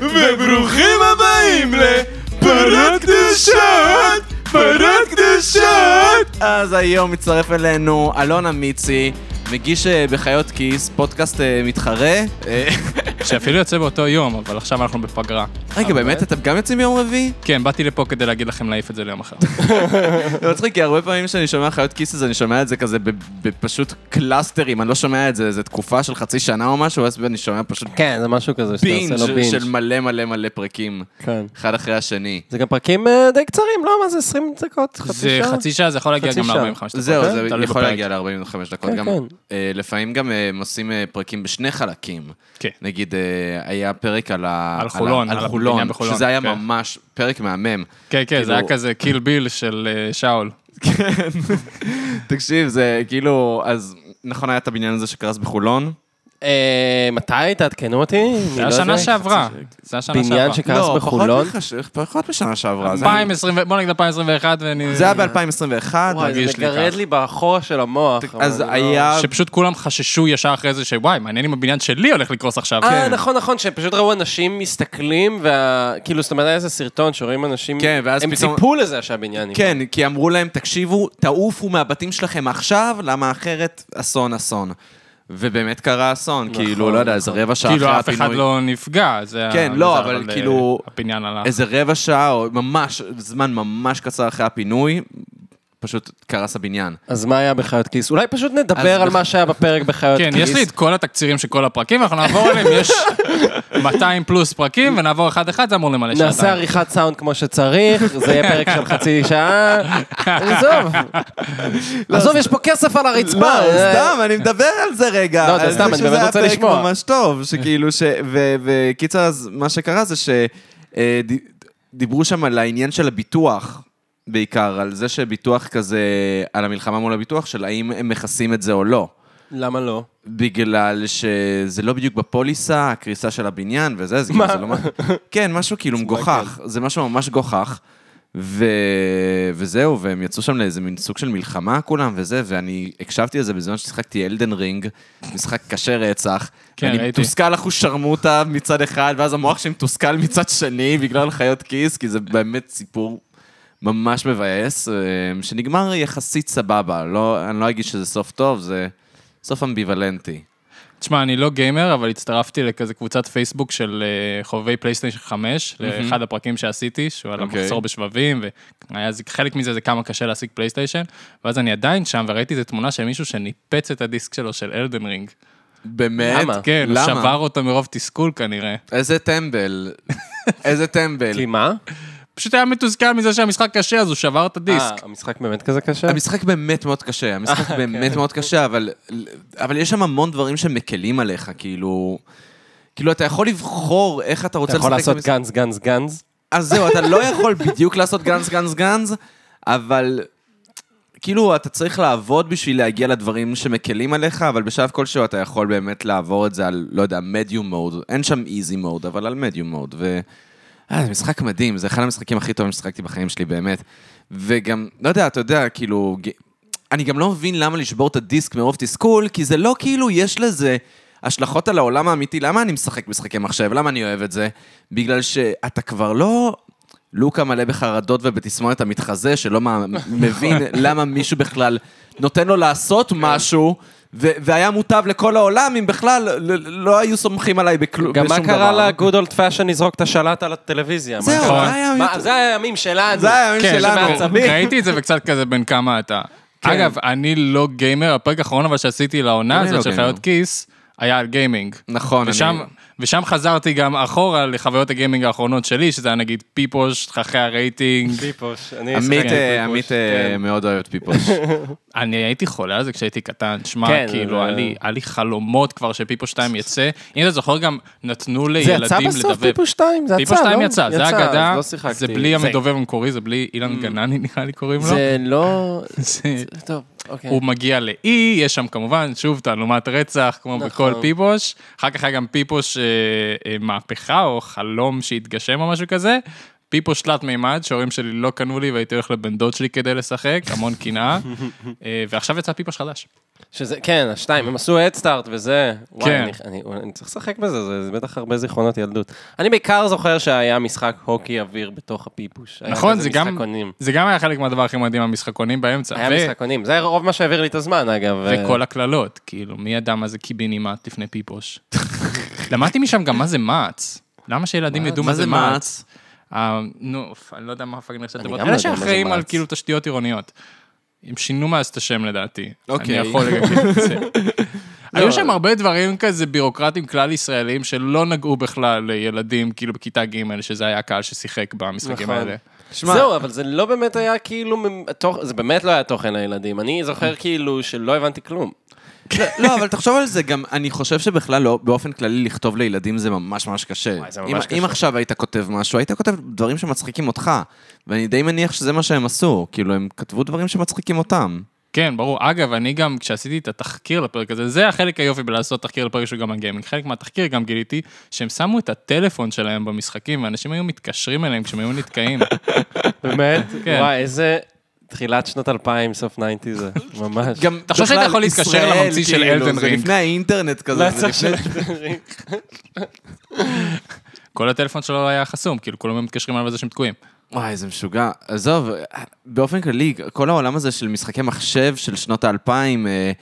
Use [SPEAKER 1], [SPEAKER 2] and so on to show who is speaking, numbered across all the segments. [SPEAKER 1] וברוכים הבאים לפרות קדושות, פרות קדושות.
[SPEAKER 2] אז היום מצטרף אלינו אלון אמיצי, מגיש אה, בחיות כיס, פודקאסט אה, מתחרה. אה,
[SPEAKER 3] שאפילו יוצא באותו יום, אבל עכשיו אנחנו בפגרה.
[SPEAKER 2] רגע, באמת, אתם גם יוצאים ביום רביעי?
[SPEAKER 3] כן, באתי לפה כדי להגיד לכם להעיף את זה ליום אחר.
[SPEAKER 2] זה מצחיק, כי הרבה פעמים כשאני שומע חיות כיס, אז אני שומע את זה כזה בפשוט קלאסטרים, אני לא שומע את זה איזה תקופה של חצי שנה או משהו, ואז אני שומע פשוט
[SPEAKER 4] כן, זה משהו כזה שאתה
[SPEAKER 2] בינג'
[SPEAKER 4] עושה לו בינג'.
[SPEAKER 2] של מלא מלא מלא פרקים,
[SPEAKER 4] כן.
[SPEAKER 2] אחד אחרי השני.
[SPEAKER 4] זה גם פרקים אה, די קצרים, לא? מה זה, 20 דקות? חצי
[SPEAKER 3] זה
[SPEAKER 4] שעה?
[SPEAKER 3] חצי שעה, זה יכול להגיע
[SPEAKER 4] חצי
[SPEAKER 3] גם
[SPEAKER 4] שעה.
[SPEAKER 3] ל-45 דקות.
[SPEAKER 2] זהו, זה
[SPEAKER 3] תלוי
[SPEAKER 2] יכול
[SPEAKER 3] בפרק.
[SPEAKER 2] להגיע ל-45 דקות.
[SPEAKER 4] כן,
[SPEAKER 2] גם,
[SPEAKER 4] כן.
[SPEAKER 2] אה, לפעמים גם אה, הם עושים אה, פרקים בשני חלקים.
[SPEAKER 3] כן.
[SPEAKER 2] נגיד, אה, היה פרק על ה...
[SPEAKER 3] על חולון,
[SPEAKER 2] על
[SPEAKER 3] על
[SPEAKER 2] חולון,
[SPEAKER 3] הבניין בחולון,
[SPEAKER 2] שזה היה
[SPEAKER 3] כן.
[SPEAKER 2] ממש פרק מהמם.
[SPEAKER 3] כן, כן,
[SPEAKER 2] כאילו-
[SPEAKER 3] זה היה כזה קיל ביל של אה, שאול.
[SPEAKER 2] תקשיב, זה כאילו, אז נכון היה את הבניין הזה שקרס בחולון?
[SPEAKER 4] אה, מתי? תעדכנו אותי. אני
[SPEAKER 3] זה
[SPEAKER 4] לא
[SPEAKER 3] היה שנה
[SPEAKER 4] יודע.
[SPEAKER 3] שעברה. זה היה שנה
[SPEAKER 4] בניין
[SPEAKER 3] שעברה.
[SPEAKER 4] שקרס בחולון.
[SPEAKER 2] לא, פחות, מחש- פחות משנה שעברה. זה היה-
[SPEAKER 3] 2020, בוא נגיד 2021, ואני...
[SPEAKER 2] זה היה ב-2021.
[SPEAKER 4] וואי, זה
[SPEAKER 3] מרגיש לי
[SPEAKER 4] מגרד
[SPEAKER 3] כך.
[SPEAKER 4] לי בחור של המוח.
[SPEAKER 2] אז
[SPEAKER 4] אבל לא-
[SPEAKER 2] היה...
[SPEAKER 3] שפשוט כולם חששו ישר אחרי זה, שוואי, מעניין אם הבניין שלי הולך לקרוס עכשיו.
[SPEAKER 2] כן.
[SPEAKER 4] אה, נכון, נכון, שפשוט ראו אנשים מסתכלים, וה- כאילו, זאת אומרת, היה איזה סרטון שרואים אנשים...
[SPEAKER 2] כן, ואז
[SPEAKER 4] הם
[SPEAKER 2] פתאום-
[SPEAKER 4] ציפו לזה שהבניין נגמר.
[SPEAKER 2] כן, כי אמרו להם, תקשיבו, תעופו מהבתים שלכם עכשיו, למה אחרת אסון אסון. ובאמת קרה אסון,
[SPEAKER 4] נכון,
[SPEAKER 2] כאילו, לא יודע, איזה רבע שעה אחרי
[SPEAKER 3] כאילו אף אחד
[SPEAKER 2] הפינוי.
[SPEAKER 3] לא נפגע, זה...
[SPEAKER 2] כן,
[SPEAKER 3] ה-
[SPEAKER 2] לא,
[SPEAKER 3] זה,
[SPEAKER 2] אבל
[SPEAKER 3] אה,
[SPEAKER 2] כאילו-
[SPEAKER 3] הבניין הלך.
[SPEAKER 2] איזה רבע שעה, או ממש, זמן ממש קצר אחרי הפינוי, פשוט קרס הבניין.
[SPEAKER 4] אז מה היה בחיות כיס? אולי פשוט
[SPEAKER 2] אז
[SPEAKER 4] נדבר על
[SPEAKER 2] בח-
[SPEAKER 4] מה שהיה בפרק בחיות
[SPEAKER 3] כן,
[SPEAKER 4] כיס.
[SPEAKER 3] יש לי את כל התקצירים של כל הפרקים, אנחנו נעבור עליהם, יש 200 פלוס פרקים, ונעבור אחד-אחד, זה אמור למלא שעתיים.
[SPEAKER 4] נעשה עריכת סאונד כמו שצריך, זה יהיה פרק של חצי שעה. עזוב. עזוב, יש פה כסף על הרצפה.
[SPEAKER 2] לא,
[SPEAKER 4] זה-
[SPEAKER 2] סתם, אני מדבר על זה רגע.
[SPEAKER 4] אה, לא, זה
[SPEAKER 2] על
[SPEAKER 4] סתם, אני
[SPEAKER 2] שזה
[SPEAKER 4] באמת
[SPEAKER 2] היה
[SPEAKER 4] רוצה
[SPEAKER 2] פרק
[SPEAKER 4] לשמוע.
[SPEAKER 2] ממש טוב, שכאילו, ש... ו- וקיצר, אז מה שקרה זה שדיברו שם על העניין של הביטוח. בעיקר, על זה שביטוח כזה, על המלחמה מול הביטוח, של האם הם מכסים את זה או לא.
[SPEAKER 4] למה לא?
[SPEAKER 2] בגלל שזה לא בדיוק בפוליסה, הקריסה של הבניין וזה, זה כאילו, זה לא... מה- כן, משהו כאילו מגוחך, זה משהו ממש גוחך. ו... וזהו, והם יצאו שם לאיזה מין סוג של מלחמה כולם וזה, ואני הקשבתי לזה בזמן ששיחקתי אלדן רינג, משחק קשה רצח.
[SPEAKER 3] כן,
[SPEAKER 2] אני
[SPEAKER 3] ראיתי.
[SPEAKER 2] מתוסכל אחושרמוטה מצד אחד, ואז המוח שלי מתוסכל מצד שני בגלל חיות כיס, כי זה באמת סיפור ממש מבאס, אה, שנגמר יחסית סבבה. לא, אני לא אגיד שזה סוף טוב, זה סוף אמביוולנטי.
[SPEAKER 3] תשמע, אני לא גיימר, אבל הצטרפתי לכזה קבוצת פייסבוק של אה, חובבי פלייסטיישן 5, לאחד הפרקים שעשיתי, שהוא על
[SPEAKER 2] אוקיי.
[SPEAKER 3] המחסור בשבבים, וחלק מזה זה כמה קשה להשיג פלייסטיישן, ואז אני עדיין שם, וראיתי איזו תמונה של מישהו שניפץ את הדיסק שלו של אלדן רינג.
[SPEAKER 2] באמת?
[SPEAKER 4] למה?
[SPEAKER 3] כן, הוא
[SPEAKER 2] אה, למה?
[SPEAKER 3] שבר אותו מרוב תסכול כנראה.
[SPEAKER 2] איזה טמבל. איזה טמבל.
[SPEAKER 4] כי מה?
[SPEAKER 3] פשוט היה מתוסכל מזה שהמשחק קשה, אז הוא שבר את הדיסק.
[SPEAKER 4] אה, המשחק באמת כזה קשה?
[SPEAKER 2] המשחק באמת מאוד קשה, המשחק
[SPEAKER 4] אה, כן.
[SPEAKER 2] באמת מאוד קשה, אבל, אבל יש שם המון דברים שמקלים עליך, כאילו... כאילו, אתה יכול לבחור איך אתה רוצה
[SPEAKER 4] אתה יכול
[SPEAKER 2] לשחק
[SPEAKER 4] לעשות
[SPEAKER 2] במשחק.
[SPEAKER 4] גנז, גנז, גנז?
[SPEAKER 2] אז זהו, אתה לא יכול בדיוק לעשות גנז, גנז, גנז, אבל כאילו, אתה צריך לעבוד בשביל להגיע לדברים שמקלים עליך, אבל בשלב כלשהו אתה יכול באמת לעבור את זה על, לא יודע, מדיום מוד. אין שם איזי מוד, אבל על מדיום מוד. ו... אה, זה משחק מדהים, זה אחד המשחקים הכי טובים ששחקתי בחיים שלי, באמת. וגם, לא יודע, אתה יודע, כאילו... ג- אני גם לא מבין למה לשבור את הדיסק מרוב תסכול, כי זה לא כאילו יש לזה השלכות על העולם האמיתי. למה אני משחק משחקי מחשב? למה אני אוהב את זה? בגלל שאתה כבר לא לוקה מלא בחרדות ובתסמונת המתחזה, שלא מה- מבין למה מישהו בכלל נותן לו לעשות משהו. ו- והיה מוטב לכל העולם אם בכלל ל- לא היו סומכים עליי בכלום,
[SPEAKER 4] גם
[SPEAKER 2] בשום דבר.
[SPEAKER 4] מה קרה לגוד אולד פאשן לזרוק את השלט על הטלוויזיה? מה?
[SPEAKER 2] זהו,
[SPEAKER 3] נכון.
[SPEAKER 2] זה היה
[SPEAKER 4] מה, זה הימים שלנו.
[SPEAKER 2] זה היה הימים
[SPEAKER 3] כן,
[SPEAKER 2] שלנו.
[SPEAKER 3] זה- ראיתי את זה וקצת כזה בין כמה אתה.
[SPEAKER 4] כן.
[SPEAKER 3] אגב, אני לא גיימר, הפרק האחרון אבל שעשיתי לעונה
[SPEAKER 2] אני לא
[SPEAKER 3] הזאת של
[SPEAKER 2] גיימר.
[SPEAKER 3] חיות כיס, היה על גיימינג.
[SPEAKER 2] נכון,
[SPEAKER 3] ושם, ושם חזרתי גם אחורה לחוויות הגיימינג האחרונות שלי, שזה היה נגיד פיפוש, תככי הרייטינג.
[SPEAKER 4] פיפוש, אני
[SPEAKER 2] עמית,
[SPEAKER 4] אשחק.
[SPEAKER 2] אה, עמית אה, מאוד אוהב את פיפוש.
[SPEAKER 3] אני הייתי חולה על זה כשהייתי קטן, שמע,
[SPEAKER 4] כן,
[SPEAKER 3] כאילו,
[SPEAKER 4] זה-
[SPEAKER 3] היה לי- היה לי חלומות כבר שפיפוש 2 יצא. אם אתה זוכר, גם נתנו
[SPEAKER 4] זה
[SPEAKER 3] לילדים לדבב.
[SPEAKER 4] יצא בסוף פיפוש 2? זה יצא, לא?
[SPEAKER 3] פיפוש 2 יצא, זה
[SPEAKER 4] אז
[SPEAKER 3] אגדה,
[SPEAKER 4] לא שיחקתי. Mm.
[SPEAKER 3] זה בלי המדובב המקורי, זה בלי אילן גנני נראה לי קוראים לו.
[SPEAKER 4] זה לא...
[SPEAKER 3] זה-
[SPEAKER 4] טוב, אוקיי.
[SPEAKER 3] הוא מגיע לאי, יש שם כמובן, שוב, תעלומת רצח, כמו
[SPEAKER 4] נכון.
[SPEAKER 3] בכל פיפוש. אחר כך היה גם פיפוש אה, אה, מהפכה, או חלום שהתגשם או משהו כזה. פיפו שלט מימד, שההורים שלי לא קנו לי והייתי הולך לבן דוד שלי כדי לשחק, המון קנאה. אה, ועכשיו יצא פיפו חדש.
[SPEAKER 4] שזה, כן, השתיים, הם עשו הדסטארט וזה. וואי,
[SPEAKER 3] כן.
[SPEAKER 4] אני, אני, אני צריך לשחק בזה, זה, זה בטח הרבה זיכרונות ילדות. אני בעיקר זוכר שהיה משחק הוקי אוויר בתוך הפיפוש. היה
[SPEAKER 3] נכון,
[SPEAKER 4] כזה
[SPEAKER 3] זה גם-
[SPEAKER 4] משחקונים.
[SPEAKER 3] זה גם היה חלק מהדבר הכי מדהים, המשחקונים באמצע.
[SPEAKER 4] היה
[SPEAKER 3] ו-
[SPEAKER 4] משחקונים, זה רוב מה שהעביר לי את הזמן, אגב. אה,
[SPEAKER 3] וכל הקללות, כאילו, מי ידע מה זה קיבינימט לפני פיפוש? למדתי משם גם מה זה מעץ. למה שילדים ידעו מה זה מעץ? אה, נו, אוף, אני לא יודע מה הפאגנר של
[SPEAKER 4] אני
[SPEAKER 3] הדבר.
[SPEAKER 4] גם לא
[SPEAKER 3] אלה
[SPEAKER 4] יודע מה זה
[SPEAKER 3] שאחראים על
[SPEAKER 4] מע"צ.
[SPEAKER 3] כאילו תשתיות עירוניות. הם שינו מאז את השם לדעתי.
[SPEAKER 2] אוקיי.
[SPEAKER 3] אני יכול להגיד את זה.
[SPEAKER 4] לא.
[SPEAKER 3] היו שם הרבה דברים כזה בירוקרטיים כלל ישראלים שלא נגעו בכלל לילדים, כאילו בכיתה ג', שזה היה הקהל ששיחק במשחקים
[SPEAKER 4] נכון.
[SPEAKER 3] האלה.
[SPEAKER 2] שמע,
[SPEAKER 4] זהו, אבל זה לא באמת היה כאילו, ממ- תוכ- זה באמת לא היה תוכן לילדים. אני זוכר כאילו שלא הבנתי כלום.
[SPEAKER 2] לא, אבל תחשוב על זה, גם אני חושב שבכלל לא, באופן כללי לכתוב לילדים זה ממש ממש קשה.
[SPEAKER 4] וואי, זה ממש
[SPEAKER 2] אם-
[SPEAKER 4] קשה.
[SPEAKER 2] אם עכשיו היית כותב משהו, היית כותב דברים שמצחיקים אותך, ואני די מניח שזה מה שהם עשו, כאילו, הם כתבו דברים שמצחיקים אותם.
[SPEAKER 3] כן, ברור. אגב, אני גם, כשעשיתי את התחקיר לפרק הזה, זה החלק היופי בלעשות תחקיר לפרק שהוא גם על גיימינג. חלק מהתחקיר גם גיליתי שהם שמו את הטלפון שלהם במשחקים, ואנשים היו מתקשרים אליהם כשהם היו נתקעים.
[SPEAKER 4] באמת?
[SPEAKER 3] כן.
[SPEAKER 4] וואי, איזה תחילת שנות 2000, סוף 90 זה, ממש.
[SPEAKER 2] גם
[SPEAKER 3] תחשוב שאתה
[SPEAKER 2] בכלל,
[SPEAKER 3] יכול להתקשר
[SPEAKER 2] ישראל,
[SPEAKER 3] לממציא של
[SPEAKER 2] כאילו,
[SPEAKER 3] Elden
[SPEAKER 2] זה
[SPEAKER 3] Ring.
[SPEAKER 2] לפני האינטרנט
[SPEAKER 4] לא
[SPEAKER 2] כזה, זה
[SPEAKER 4] יצא
[SPEAKER 2] לפני...
[SPEAKER 4] שדברים.
[SPEAKER 3] כל הטלפון שלו היה חסום, כאילו, כולם היו מתקשרים אליו על זה שהם תקועים.
[SPEAKER 2] וואי, זה משוגע. עזוב, באופן כללי, כל העולם הזה של משחקי מחשב של שנות האלפיים, אה,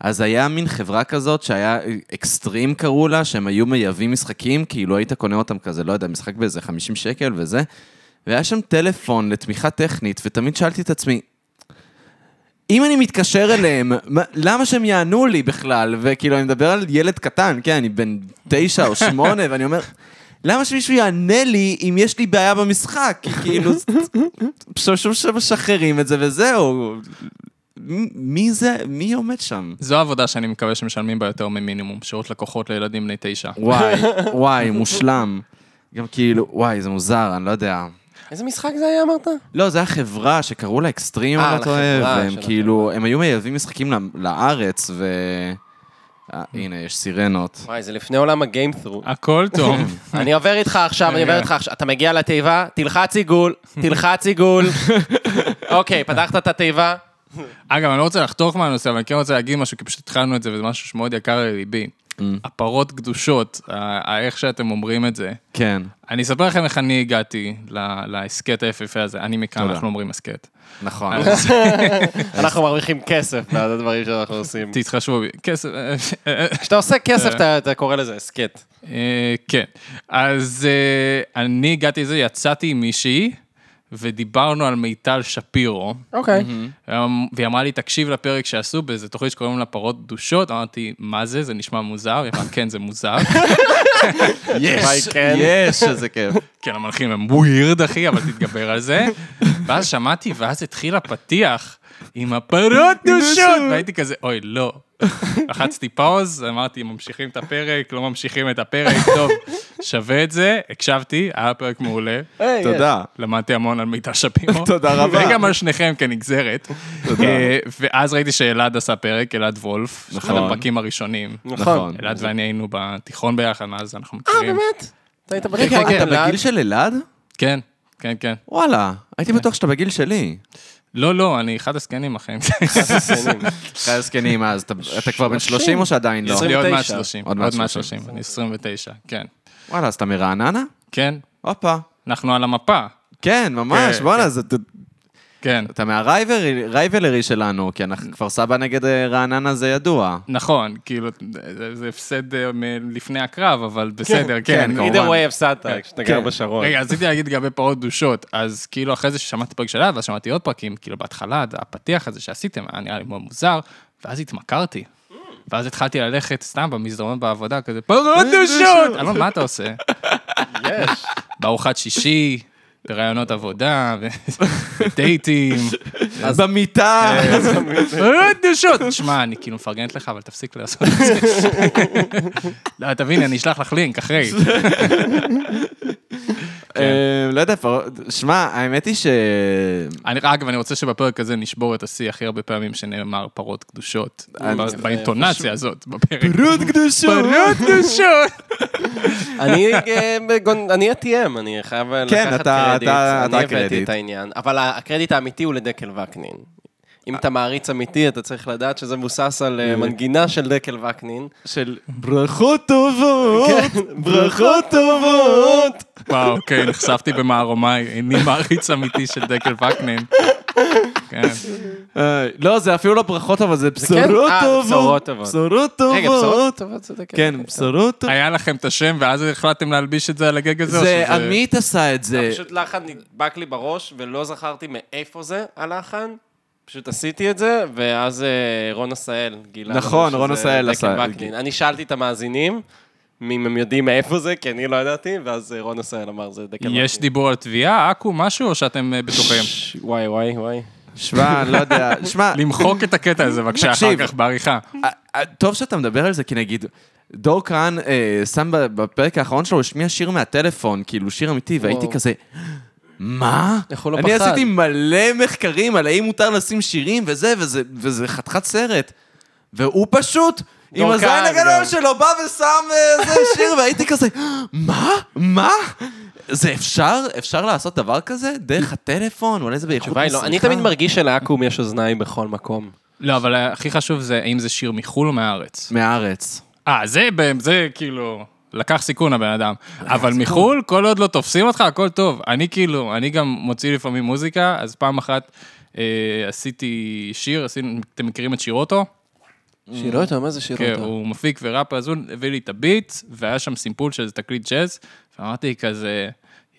[SPEAKER 2] אז היה מין חברה כזאת שהיה, אקסטרים קראו לה, שהם היו מייבאים משחקים, כאילו היית קונה אותם כזה, לא יודע, משחק באיזה 50 שקל וזה, והיה שם טלפון לתמיכה טכנית, ותמיד שאלתי את עצמי, אם אני מתקשר אליהם, מה- למה שהם יענו לי בכלל? וכאילו, אני מדבר על ילד קטן, כן, אני בן תשע או שמונה, ואני אומר, למה שמישהו יענה לי אם יש לי בעיה במשחק? כי כאילו, פשוט שמשחררים את זה וזהו. מ- מי זה, מי עומד שם?
[SPEAKER 3] זו העבודה שאני מקווה שמשלמים בה יותר ממינימום, שירות לקוחות לילדים בני תשע.
[SPEAKER 2] וואי, וואי, מושלם. גם כאילו, וואי, זה מוזר, אני לא יודע.
[SPEAKER 4] איזה משחק זה היה, אמרת?
[SPEAKER 2] לא, זה היה חברה שקראו לה אקסטרים,
[SPEAKER 4] אה,
[SPEAKER 2] אני לא טועה,
[SPEAKER 4] לחברה של
[SPEAKER 2] והם
[SPEAKER 4] החברה.
[SPEAKER 2] כאילו, הם היו מייבאים משחקים ל- לארץ, ו... אה, הנה, יש סירנות.
[SPEAKER 4] וואי, זה לפני עולם הגיימפרו.
[SPEAKER 3] הכל טוב.
[SPEAKER 4] אני עובר איתך עכשיו, אני עובר איתך עכשיו. אתה מגיע לתיבה, תלחץ עיגול, תלחץ עיגול. אוקיי, פתחת את התיבה.
[SPEAKER 3] אגב, אני לא רוצה לחתוך מהנושא, אבל אני כן רוצה להגיד משהו, כי פשוט התחלנו את זה, וזה משהו שמאוד יקר לליבי. הפרות קדושות, ה- ה- איך שאתם אומרים את זה.
[SPEAKER 2] כן,
[SPEAKER 3] אני אספר לכם איך אני הגעתי ל- להסכת היפהפה הזה. אני מכאן,
[SPEAKER 2] תודה.
[SPEAKER 3] אנחנו אומרים הסכת.
[SPEAKER 2] נכון.
[SPEAKER 4] אנחנו מרוויחים כסף בעד הדברים שאנחנו עושים.
[SPEAKER 3] תתחשבו בי. כסף... אה,
[SPEAKER 4] כשאתה עושה כסף, אתה- אתה קורא לזה הסכת.
[SPEAKER 3] אה, כן. אז אה, אני הגעתי לזה, יצאתי עם מישהי, ודיברנו על מיטל שפירו.
[SPEAKER 4] אוקיי.
[SPEAKER 3] אמ, והיא אמרה לי, תקשיב לפרק שעשו באיזה תוכנית שקוראים לה פרות קדושות. אמרתי, מה זה? זה נשמע מוזר. היא אמרה, כן, זה מוזר.
[SPEAKER 4] יש,
[SPEAKER 2] כן. יש, איזה כיף.
[SPEAKER 3] כן, המנחים הם ווירד, אחי, אבל תתגבר על זה. ואז שמעתי, ואז התחיל הפתיח עם הפרות קדושות, והייתי כזה, אוי, לא. לחצתי פאוז, אמרתי, ממשיכים את הפרק, לא ממשיכים את הפרק, טוב, שווה את זה, הקשבתי, היה פרק מעולה,
[SPEAKER 4] אה,
[SPEAKER 2] תודה.
[SPEAKER 3] למדתי המון על מיטה שפירו.
[SPEAKER 2] תודה רבה.
[SPEAKER 3] וגם על שניכם כנגזרת.
[SPEAKER 2] תודה.
[SPEAKER 3] אה, ואז ראיתי שאלעד עשה פרק, אלעד וולף, אחד
[SPEAKER 2] נכון.
[SPEAKER 3] הפרקים הראשונים.
[SPEAKER 2] נכון.
[SPEAKER 3] אלעד ואני היינו בתיכון ביחד, מאז אנחנו מכירים.
[SPEAKER 4] אה, באמת? אתה היית
[SPEAKER 2] רגע,
[SPEAKER 4] בתיכון,
[SPEAKER 2] אתה
[SPEAKER 4] אתה בעד?
[SPEAKER 2] בגיל של כן, אלעד?
[SPEAKER 3] כן, כן, כן.
[SPEAKER 2] וואלה, הייתי בטוח שאתה בגיל שלי.
[SPEAKER 3] לא, לא, אני אחד הזקנים, אחי.
[SPEAKER 2] חי הזקנים אז, אתה- אתה כבר בן 30 או שעדיין לא?
[SPEAKER 3] יש לי עוד
[SPEAKER 4] 29.
[SPEAKER 3] מעט 30,
[SPEAKER 2] עוד
[SPEAKER 3] עוד
[SPEAKER 2] מעט
[SPEAKER 3] מעט
[SPEAKER 2] 30.
[SPEAKER 3] 30, אני 29, כן.
[SPEAKER 2] וואלה, אז אתה מרעננה?
[SPEAKER 3] כן,
[SPEAKER 2] הופה.
[SPEAKER 3] אנחנו על המפה,
[SPEAKER 2] כן, ממש,
[SPEAKER 3] כן,
[SPEAKER 2] בואנה, זה-
[SPEAKER 3] כן.
[SPEAKER 2] אתה מהרייבלרי שלנו, כי אנחנו כפר סבא נגד אה, רעננה זה ידוע.
[SPEAKER 3] נכון, כאילו, זה- זה הפסד אה, מלפני הקרב, אבל בסדר, כן.
[SPEAKER 2] כן,
[SPEAKER 4] either way הפסדת, כשאתה גר בשרון.
[SPEAKER 3] רגע, רציתי להגיד לגבי פרות קדושות, אז כאילו אחרי זה ששמעתי פרק שלה, ואז שמעתי עוד פרקים, כאילו בהתחלה, הפתיח הזה שעשיתם היה נראה לי מאוד מוזר, ואז התמכרתי. ואז התחלתי ללכת סתם במסדרון בעבודה, כזה פרות קדושות! אלון, מה אתה עושה?
[SPEAKER 4] יש.
[SPEAKER 3] בארוחת שישי, בראיונות עבודה, ו- אה, בדייטים,
[SPEAKER 2] במיטה.
[SPEAKER 5] כן,
[SPEAKER 3] אה, נשות. שמע, אני כאילו מפרגנת לך, אבל תפסיק לעשות את זה. לא, תבין, אני אשלח לך לינק אחרי.
[SPEAKER 5] כן.
[SPEAKER 2] אה, לא יודע, פר- שמע, האמת היא ש...
[SPEAKER 3] אני, אגב, אני רוצה שבפרק הזה נשבור את השיא הכי הרבה פעמים שנאמר פרות קדושות. ב- באינטונציה הזאת, בפרק.
[SPEAKER 5] פרות קדושות.
[SPEAKER 3] פרות קדושות!
[SPEAKER 4] אני, אה, בגונ- אני ה-TM, אני חייב לקחת
[SPEAKER 2] כן, אתה-
[SPEAKER 4] קרדיט.
[SPEAKER 2] אתה- אתה
[SPEAKER 4] אני הבאתי
[SPEAKER 2] הקרדיט.
[SPEAKER 4] את העניין. אבל ה- הקרדיט האמיתי הוא לדקל וקנין. אם אתה מעריץ אמיתי, אתה צריך לדעת שזה מבוסס על אה, מנגינה של דקל וקנין.
[SPEAKER 5] של כן. ברכות טובות, ברכות טובות.
[SPEAKER 3] וואו, כן, נחשפתי במערומיי, איני מעריץ אמיתי של דקל וקנין. כן.
[SPEAKER 5] אה, לא, זה אפילו לא ברכות, אבל זה
[SPEAKER 4] כן?
[SPEAKER 5] בשורות
[SPEAKER 4] אה,
[SPEAKER 5] טובות.
[SPEAKER 4] בשורות טובות.
[SPEAKER 5] בשורות
[SPEAKER 4] רגע, בשורות
[SPEAKER 5] טובות.
[SPEAKER 4] טובות זה דקל.
[SPEAKER 5] כן, בשורות טובות.
[SPEAKER 3] היה לכם את השם, ואז החלטתם להלביש את זה על הגג הזה? או
[SPEAKER 2] זה
[SPEAKER 3] שזה-
[SPEAKER 2] עמית עשה את זה.
[SPEAKER 4] לא, פשוט לחן נדבק לי בראש, ולא זכרתי מאיפה זה הלחן. פשוט עשיתי את זה, ואז אה, רון עשהאל גילה. לנו
[SPEAKER 2] נכון,
[SPEAKER 4] שזה
[SPEAKER 2] רון עשהאל
[SPEAKER 4] דקל
[SPEAKER 2] עשה-
[SPEAKER 4] וקנין. אני שאלתי את המאזינים, אם הם יודעים מאיפה זה, כי אני לא ידעתי, ואז אה, רון עשהאל אמר, זה דקל וקנין.
[SPEAKER 3] יש דיבור על תביעה, עכו, משהו, או שאתם אה, בטוחים?
[SPEAKER 4] ש- וואי, וואי, וואי.
[SPEAKER 2] שמע, אני לא יודע. שמע,
[SPEAKER 3] למחוק את הקטע הזה, בבקשה, אחר
[SPEAKER 2] תקשיב.
[SPEAKER 3] כך בעריכה.
[SPEAKER 2] אה, אה, טוב שאתה מדבר על זה, כי נגיד, דור כהן אה, שם ב- בפרק האחרון שלו, הוא השמיע שיר מהטלפון, כאילו שיר אמיתי, והייתי
[SPEAKER 4] וואו.
[SPEAKER 2] כזה, מה?
[SPEAKER 4] איך הוא לא
[SPEAKER 2] אני
[SPEAKER 4] פחד?"
[SPEAKER 2] עשיתי מלא מחקרים על האם מותר לשים שירים וזה, וזה- וזה חתיכת סרט. והוא פשוט, עם
[SPEAKER 4] דור
[SPEAKER 2] הזין
[SPEAKER 4] כהן
[SPEAKER 2] הגדול
[SPEAKER 4] גם.
[SPEAKER 2] שלו, בא ושם אה, זה שיר, והייתי כזה, מה? מה? זה אפשר? אפשר לעשות דבר כזה? דרך הטלפון? אולי זה באיכות
[SPEAKER 4] התשובה היא לא. אני
[SPEAKER 2] מסריחה?
[SPEAKER 4] תמיד מרגיש שלעכו"ם יש אוזניים בכל מקום.
[SPEAKER 3] לא, אבל הכי חשוב זה, האם זה שיר מחו"ל או מהארץ?
[SPEAKER 2] מהארץ.
[SPEAKER 3] אה, זה, ב- זה כאילו, לקח סיכון הבן אדם. אבל מחו"ל, כל עוד לא תופסים אותך, הכל טוב. אני כאילו, אני גם מוציא לפעמים מוזיקה, אז פעם אחת אה, עשיתי שיר, עשינו, אתם מכירים את שירוטו?
[SPEAKER 4] שירוטו, מה זה
[SPEAKER 3] כן,
[SPEAKER 4] שירוטו?
[SPEAKER 3] הוא מפיק וראפר, אז הוא הביא לי את הביט, והיה שם סימפול של איזה תקליט ג'אז, ואמרתי כזה,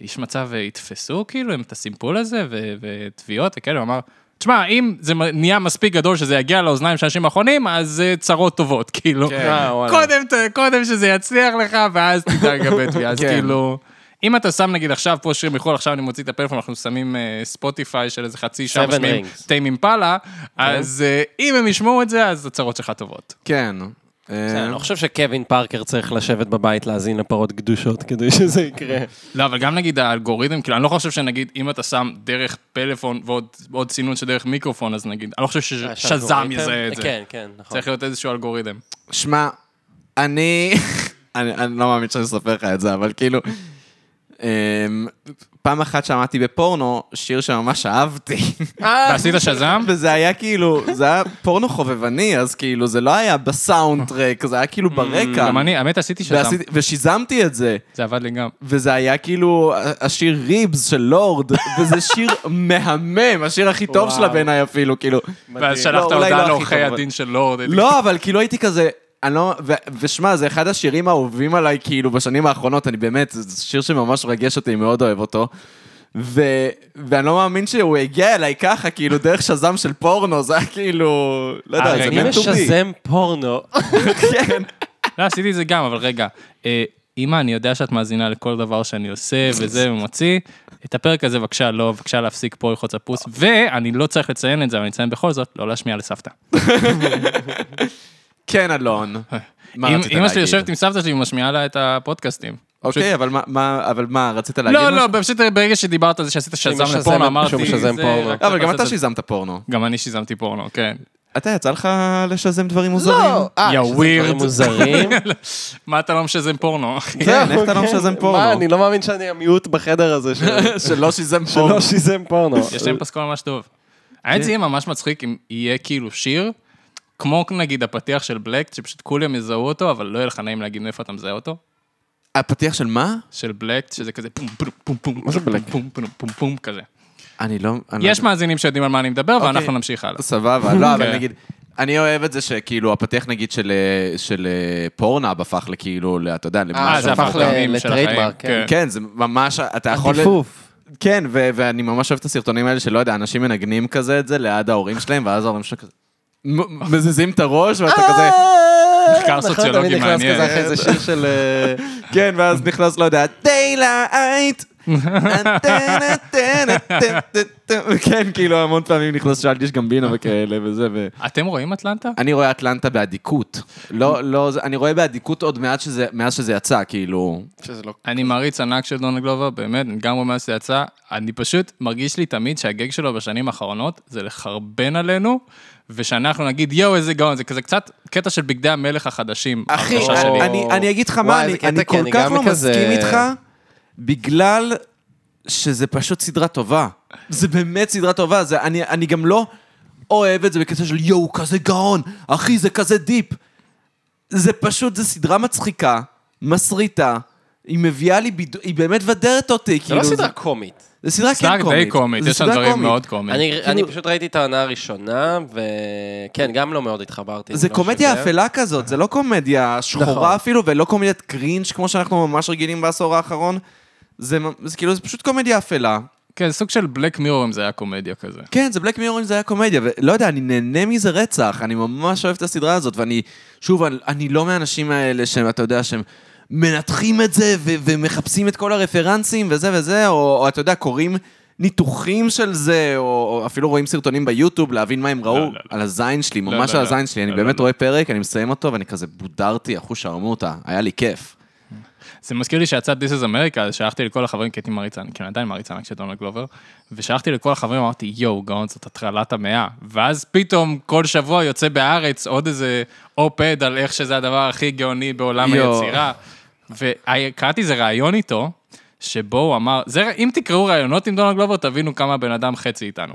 [SPEAKER 3] יש מצב ויתפסו כאילו עם את הסימפול הזה, ו- ותביעות וכאלה, הוא אמר, תשמע, אם זה מ- נהיה מספיק גדול שזה יגיע לאוזניים של אנשים האחרונים, אז זה צרות טובות, כאילו.
[SPEAKER 4] אה, וואלה.
[SPEAKER 3] קודם, ת- קודם שזה יצליח לך, ואז תדע לגבי תביעה, אז
[SPEAKER 2] כן.
[SPEAKER 3] כאילו... אם אתה שם נגיד עכשיו פה שיר מחו"ל, עכשיו אני מוציא את הפלאפון, אנחנו שמים אה, ספוטיפיי של איזה חצי שעה,
[SPEAKER 4] Seven
[SPEAKER 3] משמיעים
[SPEAKER 4] Rings. כן.
[SPEAKER 3] טיים אימפלה, אז אה, אם הם ישמעו את זה, אז הצרות שלך טובות.
[SPEAKER 2] כן.
[SPEAKER 4] אני לא חושב שקווין פארקר צריך לשבת בבית להאזין לפרות קדושות כדי שזה יקרה.
[SPEAKER 3] לא, אבל גם נגיד האלגוריתם, כאילו, אני לא חושב שנגיד, אם אתה שם דרך פלאפון ועוד עוד סינון שדרך מיקרופון, אז נגיד, אני לא חושב ששזם יזהה את זה.
[SPEAKER 4] אה, כן, כן, נכון. אה,
[SPEAKER 3] צריך להיות איזשהו אלגוריתם.
[SPEAKER 2] שמע, אני... אני, אני לא מאמין שאני אספר לך את זה, אבל כאילו... אמ, פעם אחת שמעתי בפורנו שיר שממש אהבתי,
[SPEAKER 3] ועשית שזם?
[SPEAKER 2] וזה היה כאילו, זה היה פורנו חובבני, אז כאילו זה לא היה בסאונד טרק, זה היה כאילו ברקע.
[SPEAKER 3] גם אני, האמת, עשיתי שזם.
[SPEAKER 2] ועשיתי- ושיזמתי את זה,
[SPEAKER 3] זה עבד לי גם.
[SPEAKER 2] וזה היה כאילו השיר ריבס של לורד, וזה שיר מהמם, השיר הכי טוב שלה בעיניי אפילו, כאילו.
[SPEAKER 3] ואז
[SPEAKER 2] לא,
[SPEAKER 3] שלחת
[SPEAKER 2] אולי לא
[SPEAKER 3] הודעה
[SPEAKER 2] הכי
[SPEAKER 3] לעורכי
[SPEAKER 2] טוב, אבל-
[SPEAKER 3] הדין של לורד.
[SPEAKER 2] לא, אבל כאילו הייתי כזה... אני לא... ו- ושמע, זה אחד השירים האהובים עליי, כאילו, בשנים האחרונות, אני באמת, זה שיר שממש רגש אותי, מאוד אוהב אותו. ו... ואני לא מאמין שהוא הגיע אליי ככה, כאילו, דרך שזם של פורנו, זה היה כאילו... לא יודע, זה
[SPEAKER 3] הרגע.
[SPEAKER 4] אה, אם
[SPEAKER 2] מן
[SPEAKER 4] יש
[SPEAKER 2] טו בי.
[SPEAKER 4] שזם פורנו,
[SPEAKER 2] כן.
[SPEAKER 3] לא, עשיתי את זה גם, אבל רגע. אה, אמא, אני יודע שאת מאזינה לכל דבר שאני עושה וזה ומוציא. את הפרק הזה, בבקשה, לא, בבקשה להפסיק פה ללחוץ
[SPEAKER 2] אה.
[SPEAKER 3] הפוס. ואני לא צריך לציין את זה, אבל אני אציין בכל זאת, לא להשמיע לסבתא.
[SPEAKER 2] כן, אלון.
[SPEAKER 4] אה.
[SPEAKER 2] מה רצית
[SPEAKER 3] אמא שלי
[SPEAKER 2] להגיד?
[SPEAKER 3] יושבת עם סבתא שלי ומשמיעה לה את הפודקאסטים.
[SPEAKER 2] אוקיי, אבל מה- מה, אבל מה, רצית להגיד
[SPEAKER 3] לא,
[SPEAKER 2] משהו?
[SPEAKER 3] לא, פשוט ברגע שדיברת על זה שעשית שזם
[SPEAKER 4] משזם-
[SPEAKER 3] לפורנו,
[SPEAKER 4] שהוא
[SPEAKER 3] אמרתי...
[SPEAKER 4] משזם
[SPEAKER 3] זה-
[SPEAKER 4] פורנו.
[SPEAKER 3] רק
[SPEAKER 2] אבל גם
[SPEAKER 3] לעשות
[SPEAKER 2] אתה
[SPEAKER 3] את זה.
[SPEAKER 2] שיזמת פורנו.
[SPEAKER 3] גם אני שיזמתי פורנו, כן.
[SPEAKER 2] אתה, יצא לך לשזם דברים מוזרים?
[SPEAKER 4] אה,
[SPEAKER 3] יא
[SPEAKER 4] שזה דברים
[SPEAKER 3] weird.
[SPEAKER 4] מוזרים.
[SPEAKER 3] מה אתה לא משזם פורנו, אחי?
[SPEAKER 2] כן, איך אתה לא משזם פורנו?
[SPEAKER 4] מה, אני לא מאמין שאני המיעוט בחדר הזה של-
[SPEAKER 2] שלא שיזם פורנו.
[SPEAKER 4] שלא שיזם פורנו.
[SPEAKER 3] יש להם פסקול ממש טוב. האמת זה יהיה ממש מצחיק אם יהיה כאילו שיר, כמו נגיד הפתיח של בלק, שפשוט כולם יזהו אותו, אבל לא יהיה לך נעים להגיד מאיפה אתה מזהה אותו.
[SPEAKER 2] הפתיח של מה?
[SPEAKER 3] של בלק, שזה כזה פום פום פום פום פום פום פום פום פום כזה.
[SPEAKER 2] אני לא... אני לא-
[SPEAKER 3] יש מאזינים שיודעים על מה אני מדבר, ואנחנו
[SPEAKER 2] אוקיי.
[SPEAKER 3] נמשיך הלאה.
[SPEAKER 2] סבבה, לא, אבל
[SPEAKER 3] כן.
[SPEAKER 2] נגיד, אני אוהב את זה שכאילו הפתח נגיד של, אה, של אה, פורנאב הפך לכאילו, ל- אתה יודע, למה
[SPEAKER 3] אה, זה הפך
[SPEAKER 4] ל-
[SPEAKER 3] לפעמים של החיים.
[SPEAKER 4] לטריידמרק,
[SPEAKER 3] כן.
[SPEAKER 2] כן, זה ממש, אתה יכול...
[SPEAKER 4] עטיפוף.
[SPEAKER 2] כן, ו- ואני ממש אוהב את הסרטונים האלה שלא יודע, אנשים מנגנים כזה את זה ליד ההורים שלהם, ואז ההורים שלהם כזה... מ- מזיזים את הראש, ואתה כזה...
[SPEAKER 4] אה!
[SPEAKER 3] מחקר סוציולוגי
[SPEAKER 4] נכון, תמיד נכנס
[SPEAKER 3] מעניין.
[SPEAKER 4] כזה אחרי איזה שיר של... אה,
[SPEAKER 2] כן, ואז נכנס, לא יודע, daylight, כן, כאילו המון פעמים נכנס שאלתי, יש גם בינה וכאלה וזה, ו...
[SPEAKER 3] כן. אתם רואים אטלנטה?
[SPEAKER 2] אני רואה אטלנטה באדיקות. לא, לא, זה- אני רואה באדיקות עוד מעט שזה, מאז שזה יצא, כאילו...
[SPEAKER 6] שזה לא...
[SPEAKER 3] אני מעריץ ענק של דונלד גלובר, באמת, אני גם מאז שזה יצא, אני פשוט מרגיש לי תמיד שהגג שלו בשנים האחרונות זה לחרבן עלינו, ושאנחנו נגיד, יואו, איזה גאון, זה כזה קצת קטע של בגדי המלך החדשים.
[SPEAKER 2] אחי,
[SPEAKER 3] הרגשה שלי.
[SPEAKER 2] אני- כן אני- אני אגיד לך מה,
[SPEAKER 7] וואי,
[SPEAKER 2] אני
[SPEAKER 7] זה קטע,
[SPEAKER 2] אני
[SPEAKER 7] כי
[SPEAKER 2] כל
[SPEAKER 7] אני
[SPEAKER 2] כך
[SPEAKER 7] גם
[SPEAKER 2] לא
[SPEAKER 7] כזה-
[SPEAKER 2] מסכים איתך, בגלל שזה פשוט סדרה טובה. זה באמת סדרה טובה, זה- אני אני גם לא אוהב את זה בקטע של יואו, הוא כזה גאון, אחי, זה כזה דיפ. זה פשוט, זו סדרה מצחיקה, מסריטה. היא מביאה לי בידו... היא באמת מבדרת אותי,
[SPEAKER 4] זה
[SPEAKER 2] כאילו...
[SPEAKER 4] לא סדרה קומית.
[SPEAKER 2] זה סדרה כן
[SPEAKER 3] סדרה
[SPEAKER 2] קומית.
[SPEAKER 3] די קומית,
[SPEAKER 2] זה
[SPEAKER 3] יש שם
[SPEAKER 2] סדרה
[SPEAKER 3] דברים
[SPEAKER 2] קומית.
[SPEAKER 3] מאוד קומיים.
[SPEAKER 4] אני כאילו- אני פשוט ראיתי את העונה הראשונה, וכן, גם לא מאוד התחברתי.
[SPEAKER 2] זה
[SPEAKER 4] לא
[SPEAKER 2] קומדיה
[SPEAKER 4] שזה.
[SPEAKER 2] אפלה כזאת, זה לא קומדיה
[SPEAKER 4] נכון.
[SPEAKER 2] שחורה אפילו, ולא קומדיית קרינג' כמו שאנחנו ממש רגילים בעשור האחרון. זה מ- זה כאילו, זה פשוט קומדיה אפלה.
[SPEAKER 3] כן, סוג של בלק מירור אם זה היה קומדיה כזה.
[SPEAKER 2] כן, זה בלק מירור אם זה היה קומדיה, ולא יודע, אני נהנה מזה רצח, אני ממש אוהב את הסדרה הזאת, ואני, שוב, אני, אני לא מהאנשים האלה שהם, אתה יודע, שהם מנתחים את זה ו- ומחפשים את כל הרפרנסים וזה וזה, או, או אתה יודע, קוראים ניתוחים של זה, או, או אפילו רואים סרטונים ביוטיוב להבין מה הם ראו,
[SPEAKER 3] לא, לא, לא.
[SPEAKER 2] על הזין שלי,
[SPEAKER 3] לא,
[SPEAKER 2] ממש
[SPEAKER 3] לא,
[SPEAKER 2] על
[SPEAKER 3] לא.
[SPEAKER 2] הזין שלי, אני
[SPEAKER 3] לא,
[SPEAKER 2] באמת
[SPEAKER 3] לא,
[SPEAKER 2] רואה פרק, אני מסיים אותו, ואני כזה בודרתי, אחוש שרמוטה, היה לי כיף.
[SPEAKER 3] זה מזכיר לי שיצא This is America, אז שלחתי לכל החברים, כי הייתי מעריץ, אני כן עדיין מעריץ ענק של דונלד גלובר, ושלחתי לכל החברים, אמרתי, יואו, גאון, זאת הטרלת המאה. ואז פתאום כל שבוע יוצא בהארץ עוד איזה אופד על איך שזה הדבר הכי גאוני בעולם
[SPEAKER 2] יואו.
[SPEAKER 3] היצירה. וקראתי איזה ראיון איתו, שבו הוא אמר, זה, אם תקראו ראיונות עם דונלד גלובר, תבינו כמה בן אדם חצי איתנו.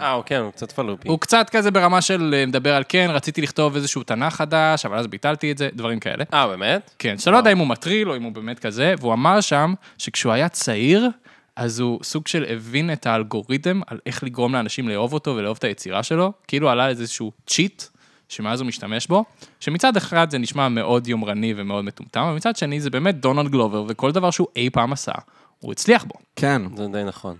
[SPEAKER 4] אה, אוקיי, הוא קצת פלופי.
[SPEAKER 3] הוא קצת כזה ברמה של אה, מדבר על כן, רציתי לכתוב איזשהו תנ"ך חדש, אבל אז ביטלתי את זה, דברים כאלה.
[SPEAKER 4] אה, באמת?
[SPEAKER 3] כן, שאתה לא יודע אם הוא מטריל או אם הוא באמת כזה, והוא אמר שם שכשהוא היה צעיר, אז הוא סוג של הבין את האלגוריתם על איך לגרום לאנשים לאהוב אותו ולאהוב את היצירה שלו, כאילו עלה איזשהו צ'יט, שמאז הוא משתמש בו, שמצד אחד זה נשמע מאוד יומרני ומאוד מטומטם, ומצד שני זה באמת דונלד גלובר, וכל דבר שהוא אי פעם עשה, הוא הצליח בו.
[SPEAKER 2] כן.
[SPEAKER 4] זה די נכון.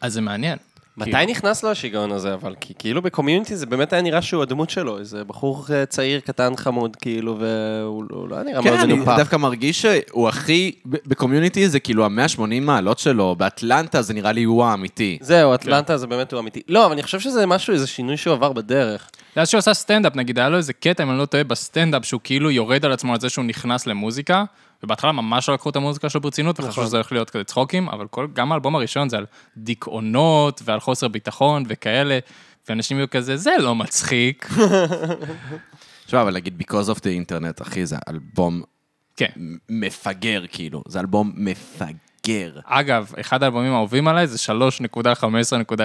[SPEAKER 3] אז זה מעניין. כאילו,
[SPEAKER 4] מתי נכנס לו השיגעון הזה, אבל? כי כאילו בקומיוניטי זה באמת היה נראה שהוא הדמות שלו, איזה בחור אה, צעיר, קטן, חמוד, כאילו, והוא לא- לא היה נראה מאוד
[SPEAKER 2] כן, אני
[SPEAKER 4] מנופח.
[SPEAKER 2] דווקא מרגיש שהוא הכי, ב- בקומיוניטי זה כאילו ה-180 מעלות שלו, באטלנטה זה נראה לי הוא האמיתי.
[SPEAKER 4] זהו, אטלנטה זה באמת הוא אמיתי. לא, אבל אני חושב שזה משהו, איזה שינוי שהוא עבר בדרך.
[SPEAKER 3] ואז שהוא עשה סטנדאפ, נגיד, היה לו איזה קטע, אם אני לא טועה, בסטנדאפ, שהוא כאילו יורד על עצמו על זה שהוא נכנס למוזיקה, ובהתחלה ממש לא לקחו את המוזיקה שלו ברצינות, וחשבו
[SPEAKER 2] נכון.
[SPEAKER 3] שזה הולך להיות כזה צחוקים, אבל כל, גם האלבום הראשון זה על דיכאונות, ועל חוסר ביטחון וכאלה, ואנשים יהיו כזה, זה לא מצחיק.
[SPEAKER 2] תשמע, אבל להגיד Because of the Internet, אחי, זה אלבום
[SPEAKER 3] כן.
[SPEAKER 2] מ- מפגר, כאילו. זה אלבום מפגר.
[SPEAKER 3] אגב, אחד האלבומים האהובים עליי זה 3.15.20,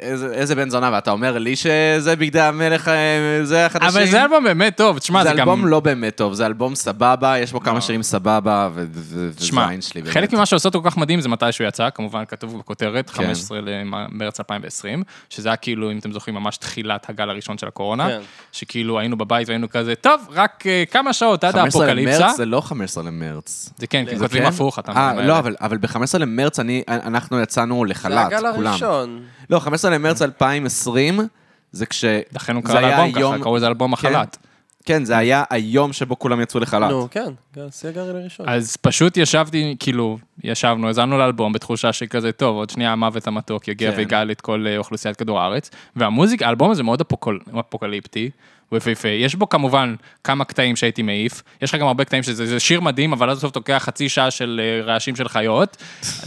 [SPEAKER 2] איזה איזה בן זונה, ואתה אומר לי שזה בגדי המלך, אה, זה החדשים?
[SPEAKER 3] אבל זה אלבום באמת טוב, תשמע,
[SPEAKER 2] זה
[SPEAKER 3] זה
[SPEAKER 2] אלבום
[SPEAKER 3] גם...
[SPEAKER 2] לא באמת טוב, זה אלבום סבבה, יש בו כמה שירים סבבה, ו- ו-
[SPEAKER 3] תשמע,
[SPEAKER 2] וזין שלי באמת. כן.
[SPEAKER 3] חלק ממה שעושה אותו כל כך מדהים זה מתי שהוא יצא, כמובן כתוב בכותרת, 15 למרץ 2020, שזה היה כאילו, אם אתם זוכרים, ממש תחילת הגל הראשון של הקורונה,
[SPEAKER 4] כן.
[SPEAKER 3] שכאילו היינו בבית והיינו כזה, טוב, רק אה, כמה שעות עד
[SPEAKER 2] 15
[SPEAKER 3] האפוקליפסה.
[SPEAKER 2] למרץ זה לא 15 למרץ.
[SPEAKER 3] זה כן, כי
[SPEAKER 2] זה
[SPEAKER 3] כותבים
[SPEAKER 2] כן?
[SPEAKER 3] הפוך, אתה
[SPEAKER 2] אה,
[SPEAKER 3] מבין,
[SPEAKER 2] לא,
[SPEAKER 3] האלה.
[SPEAKER 2] אבל- אבל ב-15 למרץ אני- אנחנו יצאנו
[SPEAKER 4] זה
[SPEAKER 2] לחל"ת,
[SPEAKER 4] הגל
[SPEAKER 2] כולם.
[SPEAKER 4] הראשון.
[SPEAKER 2] לא, 15 למרץ 2020, זה כש...
[SPEAKER 3] לכן הוא
[SPEAKER 2] זה
[SPEAKER 3] קרא
[SPEAKER 2] היה
[SPEAKER 3] לאלבום ככה,
[SPEAKER 2] יום-
[SPEAKER 3] קראו לזה אלבום
[SPEAKER 2] כן.
[SPEAKER 3] החל"ת.
[SPEAKER 2] כן, זה היה היום שבו כולם יצאו לחל"ת.
[SPEAKER 4] נו, כן, גל- זה הגל הראשון.
[SPEAKER 3] אז פשוט ישבתי, כאילו, ישבנו, האזנו לאלבום בתחושה שכזה, טוב, עוד שנייה המוות המתוק יגיע
[SPEAKER 2] כן.
[SPEAKER 3] ויגאל את כל אה, אוכלוסיית כדור הארץ. והמוזיקה, האלבום הזה מאוד אפוקול- אפוקליפטי, הוא יפהפה. יש בו כמובן כמה קטעים שהייתי מעיף, יש לך גם הרבה קטעים שזה זה שיר מדהים, אבל אז בסוף לוקח חצי שעה של אה, רעשים של חיות.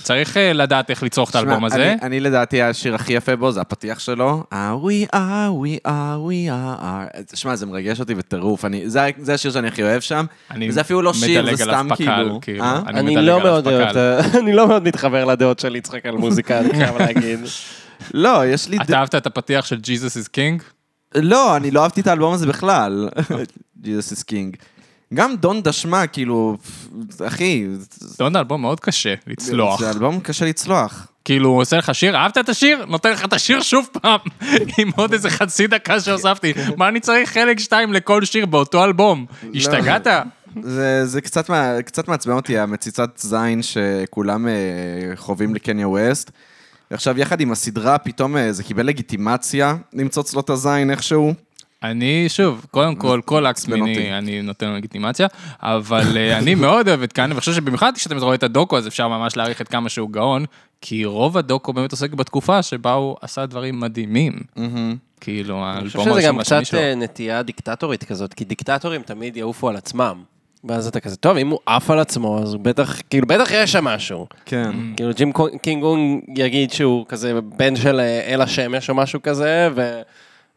[SPEAKER 3] צריך אה, לדעת איך לצרוך את
[SPEAKER 2] תשמע,
[SPEAKER 3] האלבום הזה.
[SPEAKER 2] אני, אני לדעתי השיר הכי יפה בו זה הפתיח שלו. Ah, we are, we are, we are. תשמע, זה מרגש אותי בטירוף. אני, זה, זה השיר שאני הכי אוהב שם.
[SPEAKER 3] אני
[SPEAKER 2] זה אפילו לא שיר, זה
[SPEAKER 3] מדלג עליו
[SPEAKER 2] סתם
[SPEAKER 3] פק"ל,
[SPEAKER 2] כאילו.
[SPEAKER 3] כאילו.
[SPEAKER 2] אה?
[SPEAKER 3] אני
[SPEAKER 4] אני
[SPEAKER 3] מדלג
[SPEAKER 4] לא
[SPEAKER 3] על
[SPEAKER 4] מאוד אוהב את
[SPEAKER 3] הפק"ל.
[SPEAKER 4] ה- אני לא מאוד מתחבר לדעות של יצחק על מוזיקה, אני חייב להגיד.
[SPEAKER 2] לא, יש לי... ד...
[SPEAKER 3] אתה אהבת את הפתיח של Jesus is King?
[SPEAKER 2] לא, אני לא אהבתי את האלבום הזה בכלל. Jesus is King. גם דון דשמה, כאילו, אחי,
[SPEAKER 3] זה עוד אלבום מאוד קשה לצלוח.
[SPEAKER 2] זה אלבום קשה לצלוח.
[SPEAKER 3] כאילו, הוא עושה לך שיר, אהבת את השיר? נותן לך את השיר שוב פעם, עם עוד איזה חצי דקה שהוספתי. מה אני צריך חלק שתיים לכל שיר באותו אלבום?
[SPEAKER 4] לא.
[SPEAKER 3] השתגעת?
[SPEAKER 2] זה, זה קצת, מה, קצת מעצבן אותי, המציצת זין שכולם אה, חווים לקניה ווסט. עכשיו, יחד עם הסדרה, פתאום אה, זה קיבל לגיטימציה למצוץ לו את הזין איכשהו.
[SPEAKER 3] אני, שוב, קודם כל, כל אקס
[SPEAKER 4] לא
[SPEAKER 2] עצבן אותי.
[SPEAKER 3] מיני, אני נותן לו לגיטימציה, אבל אה, אני מאוד אוהב את כאן, ואני חושב שבמיוחד כשאתם רואים את הדוקו, אז אפשר ממש להעריך את כמה שהוא גאון, כי רוב הדוקו באמת עוסק בתקופה שבה הוא עשה דברים מדהימים. כאילו,
[SPEAKER 4] אני
[SPEAKER 3] האלבום
[SPEAKER 4] חושב שזה גם
[SPEAKER 3] הראשון
[SPEAKER 4] קצת
[SPEAKER 3] והשני שלו.
[SPEAKER 4] אה, נטייה דיקטטורית כזאת, כי דיקטטורים תמיד יעופו על עצמם. ואז אתה כזה, טוב, אם הוא עף על עצמו, אז הוא בטח, כאילו, בטח יש שם משהו.
[SPEAKER 8] כן.
[SPEAKER 4] כאילו, ג'ים קו- קינג אונג יגיד שהוא כזה בן של אה, אל השמש או משהו כזה, ו...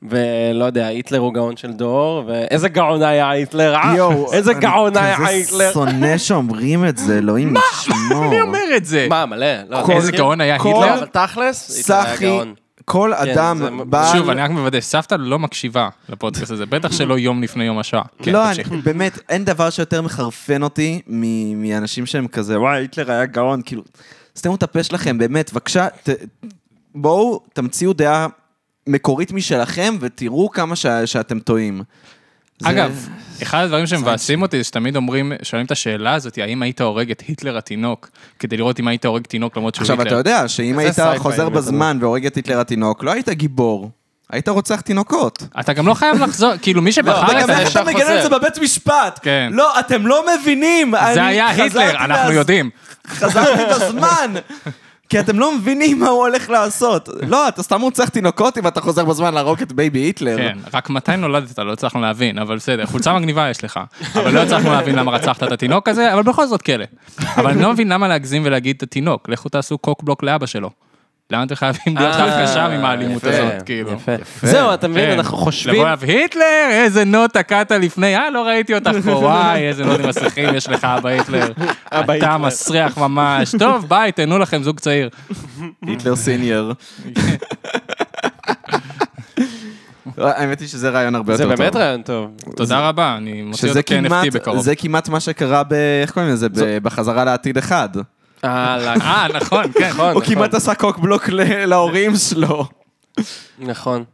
[SPEAKER 4] ולא יודע, היטלר הוא גאון של דור, ואיזה גאון היה היטלר, אה? איזה גאון היה
[SPEAKER 2] כזה
[SPEAKER 4] היטלר.
[SPEAKER 2] שונא שאומרים את זה, אלוהים ישמור.
[SPEAKER 3] מי אומר את זה?
[SPEAKER 4] מה, מלא? לא,
[SPEAKER 2] כל-
[SPEAKER 3] איזה גאון היה
[SPEAKER 2] כל-
[SPEAKER 4] לא,
[SPEAKER 3] היטלר?
[SPEAKER 4] אבל תכלס, היטלר היה
[SPEAKER 2] סחי,
[SPEAKER 4] גאון.
[SPEAKER 2] כל
[SPEAKER 4] כן,
[SPEAKER 2] אדם
[SPEAKER 4] זה-
[SPEAKER 2] בעל...
[SPEAKER 3] שוב, אני רק מוודא, סבתא לא מקשיבה לפודקאסט הזה, בטח שלא יום לפני יום השעה. כן,
[SPEAKER 2] לא,
[SPEAKER 3] תמשיך.
[SPEAKER 2] אני- באמת, אין דבר שיותר מחרפן אותי מ- מאנשים שהם כזה, וואי, היטלר היה גאון, כאילו, סתמו את הפה שלכם, באמת, בבקשה, ת- בואו תמציאו דעה מקורית משלכם ותראו כמה ש- שאתם טועים. זה-
[SPEAKER 3] אגב, אחד הדברים שמבאסים אותי זה שתמיד אומרים, שואלים את השאלה הזאת, האם היית הורג את היטלר התינוק, כדי לראות אם היית הורג תינוק למרות שהוא
[SPEAKER 2] עכשיו, אתה
[SPEAKER 3] היטלר.
[SPEAKER 2] יודע שאם היית
[SPEAKER 4] סייפיי,
[SPEAKER 2] חוזר
[SPEAKER 4] באמת,
[SPEAKER 2] בזמן והורג את היטלר התינוק, לא היית גיבור, היית רוצח תינוקות.
[SPEAKER 3] אתה גם לא חייב לחזור, כאילו מי שבחר את
[SPEAKER 8] וגם
[SPEAKER 4] אתה
[SPEAKER 8] איך
[SPEAKER 3] זה,
[SPEAKER 4] ישר
[SPEAKER 8] אתה מגן על
[SPEAKER 4] חוזר.
[SPEAKER 8] זה בבית משפט?
[SPEAKER 3] כן.
[SPEAKER 8] לא, אתם לא מבינים.
[SPEAKER 3] זה
[SPEAKER 8] אני
[SPEAKER 3] היה
[SPEAKER 8] חזרתי
[SPEAKER 3] היטלר, אנחנו
[SPEAKER 8] להס-
[SPEAKER 3] יודעים.
[SPEAKER 8] חזרתי בזמן.
[SPEAKER 2] כי אתם לא מבינים מה הוא הולך לעשות. לא, אתה סתם רוצח תינוקות אם אתה חוזר בזמן להרוג את בייבי היטלר.
[SPEAKER 3] כן, רק מתי נולדת, לא הצלחנו להבין, אבל בסדר, חולצה מגניבה יש לך. אבל לא הצלחנו להבין למה רצחת את התינוק הזה, אבל בכל זאת כלא. אבל אני לא מבין למה להגזים ולהגיד את התינוק, לכו תעשו קוק בלוק לאבא שלו. למה אתם חייבים להיות
[SPEAKER 4] אה,
[SPEAKER 3] דווקא שם עם האלימות
[SPEAKER 4] יפה,
[SPEAKER 3] הזאת, כאילו?
[SPEAKER 4] יפה. זהו, אתה מבין,
[SPEAKER 3] כן.
[SPEAKER 4] אנחנו חושבים...
[SPEAKER 3] לבוא אליו, היטלר, איזה נוט תקעת לפני, אה, לא ראיתי אותך פה, וואי, איזה נוטים מסריחים יש לך, אבא היטלר. אתה מסריח ממש. טוב, ביי, תהנו לכם, זוג צעיר.
[SPEAKER 2] היטלר סיניור. האמת היא שזה רעיון הרבה יותר
[SPEAKER 4] זה
[SPEAKER 2] טוב.
[SPEAKER 4] באמת רעיון טוב.
[SPEAKER 3] תודה רבה, אני מוציא
[SPEAKER 2] שזה
[SPEAKER 3] אותו כ-NFT
[SPEAKER 2] כמעט,
[SPEAKER 3] בקרוב.
[SPEAKER 2] זה כמעט מה שקרה ב... איך קוראים לזה? ב- בחזרה לעתיד אחד.
[SPEAKER 3] נכון.
[SPEAKER 4] אהלן.
[SPEAKER 3] אה, נכון, כן.
[SPEAKER 4] נכון,
[SPEAKER 2] הוא
[SPEAKER 4] נכון.
[SPEAKER 2] כמעט עשה קוק בלוק ל- להורים שלו.
[SPEAKER 4] נכון.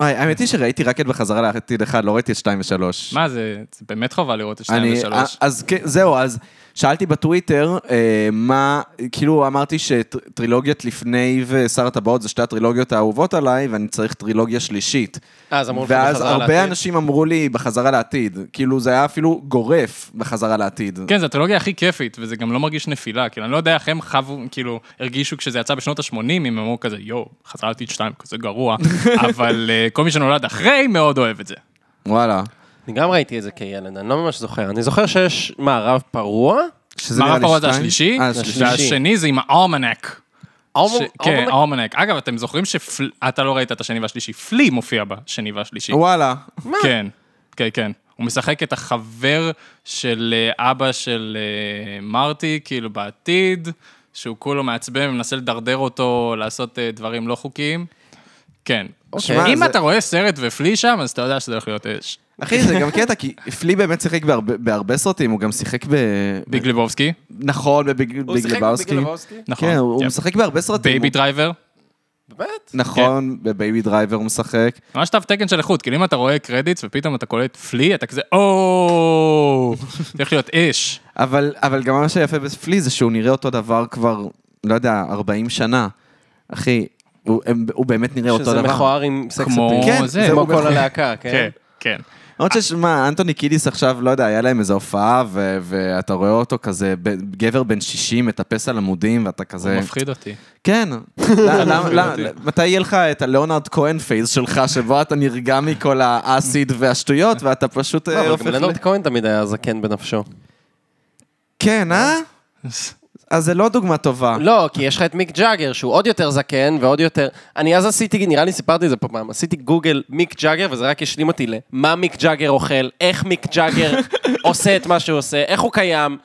[SPEAKER 2] וואי, האמת היא שראיתי רק את בחזרה לעתיד אחד, לא ראיתי את שתיים ושלוש.
[SPEAKER 3] מה, זה זה באמת חובה לראות את
[SPEAKER 2] אני-
[SPEAKER 3] שניים ושלוש.
[SPEAKER 2] אז כן, זהו, אז שאלתי בטוויטר, אה, מה, כאילו אמרתי שטרילוגיות לפני ושר הטבעות זה שתי הטרילוגיות האהובות עליי, ואני צריך טרילוגיה שלישית.
[SPEAKER 4] אה, אז אמרו לך
[SPEAKER 2] ואז
[SPEAKER 4] בחזרה לעתיד.
[SPEAKER 2] הרבה אנשים אמרו לי בחזרה לעתיד, כאילו זה היה אפילו גורף בחזרה לעתיד.
[SPEAKER 3] כן, זו הטרילוגיה הכי כיפית, וזה גם לא מרגיש נפילה. כאילו, אני לא יודע איך הם חוו, כאילו, הרגישו כשזה יצא בשנות ה-80, אם הם אמרו כזה, יואו, חזרה לעתיד 2, כזה גרוע, אבל אה, כל מי שנולד אחרי מאוד אוהב את זה.
[SPEAKER 2] וואלה.
[SPEAKER 4] אני גם ראיתי את זה כילד, אני לא ממש זוכר. אני זוכר שיש מערב פרוע.
[SPEAKER 2] שזה נראה
[SPEAKER 3] מערב
[SPEAKER 2] לי
[SPEAKER 3] פרוע זה
[SPEAKER 2] שתיים?
[SPEAKER 3] השלישי,
[SPEAKER 2] אה, השלישי.
[SPEAKER 4] השלישי.
[SPEAKER 3] והשני זה עם האומנק.
[SPEAKER 4] אורמון-
[SPEAKER 3] כן,
[SPEAKER 4] אורמון-
[SPEAKER 3] האומנק. אגב, אתם זוכרים שאתה לא ראית את השני והשלישי, פלי מופיע בשני והשלישי.
[SPEAKER 2] וואלה.
[SPEAKER 3] כן, כן, כן. הוא משחק את החבר של אה, אבא של אה, מרטי, כאילו בעתיד, שהוא כולו מעצבן ומנסה לדרדר אותו לעשות אה, דברים לא חוקיים. כן.
[SPEAKER 2] אוקיי.
[SPEAKER 3] אם
[SPEAKER 2] זה-
[SPEAKER 3] אתה רואה סרט ופלי שם, אז אתה יודע שזה הולך להיות אה, אש.
[SPEAKER 2] אחי, זה גם קטע, כי פלי באמת שיחק בהרבה- בהרבה סרטים, הוא גם שיחק ב...
[SPEAKER 3] ביג ליבובסקי,
[SPEAKER 2] נכון, בביג ביג לבאוסקי.
[SPEAKER 3] נכון.
[SPEAKER 2] כן, הוא
[SPEAKER 3] כן.
[SPEAKER 2] הוא משחק בהרבה סרטים.
[SPEAKER 3] בייבי
[SPEAKER 2] הוא-
[SPEAKER 3] דרייבר.
[SPEAKER 4] באמת?
[SPEAKER 2] נכון,
[SPEAKER 4] כן.
[SPEAKER 2] בבייבי דרייבר הוא משחק.
[SPEAKER 3] ממש תו תקן של איכות, כאילו אם אתה רואה קרדיטס ופתאום אתה קולט פלי, אתה כזה, או, צריך להיות אש.
[SPEAKER 2] אבל, אבל גם מה שיפה בפלי זה שהוא נראה אותו דבר כבר, לא יודע, 40 שנה. אחי, הוא, הם, הוא באמת נראה אותו
[SPEAKER 4] שזה
[SPEAKER 2] דבר.
[SPEAKER 4] מכוער עם סקס
[SPEAKER 3] כמו
[SPEAKER 4] אפיל.
[SPEAKER 2] כן,
[SPEAKER 3] זה,
[SPEAKER 4] כמו
[SPEAKER 2] הוא
[SPEAKER 4] כל הלהקה,
[SPEAKER 3] כן,
[SPEAKER 4] כן.
[SPEAKER 3] כן.
[SPEAKER 2] למרות ששמע, אנטוני קידיס עכשיו, לא יודע, היה להם איזו הופעה, ו- ואתה רואה אותו כזה, ב- גבר בן 60, מטפס על עמודים, ואתה
[SPEAKER 3] זה
[SPEAKER 2] כזה...
[SPEAKER 3] מפחיד אותי.
[SPEAKER 2] כן. למה- למה- למה- מתי יהיה לך את הלאונרד כהן פייס שלך, שבו אתה נרגע מכל האסיד והשטויות, ואתה פשוט אה,
[SPEAKER 4] לא, אבל
[SPEAKER 2] הופך
[SPEAKER 4] גם
[SPEAKER 2] ל...
[SPEAKER 4] לנורד כהן תמיד היה זקן בנפשו.
[SPEAKER 2] כן, אה? אז זה לא דוגמה טובה.
[SPEAKER 4] לא, כי יש לך את מיק ג'אגר, שהוא עוד יותר זקן ועוד יותר... אני אז עשיתי, נראה לי סיפרתי את זה פעם, עשיתי גוגל מיק ג'אגר, וזה רק השלים אותי למה מיק ג'אגר אוכל, איך מיק ג'אגר עושה את מה שהוא עושה, איך הוא קיים.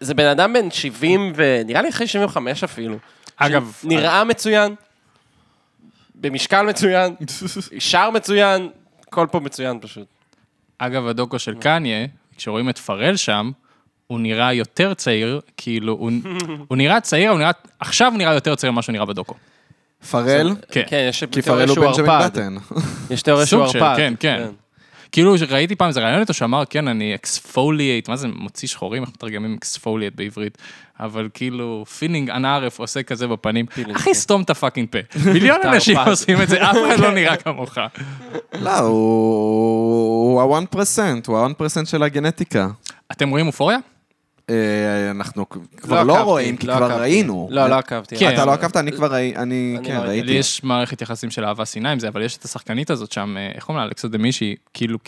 [SPEAKER 4] זה בן אדם בן 70, ונראה לי אחרי 75 אפילו.
[SPEAKER 3] אגב, אה-
[SPEAKER 4] נראה מצוין, במשקל מצוין, שר מצוין, הכל פה מצוין פשוט.
[SPEAKER 3] אגב, הדוקו של קניה, כשרואים את פרל שם, הוא נראה יותר צעיר, כאילו, הוא, הוא נראה צעיר, הוא נראה, עכשיו הוא נראה יותר צעיר ממה שהוא נראה בדוקו.
[SPEAKER 2] פרל?
[SPEAKER 3] כן.
[SPEAKER 4] כן, יש
[SPEAKER 2] כי
[SPEAKER 4] תיאוריה
[SPEAKER 2] פרל הוא
[SPEAKER 4] שהוא
[SPEAKER 2] בנג'מין
[SPEAKER 4] ערפד.
[SPEAKER 2] בטן.
[SPEAKER 4] יש תיאוריה שהוא
[SPEAKER 3] סוג של,
[SPEAKER 4] ערפד.
[SPEAKER 3] כן, כן. כאילו, ראיתי פעם איזה רעיון איתו שאמר, כן, אני אקספולייט, מה זה, מוציא שחורים, איך מתרגמים אקספולייט בעברית? אבל כאילו, פילינג ענערף עושה כזה בפנים, אחי, סתום את הפאקינג פה. מיליון אנשים עושים את זה, אף אחד לא נראה כמוך.
[SPEAKER 2] לא, הוא ה-1%, הוא ה-1% של הגנטיקה.
[SPEAKER 3] אתם רואים אופוריה?
[SPEAKER 2] אה, אנחנו כבר לא
[SPEAKER 4] עקבתי,
[SPEAKER 2] רואים, כי
[SPEAKER 4] לא
[SPEAKER 2] כבר
[SPEAKER 4] עקבתי.
[SPEAKER 2] ראינו.
[SPEAKER 4] לא, לא עקבתי.
[SPEAKER 3] כן.
[SPEAKER 2] אתה לא עקבת? אני כבר ראי- אני, כן,
[SPEAKER 4] לא ראיתי.
[SPEAKER 2] ראיתי.
[SPEAKER 3] לי יש מערכת יחסים של אהבה שנאה עם זה, אבל יש את השחקנית הזאת שם, אה, איך קוראים לה, אלכסה דמי, שהיא כאילו,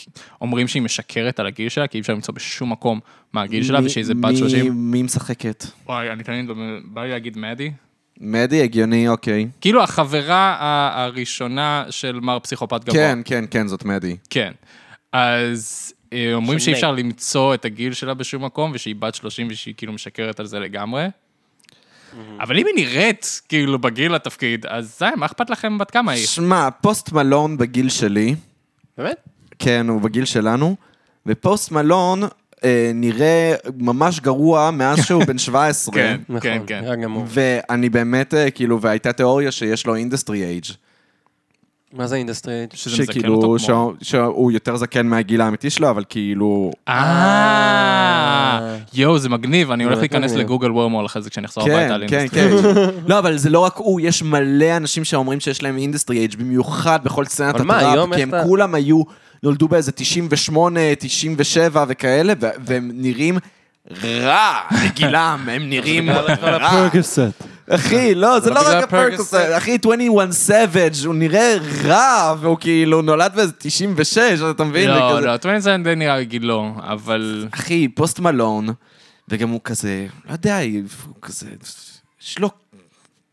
[SPEAKER 3] אומרים שהיא משקרת על הגיל שלה, כי אי אפשר למצוא בשום מקום מה הגיל שלה,
[SPEAKER 2] מי-
[SPEAKER 3] ושהיא איזה
[SPEAKER 2] מי-
[SPEAKER 3] בת 30.
[SPEAKER 2] מי משחקת?
[SPEAKER 3] וואי, אני תמיד בא לי להגיד מדי.
[SPEAKER 2] מדי הגיוני, אוקיי.
[SPEAKER 3] כאילו החברה ה- הראשונה של מר פסיכופת גבוה.
[SPEAKER 2] כן, כן, כן, זאת מדי.
[SPEAKER 3] כן. אז אה, אומרים
[SPEAKER 4] של
[SPEAKER 3] שאי
[SPEAKER 4] מי.
[SPEAKER 3] אפשר למצוא את הגיל שלה בשום מקום, ושהיא בת 30 ושהיא כאילו משקרת על זה לגמרי. אבל אם היא נראית כאילו בגיל לתפקיד, אז זה, מה אכפת לכם בת כמה היא?
[SPEAKER 2] שמע, פוסט מלון בגיל שלי,
[SPEAKER 4] באמת?
[SPEAKER 2] כן, הוא בגיל שלנו, ופוסט מלון אה, נראה ממש גרוע מאז שהוא בן 17.
[SPEAKER 3] כן, כן,
[SPEAKER 4] נכון,
[SPEAKER 3] כן.
[SPEAKER 4] נראה גמור.
[SPEAKER 2] ואני באמת, אה, כאילו, והייתה תיאוריה שיש לו אינדסטרי אייג'. Mm.
[SPEAKER 4] מה זה אינדסטרי?
[SPEAKER 2] לא
[SPEAKER 3] שזה מזקן אותו
[SPEAKER 2] שכאילו,
[SPEAKER 3] כמו...
[SPEAKER 2] שהוא- שהוא יותר זקן מהגיל האמיתי שלו, אבל כאילו...
[SPEAKER 3] אה, יואו, זה מגניב, אני הולך
[SPEAKER 4] באמת
[SPEAKER 3] להיכנס
[SPEAKER 4] מגניב.
[SPEAKER 3] לגוגל וורמול אחרי זה כשנחזור הביתה
[SPEAKER 2] כן,
[SPEAKER 3] על
[SPEAKER 2] כן,
[SPEAKER 3] אינדסטרי.
[SPEAKER 2] כן. לא, אבל זה לא רק הוא, יש מלא אנשים שאומרים שיש להם אינדסטרי אייג', במיוחד בכל סצנת
[SPEAKER 4] אבל מה,
[SPEAKER 2] הטראפ,
[SPEAKER 4] היום
[SPEAKER 2] כי
[SPEAKER 4] איך
[SPEAKER 2] הם
[SPEAKER 4] אתה-
[SPEAKER 2] כולם היו, נולדו באיזה 98, 97 וכאלה, ו- והם נראים רע בגילם, הם נראים רע.
[SPEAKER 9] פרגסט.
[SPEAKER 2] אחי, לא, זה לא
[SPEAKER 4] בגלל
[SPEAKER 2] רק הפרקוס,
[SPEAKER 4] הפרקוס,
[SPEAKER 2] אחי, 21 סאביג', הוא נראה רע, והוא כאילו נולד באיזה 96, אתה מבין? כן, זה
[SPEAKER 3] לא,
[SPEAKER 2] כזה-
[SPEAKER 3] לא, טווינס זה די נראה גילו, אבל...
[SPEAKER 2] אחי, פוסט מלון, וגם הוא כזה, לא יודע, הוא כזה, יש לו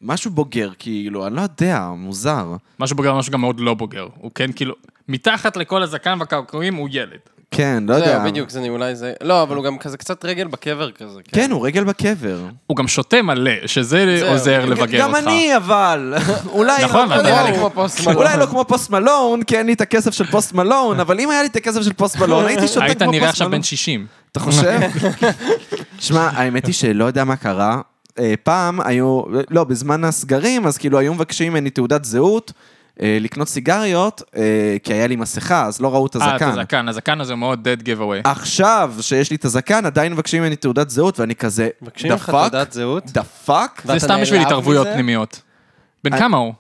[SPEAKER 2] משהו בוגר, כאילו, אני לא יודע, מוזר.
[SPEAKER 3] משהו בוגר, משהו גם מאוד לא בוגר. הוא כן כאילו, מתחת לכל הזקן והקרקורים הוא ילד.
[SPEAKER 2] כן, לא יודע.
[SPEAKER 4] זהו, בדיוק, זה אולי זה... לא, אבל הוא גם כזה קצת רגל בקבר כזה.
[SPEAKER 2] כן, הוא רגל בקבר. כן,
[SPEAKER 3] הוא גם שותה מלא, שזה
[SPEAKER 4] זהו.
[SPEAKER 3] עוזר לבגר
[SPEAKER 2] גם
[SPEAKER 3] אותך.
[SPEAKER 2] אני, אבל. אולי לא-
[SPEAKER 3] נכון,
[SPEAKER 2] לא
[SPEAKER 3] אבל
[SPEAKER 2] נראה
[SPEAKER 4] נראה
[SPEAKER 2] לי
[SPEAKER 4] לי כמו פוסט מלון.
[SPEAKER 2] אולי לא כמו פוסט מלון, כי אין לי את הכסף של פוסט מלון, אבל אם היה לי את הכסף של פוסט מלון, הייתי שותה כמו פוסט
[SPEAKER 3] היית
[SPEAKER 2] מלון.
[SPEAKER 3] נראה עכשיו בן 60.
[SPEAKER 2] אתה חושב? שמע, האמת היא שלא יודע מה קרה. אה, פעם היו, לא, בזמן הסגרים, אז כאילו היו מבקשים ממני תעודת זהות, אה, לקנות סיגריות, אה, כי היה לי מסכה, אז לא ראו את
[SPEAKER 3] אה, את
[SPEAKER 2] הזקן.
[SPEAKER 3] הזקן, הזקן הזה הוא מאוד dead
[SPEAKER 2] אה,
[SPEAKER 3] giveaway.
[SPEAKER 2] עכשיו שיש לי את הזקן, עדיין מבקשים ממני תעודת זהות, ואני כזה,
[SPEAKER 4] מבקשים
[SPEAKER 2] דה
[SPEAKER 4] לך
[SPEAKER 2] פאק,
[SPEAKER 4] תעודת זהות?
[SPEAKER 2] דה פאק?
[SPEAKER 4] ואתה
[SPEAKER 3] זה סתם בשביל
[SPEAKER 4] נעלב
[SPEAKER 3] התערבויות
[SPEAKER 4] מזה?
[SPEAKER 3] פנימיות. בן
[SPEAKER 2] אה,
[SPEAKER 3] כמה הוא?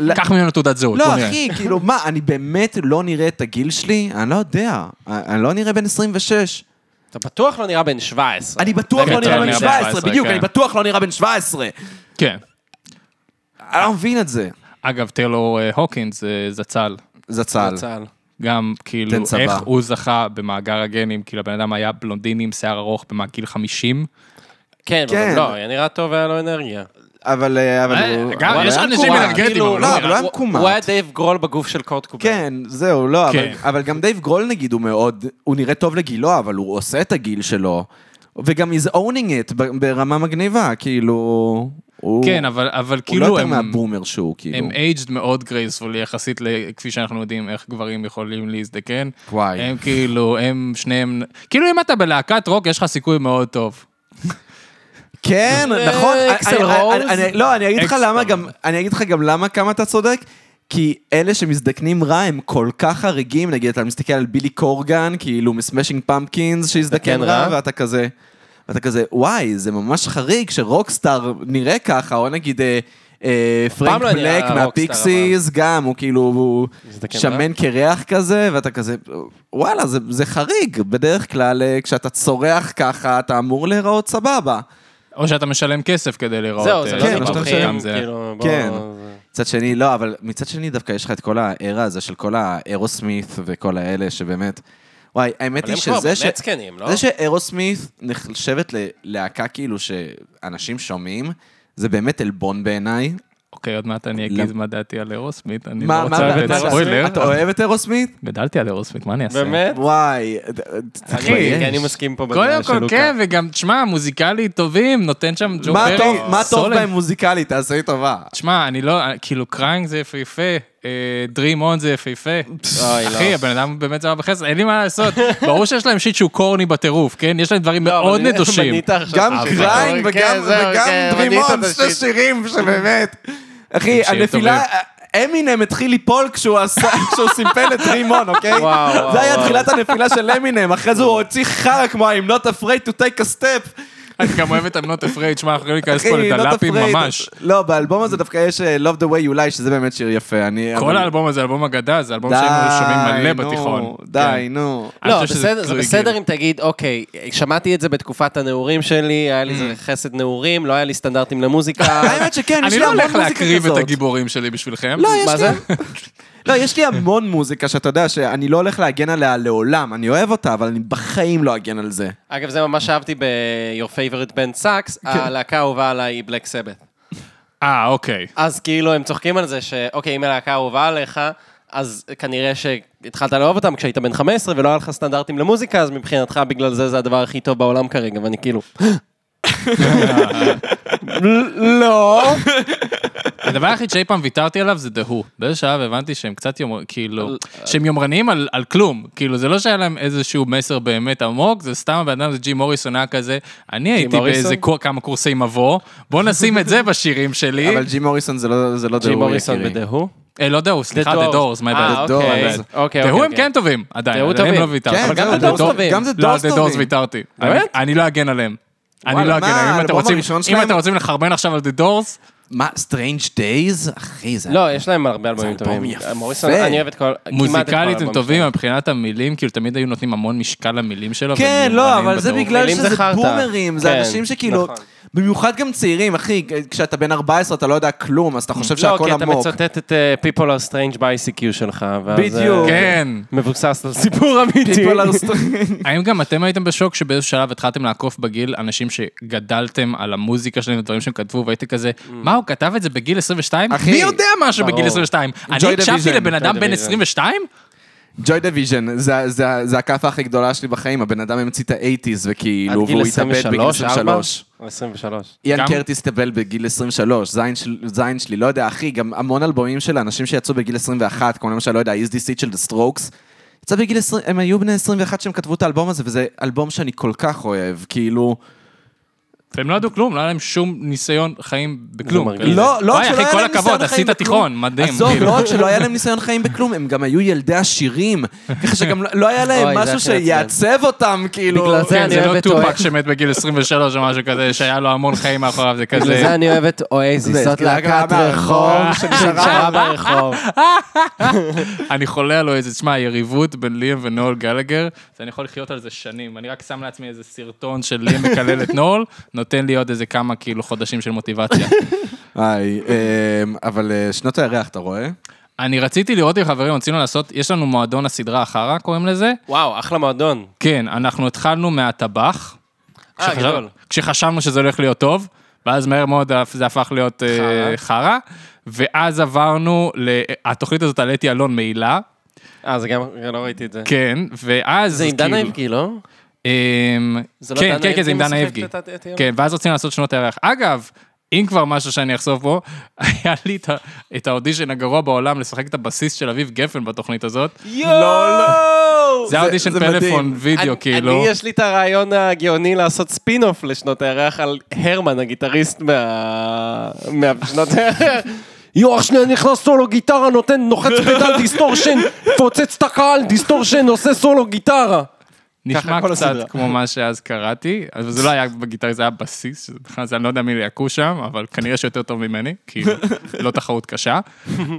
[SPEAKER 2] לא-
[SPEAKER 3] קח ממנו תעודת זהות, בוא
[SPEAKER 2] לא,
[SPEAKER 3] נראה.
[SPEAKER 2] אחי, כאילו, מה, אני באמת לא נראה את הגיל שלי? אני לא יודע. אני לא נראה בן 26.
[SPEAKER 4] אתה בטוח לא נראה בן 17.
[SPEAKER 2] אני בטוח לא
[SPEAKER 3] באמת,
[SPEAKER 2] נראה
[SPEAKER 3] אני
[SPEAKER 2] בן
[SPEAKER 3] נראה
[SPEAKER 2] 17,
[SPEAKER 3] 17,
[SPEAKER 2] בדיוק,
[SPEAKER 3] כן.
[SPEAKER 2] אני בטוח לא נראה בן 17.
[SPEAKER 3] כן.
[SPEAKER 2] אני לא מבין את זה.
[SPEAKER 3] אגב, טיילור אה, הוקינס, אה, זצ"ל.
[SPEAKER 2] זצ"ל.
[SPEAKER 4] בצה"ל.
[SPEAKER 3] גם כאילו,
[SPEAKER 2] תן צבא.
[SPEAKER 3] איך הוא זכה במאגר הגנים, כאילו הבן אדם היה בלונדיני עם שיער ארוך בגיל 50.
[SPEAKER 4] כן,
[SPEAKER 2] כן.
[SPEAKER 4] אבל לא, היה נראה טוב, היה לו אנרגיה.
[SPEAKER 2] אבל אה, אבל
[SPEAKER 3] אה,
[SPEAKER 2] הוא...
[SPEAKER 3] גם
[SPEAKER 2] אבל
[SPEAKER 3] יש
[SPEAKER 2] היה
[SPEAKER 3] אנשים
[SPEAKER 2] מקומט,
[SPEAKER 3] אנרגטיים,
[SPEAKER 2] כאילו,
[SPEAKER 3] אבל הוא
[SPEAKER 2] לא,
[SPEAKER 3] נראה-
[SPEAKER 2] אבל הוא היה מקומט.
[SPEAKER 4] הוא היה דייב גרול בגוף של קורט קובר.
[SPEAKER 2] כן, זהו, לא, אבל-
[SPEAKER 3] כן.
[SPEAKER 2] אבל גם דייב גרול נגיד הוא מאוד, הוא נראה טוב לגילו, אבל הוא עושה את הגיל שלו. וגם he's owning it ב- ברמה מגניבה, כאילו... הוא-
[SPEAKER 3] כן, אבל- אבל
[SPEAKER 2] הוא לא
[SPEAKER 3] כאילו
[SPEAKER 2] יותר
[SPEAKER 3] הם...
[SPEAKER 2] מהבומר שהוא, כאילו.
[SPEAKER 3] הם אייג'ד מאוד גרייספול יחסית לכפי שאנחנו יודעים איך גברים יכולים להזדקן.
[SPEAKER 2] וואי.
[SPEAKER 3] הם כאילו, הם שניהם, כאילו אם אתה בלהקת רוק יש לך סיכוי מאוד טוב.
[SPEAKER 2] כן,
[SPEAKER 4] אה,
[SPEAKER 2] נכון. אני-
[SPEAKER 4] אקסל
[SPEAKER 2] אני-
[SPEAKER 4] רוז?
[SPEAKER 2] אני- אני- לא, אני אגיד לך
[SPEAKER 3] אקסל.
[SPEAKER 2] למה גם, אני אגיד לך גם למה, כמה אתה צודק. כי אלה שמזדקנים רע הם כל כך חריגים, נגיד אתה מסתכל על בילי קורגן, כאילו מסמאשינג פמפקינס שהזדקן
[SPEAKER 4] הזדקן
[SPEAKER 2] רע,
[SPEAKER 4] כן רע.
[SPEAKER 2] ואתה כזה, ואתה כזה, וואי, זה ממש חריג שרוקסטאר נראה ככה, או נגיד אה, אה, פרנק
[SPEAKER 4] לא נראה
[SPEAKER 2] בלק
[SPEAKER 4] רוקסטאר,
[SPEAKER 2] מהפיקסיס, גם, הוא כאילו, הוא
[SPEAKER 4] הזדקן רע?
[SPEAKER 2] שמן קרח כזה, ואתה כזה, וואלה, זה, זה חריג, בדרך כלל אה, כשאתה צורח ככה, אתה אמור להיראות סבבה.
[SPEAKER 3] או שאתה משלם כסף כדי לראות.
[SPEAKER 4] זהו, זה
[SPEAKER 3] אה,
[SPEAKER 4] לא
[SPEAKER 2] כן,
[SPEAKER 3] סבבה,
[SPEAKER 2] שאתה
[SPEAKER 4] דיווחים,
[SPEAKER 3] גם זה.
[SPEAKER 4] כאילו, בוא...
[SPEAKER 2] כן.
[SPEAKER 4] זה-
[SPEAKER 2] מצד שני, לא, אבל מצד שני דווקא יש לך את כל הארה הזה של כל האירוסמית וכל האלה שבאמת... וואי, האמת
[SPEAKER 4] אבל
[SPEAKER 2] היא
[SPEAKER 4] הם כבר
[SPEAKER 2] שזה ש...
[SPEAKER 4] באמת זקנים, לא?
[SPEAKER 2] זה שאירוסמית נחשבת ללהקה כאילו שאנשים שומעים, זה באמת עלבון בעיניי.
[SPEAKER 3] אוקיי, עוד מעט אני
[SPEAKER 2] למ-
[SPEAKER 3] אגיד מה דעתי על אירוסמית, אני לא
[SPEAKER 2] לא. מה, מה, מה,
[SPEAKER 3] רוצה לתת
[SPEAKER 2] מה,
[SPEAKER 3] ספוילר.
[SPEAKER 2] אתה אוהב את אירוסמית?
[SPEAKER 3] גדלתי על אירוסמית, מה אני אעשה?
[SPEAKER 4] באמת?
[SPEAKER 2] וואי,
[SPEAKER 4] אחי,
[SPEAKER 2] תתבייש.
[SPEAKER 4] כן. אני מסכים פה בדעה
[SPEAKER 3] קודם
[SPEAKER 4] של
[SPEAKER 3] כל,
[SPEAKER 4] לוקה.
[SPEAKER 3] כן, וגם, תשמע, מוזיקלי טובים, נותן שם ג'ו
[SPEAKER 2] מה
[SPEAKER 3] ברי,
[SPEAKER 2] טוב- מה טוב
[SPEAKER 3] סולן.
[SPEAKER 2] בהם מוזיקלית, תעשה לי טובה.
[SPEAKER 3] תשמע, אני לא, כאילו, קריינג זה יפהפה, אה, דרים און זה יפהפה.
[SPEAKER 4] אוי, לא.
[SPEAKER 3] אחי, הבן אדם באמת זמר בחסד, אין לי מה לעשות. ברור שיש להם שיט שהוא קורני בטירוף, כן? יש להם דברים מאוד
[SPEAKER 4] לא, אבל
[SPEAKER 3] נדושים.
[SPEAKER 4] מנית עכשיו
[SPEAKER 2] גם
[SPEAKER 4] שירים.
[SPEAKER 2] קליין
[SPEAKER 10] אוקיי,
[SPEAKER 4] כן,
[SPEAKER 2] וגם
[SPEAKER 4] זהו,
[SPEAKER 2] וגם
[SPEAKER 4] כן, מנית
[SPEAKER 2] דרימון,
[SPEAKER 4] את
[SPEAKER 2] שני
[SPEAKER 4] השיט.
[SPEAKER 2] שירים שבאמת. אחי,
[SPEAKER 3] שירים
[SPEAKER 2] הנפילה, אמינם התחיל ליפול כשהוא עשה- כשהוא סימפל את רימון, אוקיי?
[SPEAKER 10] וואו, וואו,
[SPEAKER 2] זה היה
[SPEAKER 10] וואו.
[SPEAKER 2] תחילת הנפילה של אמינם, אחרי זה הוא הוציא חרא כמו I'm not afraid to take a step.
[SPEAKER 3] אני גם אוהב את I'm not afraid, שמע, אנחנו לא ניכנס
[SPEAKER 2] אחי,
[SPEAKER 3] פה
[SPEAKER 2] not
[SPEAKER 3] לדלפים
[SPEAKER 2] afraid.
[SPEAKER 3] ממש.
[SPEAKER 2] לא, באלבום הזה דווקא יש אה, Love the way you lie, שזה באמת שיר יפה. אני...
[SPEAKER 3] כל
[SPEAKER 2] אבל-
[SPEAKER 3] האלבום הזה, אלבום אגדה, זה אלבום שהיינו שומעים מלא
[SPEAKER 2] נו,
[SPEAKER 3] בתיכון.
[SPEAKER 2] די, נו.
[SPEAKER 3] כן. אני
[SPEAKER 4] לא,
[SPEAKER 3] חושב שזה
[SPEAKER 4] בסדר, זה
[SPEAKER 3] כאילו
[SPEAKER 4] בסדר
[SPEAKER 3] הגיוני.
[SPEAKER 4] אם תגיד, אוקיי, שמעתי את זה בתקופת הנעורים שלי, היה לי
[SPEAKER 3] Mm.
[SPEAKER 4] איזה חסד נעורים, לא היה לי סטנדרטים למוזיקה.
[SPEAKER 11] האמת שכן, יש
[SPEAKER 3] אני
[SPEAKER 11] לי
[SPEAKER 3] לא
[SPEAKER 11] המון
[SPEAKER 3] הולך
[SPEAKER 11] מוזיקה
[SPEAKER 3] להקריב את
[SPEAKER 11] כזאת.
[SPEAKER 3] הגיבורים שלי בשבילכם.
[SPEAKER 2] לא, יש
[SPEAKER 4] מה
[SPEAKER 2] לי...
[SPEAKER 4] זה?
[SPEAKER 2] לא, יש לי המון מוזיקה שאתה יודע שאני לא הולך להגן עליה לעולם. אני אוהב אותה, אבל אני בחיים לא אגן על זה.
[SPEAKER 4] אגב, זה ממש אהבתי ב-Your Favorite Band Sucks,
[SPEAKER 3] כן.
[SPEAKER 4] הלהקה האהובה עליי היא Black Sabbath.
[SPEAKER 3] אה, אוקיי.
[SPEAKER 4] אז כאילו, הם צוחקים על זה שאוקיי, אם הלהקה האהובה עליך, אז כנראה שהתחלת לאהוב אותם כשהיית בן 15 ולא היה לך סטנדרטים למוזיקה, אז מבחינתך בגלל זה זה הדבר הכי טוב בעולם כרגע, ואני כאילו... לא.
[SPEAKER 3] הדבר היחיד שאי פעם ויתרתי עליו זה דהו. באיזה שלב הבנתי שהם קצת יומרניים, כאילו, שהם יומרניים על, על כלום. כאילו, זה לא שהיה להם איזשהו מסר באמת עמוק, זה סתם הבן אדם, זה ג'י מוריסון היה כזה, אני הייתי
[SPEAKER 4] מוריסון?
[SPEAKER 3] באיזה קו- כמה קורסי מבוא, בוא נשים את זה בשירים שלי.
[SPEAKER 2] אבל ג'י מוריסון זה לא זה לא
[SPEAKER 4] ג'י
[SPEAKER 2] דהוי,
[SPEAKER 4] מוריסון
[SPEAKER 2] יקירי.
[SPEAKER 4] בדהו?
[SPEAKER 3] אה, לא דהו, סליחה,
[SPEAKER 4] The
[SPEAKER 3] דה דורס, מה
[SPEAKER 4] אה,
[SPEAKER 3] הבעיה?
[SPEAKER 4] אוקיי,
[SPEAKER 2] The Doors.
[SPEAKER 4] אוקיי, אוקיי.
[SPEAKER 3] דהו הם
[SPEAKER 4] אוקיי.
[SPEAKER 3] כן טובים, עדיין,
[SPEAKER 4] דהו
[SPEAKER 3] עליהם
[SPEAKER 4] טובים.
[SPEAKER 3] לא ויתרתי.
[SPEAKER 2] כן,
[SPEAKER 4] אבל גם
[SPEAKER 2] זהו,
[SPEAKER 4] The Doors
[SPEAKER 2] Doors-
[SPEAKER 4] טובים.
[SPEAKER 2] גם זה
[SPEAKER 3] לא,
[SPEAKER 2] דורס
[SPEAKER 3] דה דורס
[SPEAKER 2] טובים.
[SPEAKER 3] ויתרתי.
[SPEAKER 4] באמת?
[SPEAKER 3] אני לא אגן עליהם. אני
[SPEAKER 2] וואלה,
[SPEAKER 3] לא אגן
[SPEAKER 2] מה,
[SPEAKER 3] עליהם. אם אתם
[SPEAKER 2] האלבום
[SPEAKER 3] רוצים-
[SPEAKER 2] הראשון
[SPEAKER 3] אם
[SPEAKER 2] שלהם-
[SPEAKER 3] אתם רוצים לחרבן עכשיו על דה דורס,
[SPEAKER 2] מה, Strange Days? אחי, זה...
[SPEAKER 4] לא, יש להם הרבה אלבומים
[SPEAKER 2] אלבום
[SPEAKER 4] טובים.
[SPEAKER 2] יפה.
[SPEAKER 4] מוריסון, אני אוהב את כל... כמעט את כל
[SPEAKER 3] מוזיקלית הם
[SPEAKER 4] האלבום
[SPEAKER 3] טובים
[SPEAKER 4] שלהם.
[SPEAKER 3] מבחינת המילים, כאילו תמיד היו נותנים המון משקל למילים שלו.
[SPEAKER 2] כן,
[SPEAKER 3] והם
[SPEAKER 2] לא,
[SPEAKER 3] מיומנים
[SPEAKER 2] אבל זה
[SPEAKER 3] בטירוף.
[SPEAKER 2] בגלל
[SPEAKER 4] מילים זה
[SPEAKER 2] שזה
[SPEAKER 4] חרטא.
[SPEAKER 2] בומרים, זה
[SPEAKER 4] כן,
[SPEAKER 2] אנשים שכאילו...
[SPEAKER 4] נכון.
[SPEAKER 2] במיוחד גם צעירים, אחי, כשאתה בן 14 אתה לא יודע כלום, אז אתה חושב
[SPEAKER 4] לא,
[SPEAKER 2] שהכל
[SPEAKER 4] כי אתה
[SPEAKER 2] עמוק.
[SPEAKER 4] מצטט את אה, People are Strange ב-ICQ שלך, ואז... אה,
[SPEAKER 2] בדיוק.
[SPEAKER 3] כן.
[SPEAKER 4] מבוסס על סיפור אמיתי.
[SPEAKER 2] People are strange.
[SPEAKER 3] האם גם אתם הייתם בשוק שבאיזשהו שלב התחלתם לעקוף בגיל אנשים שגדלתם על המוזיקה שלהם ודברים שהם כתבו, והייתי כזה, מה, הוא כתב את זה בגיל 22?
[SPEAKER 2] אחי,
[SPEAKER 3] מי יודע משהו בגיל
[SPEAKER 4] ברור.
[SPEAKER 3] 22? אני
[SPEAKER 2] Joy
[SPEAKER 3] הקשבתי
[SPEAKER 2] Division,
[SPEAKER 3] לבן אדם
[SPEAKER 4] Joy
[SPEAKER 3] בן
[SPEAKER 4] Division.
[SPEAKER 3] 22?
[SPEAKER 2] ג'וי דיוויז'ן, זה- זה זה הכאפה הכי גדולה שלי בחיים, הבן אדם המציא את האייטיז
[SPEAKER 4] עד
[SPEAKER 2] וכאילו,
[SPEAKER 4] גיל
[SPEAKER 2] והוא התאבד בגיל
[SPEAKER 4] 23,
[SPEAKER 2] 23.
[SPEAKER 4] 4? 23.
[SPEAKER 2] איאן
[SPEAKER 3] גם-
[SPEAKER 2] קרטיס התאבל בגיל 23, זין של- זין שלי, לא יודע, אחי, גם המון אלבומים של אנשים שיצאו בגיל 21, כמו למשל, לא יודע, Is This It של The Strokes, יצא בגיל 20, הם היו בני 21 שהם כתבו את האלבום הזה, וזה אלבום שאני כל כך אוהב, כאילו...
[SPEAKER 3] והם לא ידעו כלום, לא היה להם שום ניסיון חיים בכלום.
[SPEAKER 4] מרגיז.
[SPEAKER 3] כזה.
[SPEAKER 2] לא, לא רק
[SPEAKER 3] וואי,
[SPEAKER 2] שלא
[SPEAKER 3] אחי,
[SPEAKER 2] היה
[SPEAKER 3] כל
[SPEAKER 2] להם ניסיון
[SPEAKER 3] הכבוד,
[SPEAKER 2] חיים
[SPEAKER 3] עשית
[SPEAKER 2] בכלום.
[SPEAKER 3] תיכון, מדהים.
[SPEAKER 2] עזוב,
[SPEAKER 3] כאילו.
[SPEAKER 2] לא רק שלא היה להם ניסיון חיים בכלום, הם גם היו ילדי עשירים. ככה שגם לא- לא היה
[SPEAKER 4] אוי,
[SPEAKER 2] להם משהו
[SPEAKER 4] זה הכי עצבן.
[SPEAKER 2] שיעצב אותם, כאילו...
[SPEAKER 4] בגלל זה
[SPEAKER 3] כן,
[SPEAKER 4] אני
[SPEAKER 3] זה
[SPEAKER 4] אוהב
[SPEAKER 3] לא
[SPEAKER 4] את אוהב.
[SPEAKER 3] טופק שמת בגיל 23 או משהו כזה, שהיה לו המון חיים מאחוריו, זה
[SPEAKER 4] בגלל זה
[SPEAKER 3] כזה.
[SPEAKER 4] אני אוהב את אואזיס,
[SPEAKER 2] זה
[SPEAKER 4] זאת
[SPEAKER 2] רק
[SPEAKER 4] להקת
[SPEAKER 2] מהרחוב
[SPEAKER 4] רחוב שנשארה ברחוב.
[SPEAKER 3] אני חולה על אוהזיס. שמע, היריבות בין ליאם ונואל גלגר, זה אני יכול לחיות על זה שנים. אני רק שם לעצמי איזה סרטון של ליאם מקלל את נואל, נותן לי עוד איזה כמה כאילו חודשים של מוטיבציה.
[SPEAKER 2] היי, אמ, אבל אה, שנות הירח, אתה רואה?
[SPEAKER 3] אני רציתי לראות עם חברים, רצינו לעשות, יש לנו מועדון הסדרה אחרה, קוראים לזה.
[SPEAKER 4] וואו, אחלה מועדון.
[SPEAKER 3] כן, אנחנו התחלנו מהטבח.
[SPEAKER 4] אה,
[SPEAKER 3] כשחשב-
[SPEAKER 4] גדול.
[SPEAKER 3] כשחשבנו שזה הולך להיות טוב, ואז מהר מאוד זה הפך להיות אה, חרא, ואז עברנו, ל- התוכנית הזאת על אתי אלון מעילה,
[SPEAKER 4] אה, זה גם, לא ראיתי את זה.
[SPEAKER 3] כן, ואז...
[SPEAKER 4] זה עם דנה
[SPEAKER 3] כאילו-
[SPEAKER 4] איבגי, לא?
[SPEAKER 3] אמ,
[SPEAKER 4] זה לא
[SPEAKER 3] כן,
[SPEAKER 4] דנה
[SPEAKER 3] כן, כן, זה עם
[SPEAKER 4] איבגי
[SPEAKER 3] דנה
[SPEAKER 4] משחקת
[SPEAKER 3] אבגי.
[SPEAKER 4] את ה- את ה-
[SPEAKER 3] כן, ואז רצינו לעשות שנות הירח. אגב, אם כבר משהו שאני אחשוף פה, היה לי את ה- את האודישן הגרוע בעולם לשחק את הבסיס של אביב גפן בתוכנית הזאת.
[SPEAKER 4] לא,
[SPEAKER 2] יואו!
[SPEAKER 3] לא, זה היה אודישן פלאפון וידאו,
[SPEAKER 4] אני-
[SPEAKER 3] כאילו.
[SPEAKER 4] אני, יש לי את הרעיון הגאוני לעשות ספין-אוף לשנות הירח על הרמן, הגיטריסט מה... מהשנות הירח. יואו, אח שנייה נכנס סולו גיטרה, נותן, נוחץ פדל דיסטורשן, פוצץ את הקהל, דיסטורשן, עושה סולו גיטרה.
[SPEAKER 3] נשמע
[SPEAKER 4] כל
[SPEAKER 3] קצת
[SPEAKER 4] הסדרה.
[SPEAKER 3] כמו מה שאז קראתי, אבל זה לא היה בגיטרי, זה היה בסיס, שזה בכלל, זה- אני לא יודע מי ליעקו שם, אבל כנראה שיותר טוב ממני, כי לא תחרות קשה.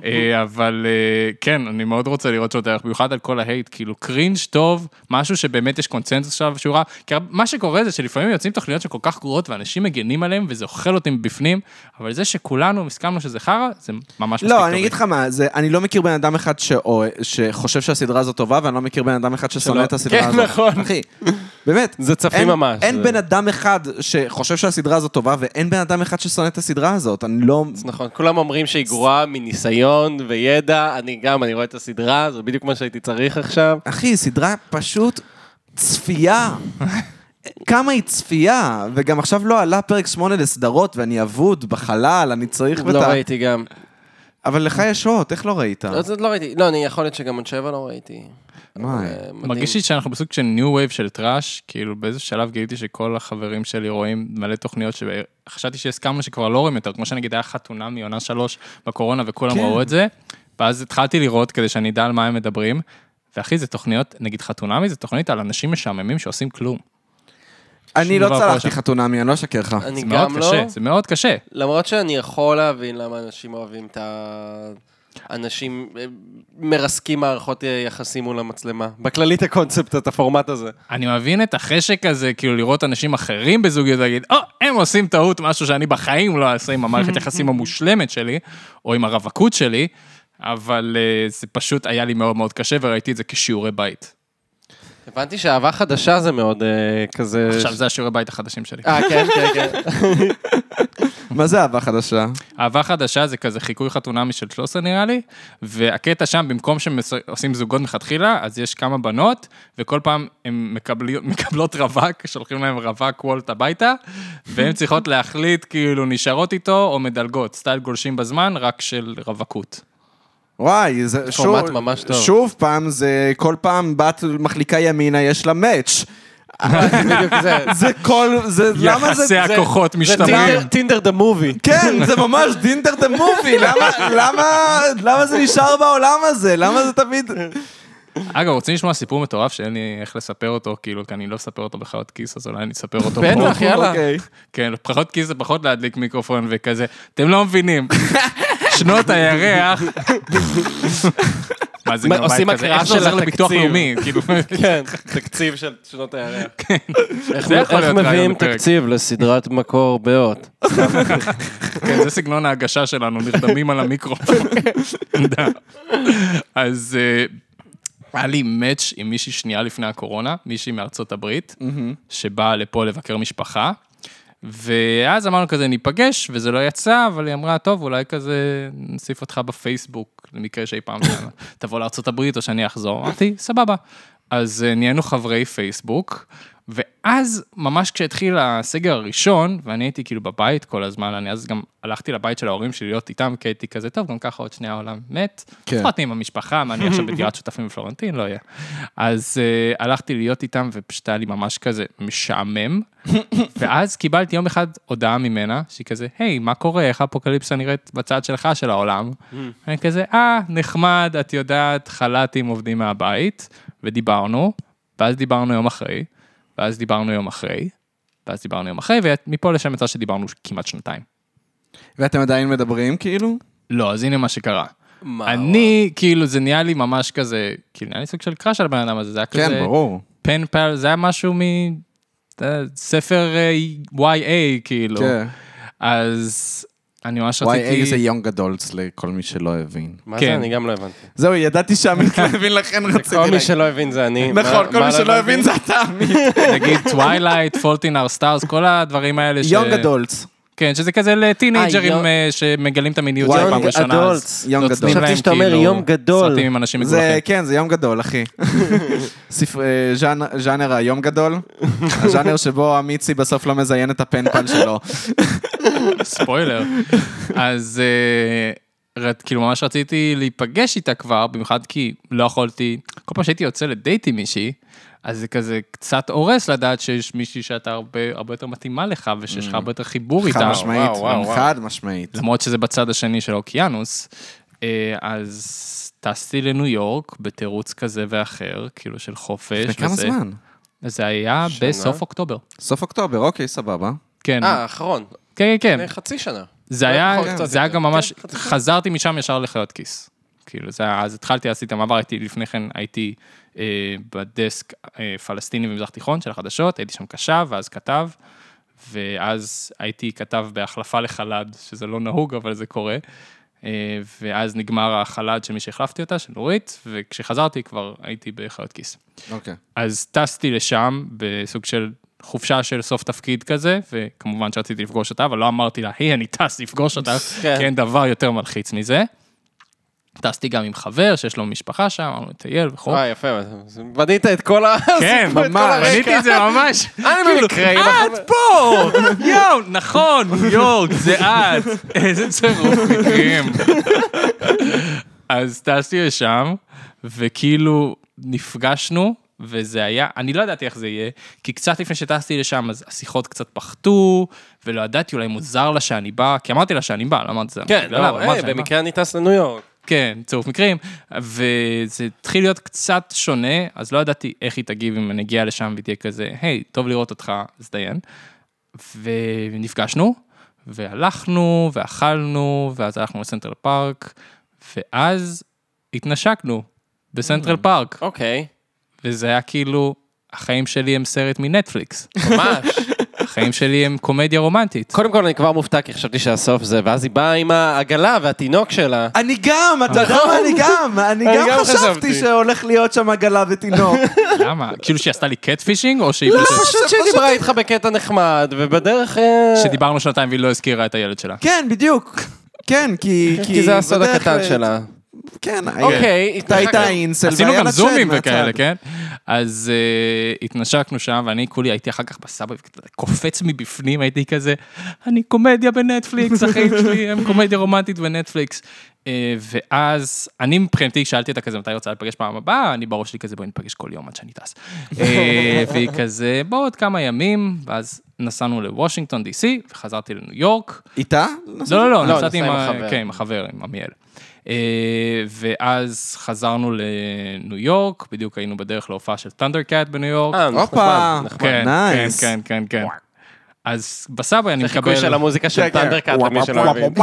[SPEAKER 3] אה, אבל אה, כן, אני מאוד רוצה לראות שעות ערך, במיוחד על כל ההייט, כאילו קרינג' טוב, משהו שבאמת יש קונצנזוס עליו שהוא רע, כי הר- מה שקורה זה שלפעמים יוצאים תוכניות שכל כך גרועות ואנשים מגנים עליהם, וזה אוכל אותי מבפנים, אבל זה שכולנו הסכמנו שזה חרא, זה ממש מספיק
[SPEAKER 2] לא,
[SPEAKER 3] טוב.
[SPEAKER 2] אני אגיד לך מה, זה- אני לא מכיר בן אדם אחד שאו- שחושב שהסדרה הזאת טובה, ואני לא מכיר בן אדם אחד ששונא את הסדרה
[SPEAKER 4] כן,
[SPEAKER 2] הזאת.
[SPEAKER 4] נכון.
[SPEAKER 2] אחי, באמת.
[SPEAKER 4] זה צפים
[SPEAKER 2] אין-
[SPEAKER 4] ממש,
[SPEAKER 2] אין
[SPEAKER 4] זה-
[SPEAKER 2] בן אדם אחד שחושב שהסדרה הזאת טובה, ואין בן אדם אחד ששונא את הסדרה הזאת. אני לא...
[SPEAKER 4] נכון, כולם אומרים שהיא גרועה מניסיון וידע, אני גם, אני רואה את הסדרה, זה בדיוק מה שהייתי צריך עכשיו.
[SPEAKER 2] אחי, סדרה פשוט צפייה. כמה היא צפייה, וגם עכשיו לא עלה פרק 8 לסדרות, ואני אבוד בחלל, אני צריך...
[SPEAKER 4] לא
[SPEAKER 2] ואת ה-
[SPEAKER 4] ראיתי גם.
[SPEAKER 12] אבל לך יש שעות, איך לא ראית?
[SPEAKER 4] לא, זה לא ראיתי. לא, אני יכול להיות שגם עוד שבע לא ראיתי.
[SPEAKER 12] וואי.
[SPEAKER 4] אה, מדהים.
[SPEAKER 3] מרגיש לי שאנחנו בסוג של ניו וייב של טראש, כאילו באיזה שלב גיליתי שכל החברים שלי רואים מלא תוכניות שחשבתי שהסכמנו שכבר לא רואים יותר, כמו שנגיד היה חתונה מעונה שלוש בקורונה וכולם
[SPEAKER 2] כן.
[SPEAKER 3] ראו את זה, ואז התחלתי לראות כדי שאני אדע על מה הם מדברים, ואחי זה תוכניות, נגיד חתונמי זה תוכנית על אנשים משעממים שעושים כלום.
[SPEAKER 12] אני
[SPEAKER 3] שום
[SPEAKER 12] לא
[SPEAKER 3] דבר פה
[SPEAKER 12] צלחתי
[SPEAKER 3] שם.
[SPEAKER 12] חתונמי, אני לא אשקר לך.
[SPEAKER 4] אני
[SPEAKER 3] זה מאוד
[SPEAKER 4] גם לא.
[SPEAKER 3] קשה, זה מאוד קשה.
[SPEAKER 4] למרות שאני יכול להבין למה אנשים אוהבים את ה... אנשים אה, מרסקים מערכות אה, יחסים מול המצלמה. בכללי את הקונספט, את הפורמט הזה.
[SPEAKER 3] אני מבין את החשק הזה, כאילו לראות אנשים אחרים בזוגיות ולהגיד, או, הם עושים טעות, משהו שאני בחיים לא אעשה עם המערכת יחסים המושלמת שלי, או עם הרווקות שלי, אבל אה, זה פשוט היה לי מאוד מאוד קשה, וראיתי את זה כשיעורי בית.
[SPEAKER 4] הבנתי שאהבה חדשה זה מאוד אה, כזה...
[SPEAKER 3] עכשיו, זה השיעורי בית החדשים שלי.
[SPEAKER 4] אה, כן, כן, כן.
[SPEAKER 12] מה זה אהבה חדשה?
[SPEAKER 3] אהבה חדשה זה כזה חיקוי חתונמי של 13 נראה לי, והקטע שם, במקום שעושים זוגות מלכתחילה, אז יש כמה בנות, וכל פעם הן מקבלי- מקבלות רווק, שולחים להן רווק וולט הביתה, והן צריכות להחליט כאילו נשארות איתו או מדלגות, סטייל גולשים בזמן, רק של רווקות.
[SPEAKER 12] וואי, זה שוב...
[SPEAKER 4] פורמט ממש טוב.
[SPEAKER 12] שוב פעם, זה כל פעם בת מחליקה ימינה, יש לה מאץ'.
[SPEAKER 4] בדיוק זה.
[SPEAKER 12] זה כל... זה... למה זה...
[SPEAKER 3] יחסי הכוחות משתמרים.
[SPEAKER 4] טינדר- טינדר דה מובי.
[SPEAKER 2] כן, זה ממש דינדר דה מובי, למה- למה- למה זה נשאר בעולם הזה? למה זה תמיד...
[SPEAKER 3] אגב, רוצים לשמוע סיפור מטורף שאין לי איך לספר אותו, כאילו, כי אני לא אספר אותו בחיות כיס, אז אולי אני אספר אותו פה.
[SPEAKER 4] בטח, יאללה.
[SPEAKER 12] אוקיי.
[SPEAKER 3] כן, פחות כי זה פחות להדליק מיקרופון וכזה. אתם לא מבינים. שנות הירח. מה זה
[SPEAKER 4] מה,
[SPEAKER 3] גם בית
[SPEAKER 4] עושים
[SPEAKER 3] כזה?
[SPEAKER 4] הקראה
[SPEAKER 3] איך זה
[SPEAKER 4] של
[SPEAKER 3] עוזר לביטוח
[SPEAKER 4] התקציב.
[SPEAKER 3] לאומי? כאילו, כן.
[SPEAKER 4] כן, תקציב של שנות הירח.
[SPEAKER 3] זה יכול
[SPEAKER 4] איך
[SPEAKER 3] להיות רעיון
[SPEAKER 4] מביאים
[SPEAKER 3] לפרק.
[SPEAKER 4] תקציב לסדרת מקור באות?
[SPEAKER 3] כן, זה סגנון ההגשה שלנו, נרדמים על המיקרופון. תודה. אז אה, היה לי מאץ' עם מישהי שנייה לפני הקורונה, מישהי מארצות הברית, שבאה לפה לבקר משפחה. ואז אמרנו כזה, ניפגש, וזה לא יצא, אבל היא אמרה, טוב, אולי כזה נוסיף אותך בפייסבוק, למקרה שאי פעם תבוא לארה"ב או שאני אחזור. אמרתי, סבבה. אז אה, נהיינו חברי פייסבוק, ואז, ממש כשהתחיל הסגר הראשון, ואני הייתי כאילו בבית כל הזמן, אני אז גם הלכתי לבית של ההורים שלי להיות איתם, כי הייתי כזה, טוב, גם ככה עוד שנייה העולם מת.
[SPEAKER 12] כן.
[SPEAKER 3] כן. לפחות עם המשפחה, מה אני עכשיו בדירת שותפים בפלורנטין, לא יהיה. אז אה, הלכתי להיות איתם, ופשוט היה לי ממש כזה משעמם. ואז קיבלתי יום אחד הודעה ממנה, שהיא כזה, היי, מה קורה, איך האפוקליפסה נראית בצד שלך של העולם? אני כזה, אה, נחמד, את יודעת, חל"תים עובדים מהבית, ודיברנו, ואז דיברנו יום אחרי, ואז דיברנו יום אחרי, ואז דיברנו יום אחרי, ומפה לשם יצא שדיברנו כמעט שנתיים.
[SPEAKER 12] ואתם עדיין מדברים, כאילו?
[SPEAKER 3] לא, אז הנה מה שקרה.
[SPEAKER 4] מה?
[SPEAKER 3] אני, כאילו, זה נהיה לי ממש כזה, כאילו, נהיה לי סוג של קראש על הבן אדם הזה, זה היה כזה...
[SPEAKER 12] כן, ברור.
[SPEAKER 3] פן פל, זה היה משהו מ... אתה יודע, ספר אה, YA,
[SPEAKER 4] לא.
[SPEAKER 3] כאילו.
[SPEAKER 12] כן.
[SPEAKER 3] אז אני ממש רציתי...
[SPEAKER 12] YA זה יונג אדולטס לכל מי שלא הבין.
[SPEAKER 4] מה
[SPEAKER 3] כן.
[SPEAKER 4] זה? אני גם לא הבנתי.
[SPEAKER 12] זהו, ידעתי שעמית לא הבין, לכן רציתי
[SPEAKER 4] כל מי
[SPEAKER 12] להגיד.
[SPEAKER 4] שלא הבין זה אני.
[SPEAKER 12] נכון,
[SPEAKER 4] מה-
[SPEAKER 12] כל
[SPEAKER 4] מה לא
[SPEAKER 12] מי שלא הבין זה אתה, עמית.
[SPEAKER 3] נגיד Twilight, Fault in Our Stars, כל הדברים האלה ש...
[SPEAKER 12] יונג אדולטס.
[SPEAKER 3] כן, שזה כזה לטינג'רים
[SPEAKER 4] אה,
[SPEAKER 3] אה, שמגלים את המיניות שלהם פעם
[SPEAKER 4] יונג
[SPEAKER 3] ראשונה. אז
[SPEAKER 4] אדולטס.
[SPEAKER 12] יום
[SPEAKER 3] נותנים
[SPEAKER 12] גדול.
[SPEAKER 3] להם
[SPEAKER 4] חשבתי שאתה אומר
[SPEAKER 3] כאילו
[SPEAKER 4] יום גדול.
[SPEAKER 3] סרטים עם אנשים
[SPEAKER 12] זה,
[SPEAKER 3] מגולחים.
[SPEAKER 12] כן, זה יום גדול, אחי. ספר- אה, ז'אנר- ז'אנר היום גדול, הז'אנר שבו המיצי בסוף לא מזיין את הפנפל שלו.
[SPEAKER 3] אוקיי, ספוילר. אז אה, רד- כאילו ממש רציתי להיפגש איתה כבר, במיוחד כי לא יכולתי, כל פעם שהייתי יוצא לדייט עם מישהי, אז זה כזה קצת הורס לדעת שיש מישהי שאתה הרבה, הרבה יותר מתאימה לך, ושיש לך הרבה יותר חיבור איתה.
[SPEAKER 12] Mm. חד משמעית,
[SPEAKER 3] וואו, וואו, וואו.
[SPEAKER 12] חד משמעית.
[SPEAKER 3] למרות שזה בצד השני של האוקיינוס. אה, אז טסתי לניו יורק בתירוץ כזה ואחר, כאילו של חופש.
[SPEAKER 12] לפני כמה
[SPEAKER 3] וזה-
[SPEAKER 12] זמן?
[SPEAKER 3] זה היה
[SPEAKER 4] שנה?
[SPEAKER 3] בסוף אוקטובר.
[SPEAKER 12] סוף אוקטובר, אוקיי, סבבה.
[SPEAKER 3] כן,
[SPEAKER 4] אה, האחרון.
[SPEAKER 3] כן, כן.
[SPEAKER 4] לפני חצי שנה.
[SPEAKER 3] זה
[SPEAKER 4] לא
[SPEAKER 3] היה,
[SPEAKER 4] יכול קצת
[SPEAKER 3] זה היה
[SPEAKER 4] יותר.
[SPEAKER 3] גם ממש,
[SPEAKER 4] כן, חצי שנה.
[SPEAKER 3] חזרתי משם ישר לחיות כיס. כאילו, זה היה, אז התחלתי, עשיתי את המעבר, הייתי, לפני כן הייתי אה, בדסק אה, פלסטיני במזרח תיכון של החדשות, הייתי שם קשב, ואז כתב, ואז הייתי כתב בהחלפה לחל"ד, שזה לא נהוג, אבל זה קורה. אה, ואז נגמר החל"ד של מי שהחלפתי אותה, של נורית, וכשחזרתי כבר הייתי בחיות כיס.
[SPEAKER 12] אוקיי.
[SPEAKER 3] אז טסתי לשם בסוג של חופשה של סוף תפקיד כזה, וכמובן שרציתי לפגוש אותה, אבל לא אמרתי לה, היי, אני טס לפגוש אותה, כי
[SPEAKER 4] כן.
[SPEAKER 3] אין דבר יותר מלחיץ מזה. טסתי גם עם חבר שיש לו משפחה שם, אמרנו לטייל וכו'.
[SPEAKER 4] וואי, אה, יפה, אז בנית את כל ה...
[SPEAKER 3] כן,
[SPEAKER 4] את כל
[SPEAKER 3] ממש,
[SPEAKER 4] הרקע.
[SPEAKER 3] בניתי את זה ממש.
[SPEAKER 4] אני כאילו במקרה... עם
[SPEAKER 3] אה,
[SPEAKER 4] החבר-
[SPEAKER 3] את פה! יואו, נכון, ניו יורק, זה את. איזה צירוף מקרים. אז טסתי לשם, וכאילו נפגשנו, וזה היה, אני לא ידעתי איך זה יהיה, כי קצת לפני שטסתי לשם, אז השיחות קצת פחתו, ולא ידעתי, אולי מוזר לה שאני בא, כי אמרתי לה שאני בא, לא אמרתי זה.
[SPEAKER 4] כן,
[SPEAKER 3] לה,
[SPEAKER 4] לא,
[SPEAKER 3] אמרתי
[SPEAKER 4] היי,
[SPEAKER 3] שאני בא.
[SPEAKER 4] במקרה אני טס לניו יורק.
[SPEAKER 3] כן, צירוף מקרים, וזה התחיל להיות קצת שונה, אז לא ידעתי איך היא תגיב אם אני אגיע לשם והיא תהיה כזה, היי, טוב לראות אותך, אז דיין. ונפגשנו, והלכנו, ואכלנו, ואז הלכנו לסנטרל פארק, ואז התנשקנו בסנטרל פארק,
[SPEAKER 4] אוקיי,
[SPEAKER 3] וזה היה כאילו, החיים שלי הם סרט מנטפליקס,
[SPEAKER 4] ממש.
[SPEAKER 3] החיים שלי הם קומדיה רומנטית.
[SPEAKER 4] קודם כל, אני כבר מופתע, כי חשבתי שהסוף זה, ואז היא באה עם העגלה והתינוק שלה.
[SPEAKER 2] אני גם, אתה יודע מה אני גם, אני
[SPEAKER 4] אני
[SPEAKER 2] גם
[SPEAKER 4] גם
[SPEAKER 2] חשבתי
[SPEAKER 4] חשבתי.
[SPEAKER 2] שהולך להיות שם עגלה ותינוק.
[SPEAKER 3] למה? כאילו שהיא עשתה לי קטפישינג, או שהיא פשוט...
[SPEAKER 4] פשוט שהיא דיברה איתך בקטע נחמד, ובדרך... אה,
[SPEAKER 3] שדיברנו שנתיים והיא לא הזכירה את הילד שלה.
[SPEAKER 2] כן, בדיוק. כן, כי...
[SPEAKER 4] כי זה הסוד
[SPEAKER 2] בדרך
[SPEAKER 4] הקטן
[SPEAKER 2] ל-
[SPEAKER 4] שלה.
[SPEAKER 2] כן, היה-
[SPEAKER 4] אוקיי,
[SPEAKER 2] אתה היית
[SPEAKER 4] התרחקנו.
[SPEAKER 2] האינסל
[SPEAKER 3] עשינו
[SPEAKER 2] והיה
[SPEAKER 3] גם
[SPEAKER 2] לה שד
[SPEAKER 3] זומים
[SPEAKER 2] מהצד.
[SPEAKER 3] וכאלה, כן? אז uh, התנשקנו שם, ואני כולי הייתי אחר כך בסבא, קופץ מבפנים, הייתי כזה, אני קומדיה בנטפליקס, החיים שלי הם קומדיה רומנטית בנטפליקס. Uh, ואז, אני מבחינתי, שאלתי אותה כזה, מתי רוצה להיפגש פעם הבאה, אני בראש שלי כזה, בואי ניפגש כל יום עד שאני טס. uh, והיא כזה, בוא עוד כמה ימים, ואז נסענו לוושינגטון די.סי, וחזרתי לניו יורק.
[SPEAKER 2] איתה?
[SPEAKER 3] לא, לא, לא,
[SPEAKER 4] לא,
[SPEAKER 3] נסעתי
[SPEAKER 4] נסע
[SPEAKER 3] עם
[SPEAKER 4] עם
[SPEAKER 3] ה-
[SPEAKER 4] החבר.
[SPEAKER 3] כן, עם החבר, עם עמיאל. אה, ואז חזרנו לניו יורק, בדיוק היינו בדרך להופעה של תנדר קאט בניו יורק.
[SPEAKER 4] אה, נחמד,
[SPEAKER 2] הופה.
[SPEAKER 4] נחמד.
[SPEAKER 3] כן, כן,
[SPEAKER 2] נייס.
[SPEAKER 3] כן, כן, כן. אז בסבא אני מקבל...
[SPEAKER 4] חיקוי של כן, המוזיקה של טנדרקאט, למי שלא מבין.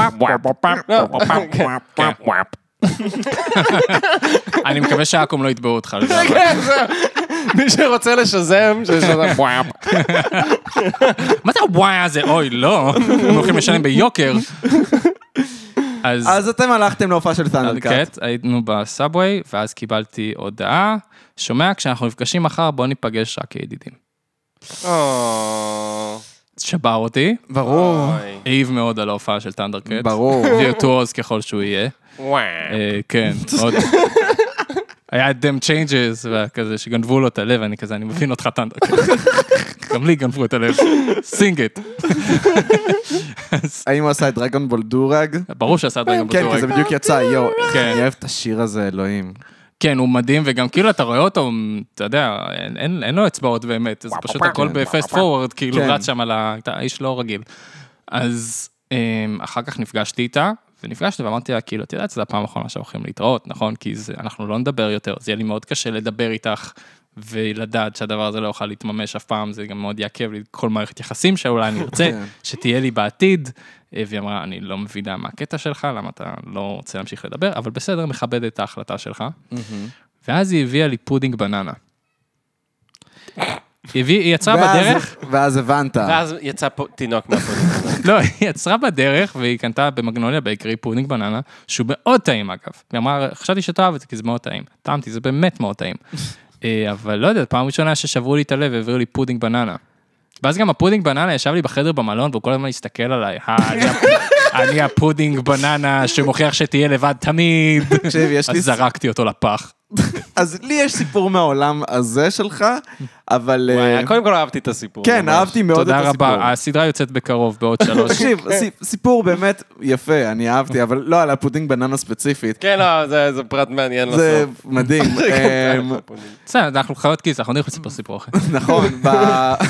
[SPEAKER 3] אני מקווה שאקום לא יתבעו אותך על זה. אבל-
[SPEAKER 4] כן, זהו. מי שרוצה לשזם, נכון. שישזם וואפ.
[SPEAKER 3] מה זה הוואי הזה? אוי, לא. הם הולכים לשלם ביוקר. אז...
[SPEAKER 2] אז אתם הלכתם להופעה של תנדלקאט.
[SPEAKER 3] קט, היינו בסאבווי, ואז קיבלתי הודעה, שומע, כשאנחנו נפגשים מחר, בוא ניפגש רק כידידים. שבר אותי,
[SPEAKER 2] ברור,
[SPEAKER 3] העיב מאוד על ההופעה של טנדר קט.
[SPEAKER 2] ברור.
[SPEAKER 3] וירטואוז ככל שהוא יהיה. אה, כן, עוד. היה את דם צ'יינג'ס, כזה שגנבו לו את הלב, אני כזה, אני מבין אותך טנדר קט. גם לי גנבו את הלב. סינג את.
[SPEAKER 2] האם הוא עשה את דרגון בול דורג?
[SPEAKER 3] ברור שעשה דרגון
[SPEAKER 2] כן, כי זה בדיוק יצא, יואו, איך
[SPEAKER 3] כן.
[SPEAKER 2] אני אוהב את השיר הזה, אלוהים.
[SPEAKER 3] כן, הוא מדהים, וגם כאילו אתה רואה אותו, אתה יודע, אין, אין, אין לו אצבעות באמת, זה פשוט הכל בפסט פורוורד, כאילו
[SPEAKER 2] כן.
[SPEAKER 3] רץ שם על ה... אתה איש לא רגיל. אז אמ, אחר כך נפגשתי איתה, ונפגשתי ואמרתי לה, כאילו, את יודעת, זו הפעם האחרונה שאנחנו הולכים להתראות, נכון? כי זה, אנחנו לא נדבר יותר, זה יהיה לי מאוד קשה לדבר איתך. ולדעת שהדבר הזה לא יוכל להתממש אף פעם, זה גם מאוד יעכב לי כל מערכת יחסים שאולי אני ארצה, שתהיה לי בעתיד. אה, והיא אמרה, אני לא מבינה מה הקטע שלך, למה אתה לא רוצה להמשיך לדבר, אבל בסדר, מכבד את ההחלטה שלך. ואז היא הביאה לי פודינג בננה. היא, הביא, היא יצרה
[SPEAKER 2] ואז-
[SPEAKER 3] בדרך,
[SPEAKER 2] ואז הבנת.
[SPEAKER 4] ואז יצא פה תינוק מהפוליטיקה.
[SPEAKER 3] לא, היא יצרה בדרך והיא קנתה במגנוליה בייקרי פודינג בננה, שהוא מאוד טעים אגב. היא אמרה, חשבתי שאתה אוהב את זה כי זה מאוד טעים. טעמתי, זה באמת מאוד טעים. אה, אבל לא יודע, פעם ראשונה ששברו לי את הלב והביאו לי פודינג בננה. ואז גם הפודינג בננה ישב לי בחדר במלון והוא כל הזמן הסתכל עליי, "אה, אני הפ- אני הפודינג בננה שמוכיח שתהיה לבד תמיד.
[SPEAKER 2] תקשיב, יש לי
[SPEAKER 3] אז זרקתי אותו לפח.
[SPEAKER 2] אז לי יש סיפור מהעולם הזה שלך, אבל... אה,
[SPEAKER 4] וואי, קודם כל אהבתי את הסיפור.
[SPEAKER 2] כן,
[SPEAKER 4] ממש.
[SPEAKER 2] אהבתי מאוד את
[SPEAKER 3] תודה
[SPEAKER 2] הסיפור.
[SPEAKER 3] רבה, אה, אוקיי. הסדרה יוצאת בקרוב בעוד שלוש.
[SPEAKER 2] תקשיב, סי- סיפור באמת יפה, אני אהבתי, אבל לא על הפודינג בננה ספציפית.
[SPEAKER 4] כן, לא, זה זה פרט מעניין
[SPEAKER 2] זה
[SPEAKER 4] לסוף.
[SPEAKER 2] מדהים.
[SPEAKER 3] כן.
[SPEAKER 2] אמ,
[SPEAKER 3] בסדר, אנחנו חיות כיס, אנחנו נלך
[SPEAKER 2] Mm.
[SPEAKER 3] לספר סיפור אחר.
[SPEAKER 2] נכון, ב-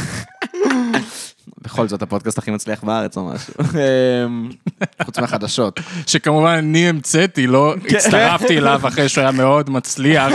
[SPEAKER 2] בכל זאת, הפודקאסט הכי מצליח בארץ או משהו. אמ, חוץ מהחדשות.
[SPEAKER 3] שכמובן אני המצאתי, לא
[SPEAKER 2] כן.
[SPEAKER 3] הצטרפתי אליו אחרי שהוא היה מאוד מצליח,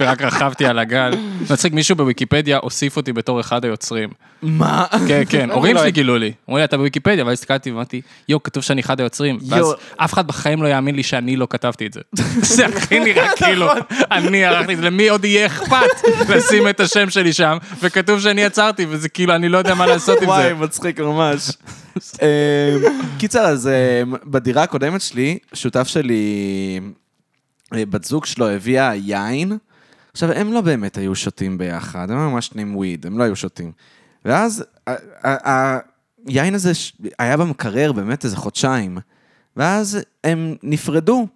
[SPEAKER 3] ורק רכבתי על הגל. מצחיק, מישהו בוויקיפדיה הוסיף אותי בתור אחד היוצרים.
[SPEAKER 2] מה?
[SPEAKER 3] כן, כן, הורים
[SPEAKER 4] לא
[SPEAKER 3] שלי
[SPEAKER 4] הייתי.
[SPEAKER 3] גילו לי. אמרו לי, אתה בוויקיפדיה, ואז הסתכלתי ואמרתי, יואו, כתוב שאני אחד היוצרים. ואז
[SPEAKER 2] יואו.
[SPEAKER 3] אף אחד בחיים לא יאמין לי שאני לא כתבתי את זה. זה הכי נראה כאילו,
[SPEAKER 2] נכון.
[SPEAKER 3] אני ערכתי את זה, למי עוד יהיה אכפת לשים את השם שלי שם, וכתוב שאני יצרתי, וזה כאילו, אני לא יודע מה לעשות עם
[SPEAKER 2] וואי,
[SPEAKER 3] זה.
[SPEAKER 2] מצחיק ממש. אמ, קיצר, אז אמ, בדירה הקודמת שלי, שותף שלי, אה, בת זוג שלו הביאה יין. עכשיו, הם לא באמת היו שותים ביחד, הם היו ממש שנים וויד, הם לא היו שותים. ואז ה- ה- היין הזה ש- היה במקרר באמת איזה חודשיים. ואז הם נפרדו.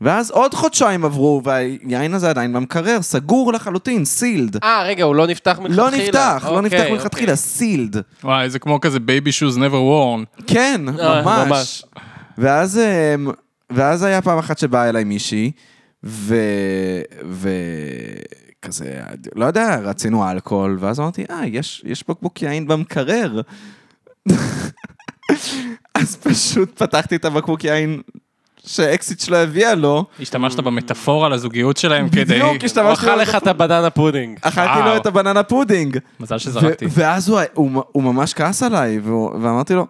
[SPEAKER 2] ואז עוד חודשיים עברו, והיין הזה עדיין במקרר, סגור לחלוטין, סילד.
[SPEAKER 4] אה, רגע, הוא לא נפתח
[SPEAKER 2] לא
[SPEAKER 4] מלכתחילה.
[SPEAKER 2] נפתח, לא נפתח
[SPEAKER 4] אוקיי,
[SPEAKER 2] מלכתחילה, סילד.
[SPEAKER 3] וואי, זה כמו כזה בייבי שוז never worn.
[SPEAKER 2] כן,
[SPEAKER 4] אה,
[SPEAKER 2] ממש.
[SPEAKER 4] ממש.
[SPEAKER 2] ואז, אמ, ואז היה פעם אחת שבאה אליי מישהי, ו... ו... כזה, לא יודע, רצינו אלכוהול, ואז אמרתי, אה, יש, יש בקבוק יין במקרר. אז פשוט פתחתי את הבקבוק יין שאקסיט שלו הביאה לו,
[SPEAKER 3] השתמשת במטאפורה לזוגיות שלהם כדי...
[SPEAKER 2] בדיוק
[SPEAKER 4] אוקיי. הוא
[SPEAKER 2] השתמשתי,
[SPEAKER 4] אכל
[SPEAKER 2] לו-
[SPEAKER 4] לך את הבננה פודינג.
[SPEAKER 2] אכלתי
[SPEAKER 3] וואו.
[SPEAKER 2] לו את הבננה פודינג.
[SPEAKER 3] מזל
[SPEAKER 2] ו-
[SPEAKER 3] שזרקתי.
[SPEAKER 2] ואז הוא, הוא, הוא ממש כעס עליי, והוא, ואמרתי לו,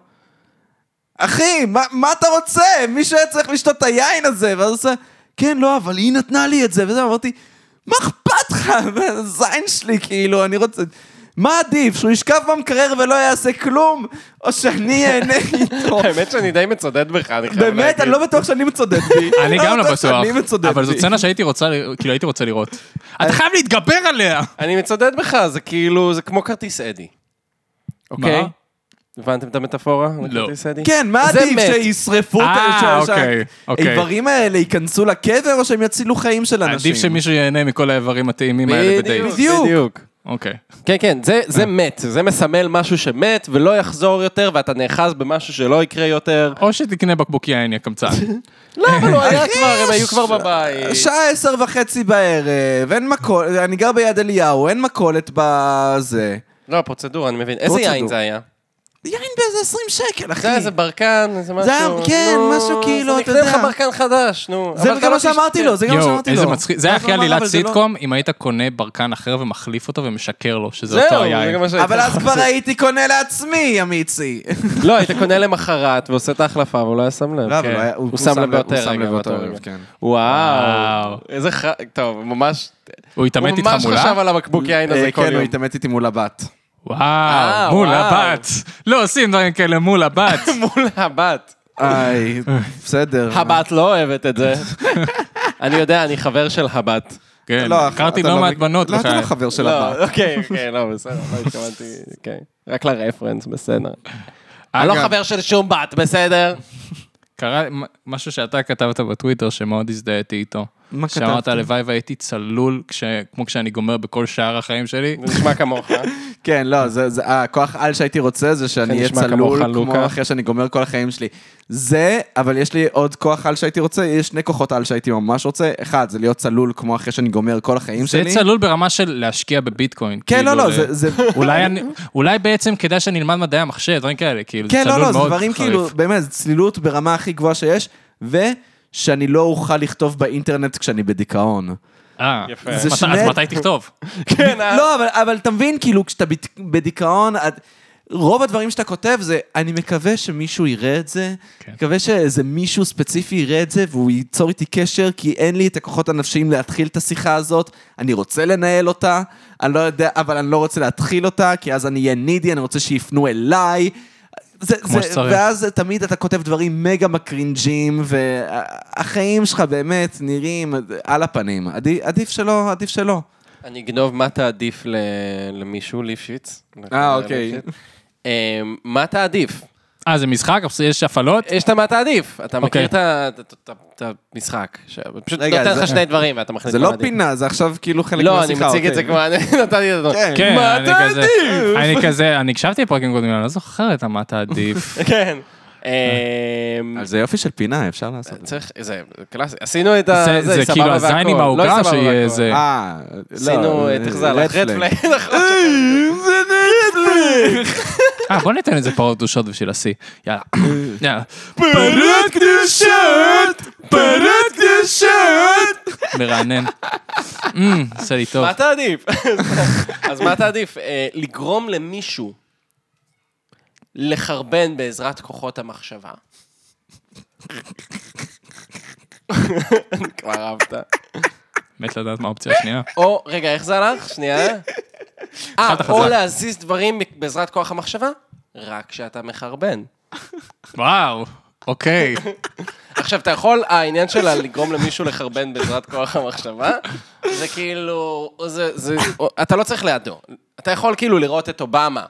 [SPEAKER 2] אחי, מה, מה אתה רוצה? מישהו היה צריך לשתות את היין הזה, ואז הוא עושה, כן, לא, אבל היא נתנה לי את זה, וזה, אמרתי, מה אכפת לך? זה זין שלי, כאילו, אני רוצה... מה עדיף, שהוא ישכב במקרר ולא יעשה כלום, או שאני אהנה איתו?
[SPEAKER 4] האמת שאני די מצדד בך, אני חייב להגיד.
[SPEAKER 2] אוקיי. באמת, אני לא בטוח שאני מצודד בי.
[SPEAKER 3] אני גם לא
[SPEAKER 2] בטוח
[SPEAKER 3] בטוח,
[SPEAKER 2] שאני מצודד
[SPEAKER 3] אבל זו
[SPEAKER 2] בי.
[SPEAKER 3] סצנה שהייתי רוצה, ל- כאילו הייתי רוצה לראות. אתה חייב להתגבר עליה!
[SPEAKER 4] אני מצדד בך, זה כאילו, זה כמו כרטיס אדי. אוקיי?
[SPEAKER 3] מה?
[SPEAKER 4] הבנתם את המטאפורה?
[SPEAKER 3] לא.
[SPEAKER 4] כרטיס אדי?
[SPEAKER 2] כן, מה
[SPEAKER 4] זה
[SPEAKER 2] עדיף,
[SPEAKER 4] מת.
[SPEAKER 2] שישרפו את
[SPEAKER 3] אה,
[SPEAKER 2] שה- שה-
[SPEAKER 3] אוקיי, אוקיי.
[SPEAKER 2] האיברים האלה ייכנסו לקבר, או שהם יצילו חיים של אנשים?
[SPEAKER 3] עדיף שמישהו ייהנה מכל האיברים הטעימים האלה בדייט.
[SPEAKER 4] בדיוק,
[SPEAKER 2] בדיוק.
[SPEAKER 4] בדיוק.
[SPEAKER 3] אוקיי.
[SPEAKER 4] כן, כן, זה, זה מת, זה מסמל משהו שמת ולא יחזור יותר, ואתה נאחז במשהו שלא יקרה יותר.
[SPEAKER 3] או שתקנה בקבוק יין, יא קמצן.
[SPEAKER 4] לא, אבל הוא היה
[SPEAKER 2] אחי,
[SPEAKER 4] כבר, הם היו
[SPEAKER 2] ש-
[SPEAKER 4] כבר בבית.
[SPEAKER 2] שעה עשר וחצי בערב, אין מכולת, אני גר ביד אליהו, אין מכולת בזה.
[SPEAKER 4] לא, פרוצדורה, אני מבין. איזה
[SPEAKER 2] פרוצדורה.
[SPEAKER 4] יין זה היה?
[SPEAKER 2] יין באיזה 20 שקל, אחי.
[SPEAKER 4] זה היה איזה ברקן, איזה משהו.
[SPEAKER 2] זה היה- כן,
[SPEAKER 4] נו,
[SPEAKER 2] משהו
[SPEAKER 4] אז
[SPEAKER 2] כאילו,
[SPEAKER 4] אני
[SPEAKER 2] אתה
[SPEAKER 4] אקנה
[SPEAKER 2] יודע.
[SPEAKER 4] לך ברקן חדש, נו.
[SPEAKER 2] זה
[SPEAKER 4] אבל אתה
[SPEAKER 2] גם
[SPEAKER 4] לא
[SPEAKER 2] מה שאמתי
[SPEAKER 4] תשתה.
[SPEAKER 2] לו, זה גם מה
[SPEAKER 3] יואו,
[SPEAKER 2] שאמתי לו.
[SPEAKER 3] איזה מצחיק. זה היה
[SPEAKER 2] ואז הוא
[SPEAKER 3] הכי
[SPEAKER 2] אמר,
[SPEAKER 3] עלילת
[SPEAKER 2] "אבל זה לא-"
[SPEAKER 3] סיטקום, אם היית קונה ברקן אחר ומחליף אותו ומשקר לו שזה אותו
[SPEAKER 4] זהו, זה
[SPEAKER 3] היין.
[SPEAKER 4] גם מה שהייתי
[SPEAKER 2] אבל אז כבר הייתי קונה לעצמי, אמיצי.
[SPEAKER 4] לא, היית קונה למחרת ועושה את ההחלפה, והוא לא היה שם לב.
[SPEAKER 2] לא, אבל היה-
[SPEAKER 4] הוא שם לב באותו
[SPEAKER 2] הוא שם
[SPEAKER 4] רגע,
[SPEAKER 2] לב באותו
[SPEAKER 4] באותו
[SPEAKER 2] רגע,
[SPEAKER 4] רגע.
[SPEAKER 2] כן.
[SPEAKER 4] וואו.
[SPEAKER 3] וואו.
[SPEAKER 4] איזה ח... טוב, ממש...
[SPEAKER 3] הוא התעמת
[SPEAKER 4] הוא
[SPEAKER 3] איתך
[SPEAKER 4] ממש
[SPEAKER 3] מולה?
[SPEAKER 4] חשב על הבקבוק יין הזה
[SPEAKER 2] אה,
[SPEAKER 4] כל
[SPEAKER 2] כן, הוא
[SPEAKER 4] יום.
[SPEAKER 2] התעמת איתי מול הבת.
[SPEAKER 3] וואו,
[SPEAKER 4] אה,
[SPEAKER 3] מול
[SPEAKER 4] וואו.
[SPEAKER 3] הבת. לא עושים דברים כאלה מול הבת.
[SPEAKER 4] מול הבת.
[SPEAKER 2] איי, אה, בסדר.
[SPEAKER 4] הבת לא אוהבת את זה. אני יודע, אני חבר של הבת.
[SPEAKER 3] כן,
[SPEAKER 2] לא,
[SPEAKER 3] הכרתי
[SPEAKER 2] אתה
[SPEAKER 3] לא
[SPEAKER 2] לא
[SPEAKER 3] מעט
[SPEAKER 2] מכ-
[SPEAKER 3] בנות
[SPEAKER 2] לא, אתה
[SPEAKER 3] בחיי.
[SPEAKER 2] לא חבר של
[SPEAKER 4] לא,
[SPEAKER 2] הבת.
[SPEAKER 4] אוקיי, אוקיי, לא, בסדר, לא התכוונתי, אוקיי. רק לרפרנס, בסדר. אני לא
[SPEAKER 3] אגב,
[SPEAKER 4] חבר של שום בת, בסדר?
[SPEAKER 3] קרה מ- משהו שאתה כתבת בטוויטר שמאוד הזדהיתי איתו.
[SPEAKER 2] מה
[SPEAKER 3] שאמרת,
[SPEAKER 2] כתבת?
[SPEAKER 3] הלוואי והייתי צלול כש- כמו כשאני גומר בכל שאר החיים שלי.
[SPEAKER 4] זה נשמע כמוך. אה?
[SPEAKER 2] כן, לא, זה, זה, אה, הכוח על שהייתי רוצה זה שאני אהיה
[SPEAKER 4] נשמע כמוך,
[SPEAKER 2] צלול, כמו
[SPEAKER 4] לוקה.
[SPEAKER 2] אחרי שאני גומר כל החיים שלי. זה, אבל יש לי עוד כוח על שהייתי רוצה, יש שני כוחות על שהייתי ממש רוצה. אחד, זה להיות צלול כמו אחרי שאני גומר כל החיים
[SPEAKER 3] זה
[SPEAKER 2] שלי.
[SPEAKER 3] צלול ברמה של להשקיע בביטקוין.
[SPEAKER 2] כן,
[SPEAKER 3] כאילו,
[SPEAKER 2] לא, לא, זה... זה
[SPEAKER 3] אולי אני- אולי בעצם כדאי שאני אלמד מדעי המחשב, דברים כאלה, כאילו, זה
[SPEAKER 2] כן, לא,
[SPEAKER 3] צלול
[SPEAKER 2] לא, זה
[SPEAKER 3] מאוד
[SPEAKER 2] דברים כאילו,
[SPEAKER 3] חריף.
[SPEAKER 2] באמת, זה צלילות ברמה הכי גבוהה שיש, ושאני לא אוכל לכתוב באינטרנט כשאני בדיכאון.
[SPEAKER 3] אה,
[SPEAKER 4] יפה.
[SPEAKER 3] אז
[SPEAKER 2] זה
[SPEAKER 3] מת-
[SPEAKER 2] שני-
[SPEAKER 3] אז מתי תכתוב?
[SPEAKER 4] כן, אה?
[SPEAKER 2] לא, אבל, אבל אתה מבין, כאילו, כשאתה בד- בדיכאון, את- רוב הדברים שאתה כותב זה, אני מקווה שמישהו יראה את זה,
[SPEAKER 3] כן.
[SPEAKER 2] מקווה שאיזה מישהו ספציפי יראה את זה, והוא ייצור איתי קשר, כי אין לי את הכוחות הנפשיים להתחיל את השיחה הזאת, אני רוצה לנהל אותה, אני לא יודע, אבל אני לא רוצה להתחיל אותה, כי אז אני אהיה נידי, אני רוצה שיפנו אליי. זה,
[SPEAKER 3] כמו
[SPEAKER 2] זה,
[SPEAKER 3] שצריך.
[SPEAKER 2] ואז תמיד אתה כותב דברים מגה מקרינג'ים, והחיים שלך באמת נראים על הפנים. עדי, עדיף שלא, עדיף שלא.
[SPEAKER 4] אני אגנוב מה תעדיף ל- למישהו, ליפשיץ.
[SPEAKER 2] אה, אוקיי.
[SPEAKER 4] ליפשיץ. אה, מה תעדיף?
[SPEAKER 3] אה, זה משחק? יש הפעלות?
[SPEAKER 2] אה,
[SPEAKER 4] יש את מה תעדיף. אתה
[SPEAKER 3] אוקיי.
[SPEAKER 4] מכיר את ה- את- את- את המשחק. ש- פשוט
[SPEAKER 2] רגע,
[SPEAKER 4] נותן
[SPEAKER 2] זה-
[SPEAKER 4] לך שני דברים ואתה מחליט
[SPEAKER 2] זה
[SPEAKER 4] מה
[SPEAKER 2] לא
[SPEAKER 4] עדיף.
[SPEAKER 2] פינה, זה עכשיו כאילו חלק
[SPEAKER 4] לא,
[SPEAKER 2] מהשיחה.
[SPEAKER 4] אני מציג את זה
[SPEAKER 2] אוקיי.
[SPEAKER 4] כמו... אני נתתי את זה.
[SPEAKER 2] כן.
[SPEAKER 3] כן,
[SPEAKER 4] מה
[SPEAKER 3] אני
[SPEAKER 4] אתה
[SPEAKER 3] כזה-
[SPEAKER 4] עדיף?
[SPEAKER 3] אני כזה, אני הקשבתי לפרקים קודמים, אני לא זוכר את מה תעדיף.
[SPEAKER 4] כן. אה,
[SPEAKER 2] אז זה יופי של פינה, אפשר לעשות את זה.
[SPEAKER 4] צריך, זה קלאסי, עשינו את ה...
[SPEAKER 3] זה- זה
[SPEAKER 4] סבבה
[SPEAKER 3] כאילו
[SPEAKER 4] והכל.
[SPEAKER 3] הזין עם
[SPEAKER 4] לא
[SPEAKER 3] העוגה
[SPEAKER 4] סבבה
[SPEAKER 3] שיהיה
[SPEAKER 4] והכל.
[SPEAKER 3] איזה-
[SPEAKER 2] אה, לא.
[SPEAKER 4] עשינו את החזר לך, רד פליי, נכון.
[SPEAKER 2] זה נטפליק!
[SPEAKER 3] אה, בוא ניתן איזה פרות קדושות בשביל השיא. יאללה. יאללה.
[SPEAKER 2] אה. פרות קדושות! פרות קדושות!
[SPEAKER 3] מרענן. אמ, עושה לי טוב.
[SPEAKER 4] מה תעדיף? אז מה תעדיף? אה, לגרום למישהו לחרבן בעזרת כוחות המחשבה. כבר אהבת.
[SPEAKER 3] מת לדעת לא מה האופציה השנייה.
[SPEAKER 4] או, רגע, איך זה הלך? שנייה. אה, או להזיז דברים בעזרת כוח המחשבה, רק כשאתה מחרבן.
[SPEAKER 3] וואו, אוקיי.
[SPEAKER 4] עכשיו, אתה יכול, העניין שלה לגרום למישהו לחרבן בעזרת כוח המחשבה, זה כאילו, זה, זה, אתה לא צריך לידו. אתה יכול כאילו לראות את אובמה.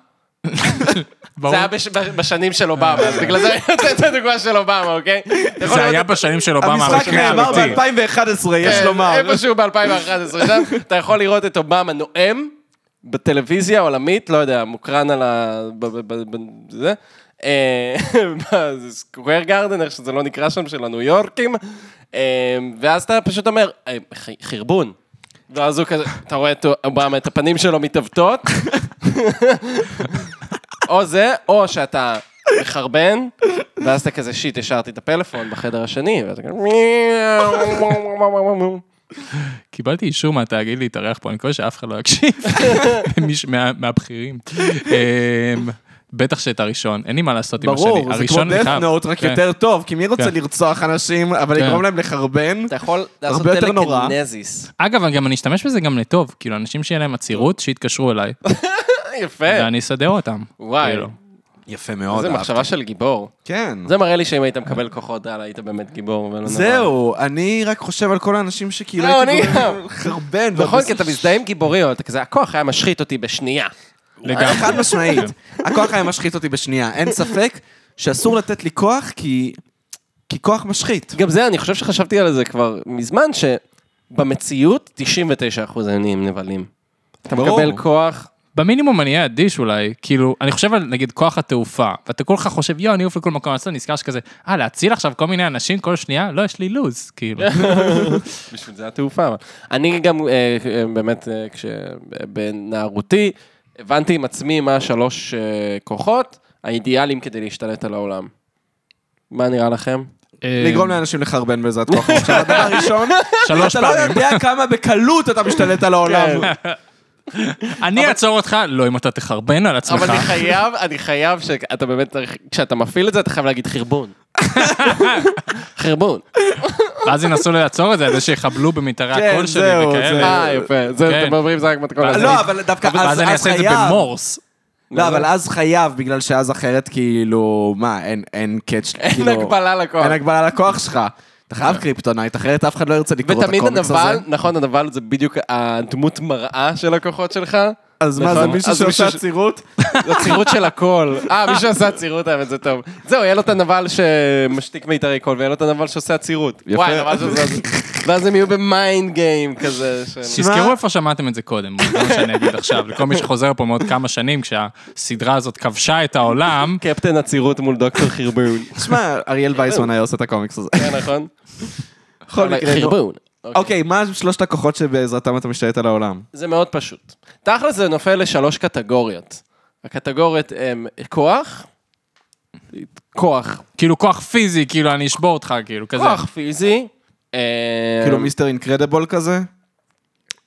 [SPEAKER 3] ברור.
[SPEAKER 4] זה היה בש- בשנים של אובמה, אז בגלל זה אני נותן את הדוגמה של אובמה, אוקיי? אתה יכול
[SPEAKER 3] זה
[SPEAKER 4] לראות
[SPEAKER 3] היה בשנים של אובמה
[SPEAKER 2] המשחק
[SPEAKER 3] הראשון
[SPEAKER 2] נאמר
[SPEAKER 3] האמיתי.
[SPEAKER 2] ב-2011, יש
[SPEAKER 4] כן,
[SPEAKER 2] לומר.
[SPEAKER 4] איפשהו ב-2011 שם, אתה יכול לראות את אובמה נואם בטלוויזיה העולמית, לא יודע, מוקרן על ה... ב- ב- ב- ב- זה. אה, בסקוויר גרדן, איך שזה לא נקרא שם, של הניו יורקים, אה, ואז אתה פשוט אומר, אה, ח- חרבון. ואז הוא כזה, אתה רואה את אובמה, את הפנים שלו מתעוותות, או זה, או שאתה מחרבן, ואז אתה כזה, שיט, השארתי את הפלאפון בחדר השני, ואתה כזה, "מיאו".
[SPEAKER 3] קיבלתי אישור מהתאגיד להתארח פה, אני מקווה שאף אחד לא יקשיב. מישהו מה- מהבכירים. אמ, בטח שאת הראשון, אין לי מה לעשות עם השני.
[SPEAKER 2] ברור, זה כמו
[SPEAKER 3] הראשון אני
[SPEAKER 2] death
[SPEAKER 3] חייב.
[SPEAKER 2] note, רק
[SPEAKER 3] כן.
[SPEAKER 2] יותר טוב, כי מי רוצה
[SPEAKER 3] כן.
[SPEAKER 2] לרצוח אנשים, אבל
[SPEAKER 3] כן.
[SPEAKER 2] לגרום להם לחרבן?
[SPEAKER 4] אתה יכול לעשות
[SPEAKER 2] הרבה יותר נורא.
[SPEAKER 4] טלקינזיס.
[SPEAKER 3] אגב, אני גם אני אשתמש בזה גם לטוב, כאילו, אנשים שיהיה להם עצירות, שיתקשרו אליי,
[SPEAKER 4] אה, יפה,
[SPEAKER 3] ואני אסדר אותם.
[SPEAKER 4] כן. וואי.
[SPEAKER 3] כאילו.
[SPEAKER 2] יפה מאוד.
[SPEAKER 4] איזה מחשבה של גיבור.
[SPEAKER 2] כן.
[SPEAKER 4] זה מראה לי שאם היית מקבל כוחות על, היית באמת גיבור. ולא נורא.
[SPEAKER 2] זהו, אני רק חושב על כל האנשים שכאילו
[SPEAKER 4] לא,
[SPEAKER 2] הייתי
[SPEAKER 4] אני
[SPEAKER 2] גורם
[SPEAKER 4] גם.
[SPEAKER 2] חרבן.
[SPEAKER 4] נכון, כי אתה מזדהה עם גיבורי, אבל אתה כזה, הכוח היה משחית אותי בשנייה.
[SPEAKER 2] לגמרי. חד משמעית. הכוח היה משחית אותי בשנייה. אין ספק שאסור לתת לי כוח, כי... כי כוח משחית.
[SPEAKER 4] גם זה, אני חושב שחשבתי על זה כבר מזמן, שבמציאות 99% העניים נבלים. אתה
[SPEAKER 2] ברור.
[SPEAKER 4] מקבל כוח,
[SPEAKER 3] במינימום אני אהיה אדיש אולי, כאילו, אני חושב על נגיד כוח התעופה, ואתה כולך חושב, יואו, אני אעוף לכל מקום, אז אתה נזכר שכזה, אה, להציל עכשיו כל מיני אנשים כל שנייה? לא, יש לי לוז, כאילו.
[SPEAKER 4] בשביל זה התעופה. אבל. אני גם, אה, אה, באמת, אה, כש- בנערותי, הבנתי עם עצמי מה השלוש אה, כוחות האידיאליים כדי להשתלט על העולם. מה נראה לכם?
[SPEAKER 3] אה,
[SPEAKER 2] לגרום לאנשים לחרבן בעזרת כוח. עכשיו, הדבר הראשון,
[SPEAKER 3] שלוש
[SPEAKER 2] אתה לא
[SPEAKER 3] פעמים.
[SPEAKER 2] יודע כמה בקלות אתה משתלט על העולם. לא,
[SPEAKER 3] אני אעצור אותך, לא אם אתה תחרבן על עצמך.
[SPEAKER 4] אבל אני חייב, אני חייב שאתה באמת צריך, כשאתה מפעיל את זה, אתה חייב להגיד חרבון. חרבון.
[SPEAKER 3] ואז ינסו לעצור את זה, על זה שיחבלו במטרי
[SPEAKER 2] כן,
[SPEAKER 3] הקול שלי
[SPEAKER 2] זהו,
[SPEAKER 3] וכאלה.
[SPEAKER 2] זה-
[SPEAKER 4] אה, יפה. זה,
[SPEAKER 3] כן.
[SPEAKER 4] אתם אומרים, זה רק מתכון לזה.
[SPEAKER 2] לא, אבל דווקא
[SPEAKER 3] ואז
[SPEAKER 2] אז
[SPEAKER 3] אני
[SPEAKER 2] אז
[SPEAKER 3] אעשה את זה
[SPEAKER 2] חייב.
[SPEAKER 3] במורס.
[SPEAKER 2] לא, אבל אז חייב, בגלל שאז אחרת כאילו, מה, אין- אין קאץ',
[SPEAKER 4] אין
[SPEAKER 2] כאילו...
[SPEAKER 4] הגבלה לכוח.
[SPEAKER 2] אין הגבלה לכוח שלך. אתה חייב קריפטונייט, אחרת אף אחד לא ירצה לקרוא את
[SPEAKER 4] ותמיד
[SPEAKER 2] הקומיקס הזה.
[SPEAKER 4] הנבל, נכון, הנבל זה בדיוק הדמות מראה של הכוחות שלך.
[SPEAKER 2] אז מה,
[SPEAKER 4] נכון.
[SPEAKER 2] זה מישהו
[SPEAKER 4] אז
[SPEAKER 2] שעושה
[SPEAKER 4] מישהו ש-
[SPEAKER 2] עצירות?
[SPEAKER 4] עצירות של הכל. אה, מישהו עשה עצירות, האמת, זה טוב. זהו, יהיה לו את הנבל שמשתיק מיתרי קול, ויהיה לו את הנבל שעושה עצירות. וואי, הנבל שעושה עצירות. ואז הם יהיו במיינד גיים כזה. של-
[SPEAKER 3] תזכרו איפה שמעתם את זה קודם, זה מה שאני אגיד עכשיו, לכל מי שחוזר פה מעוד כמה שנים, כשהסדרה הזאת כבשה את העולם,
[SPEAKER 4] קפטן עצירות מול דוקטור חרבון.
[SPEAKER 2] תשמע, אריאל וייסמן היה עושה את הקומיקס הזה.
[SPEAKER 4] כן, נכון?
[SPEAKER 2] בכל מקרה,
[SPEAKER 4] חרבון.
[SPEAKER 2] אוקיי, אה, מה שלושת הכוחות שבעזרתם אתה משתלט על העולם?
[SPEAKER 4] זה מאוד פשוט. תכל'ס זה נופל לשלוש קטגוריות. הקטגוריות הם כוח, כוח,
[SPEAKER 3] כאילו כוח פיזי, כאילו אני אשבור אותך, כאילו כזה.
[SPEAKER 4] כוח פיזי. אה,
[SPEAKER 2] כאילו מיסטר אינקרדבול כזה?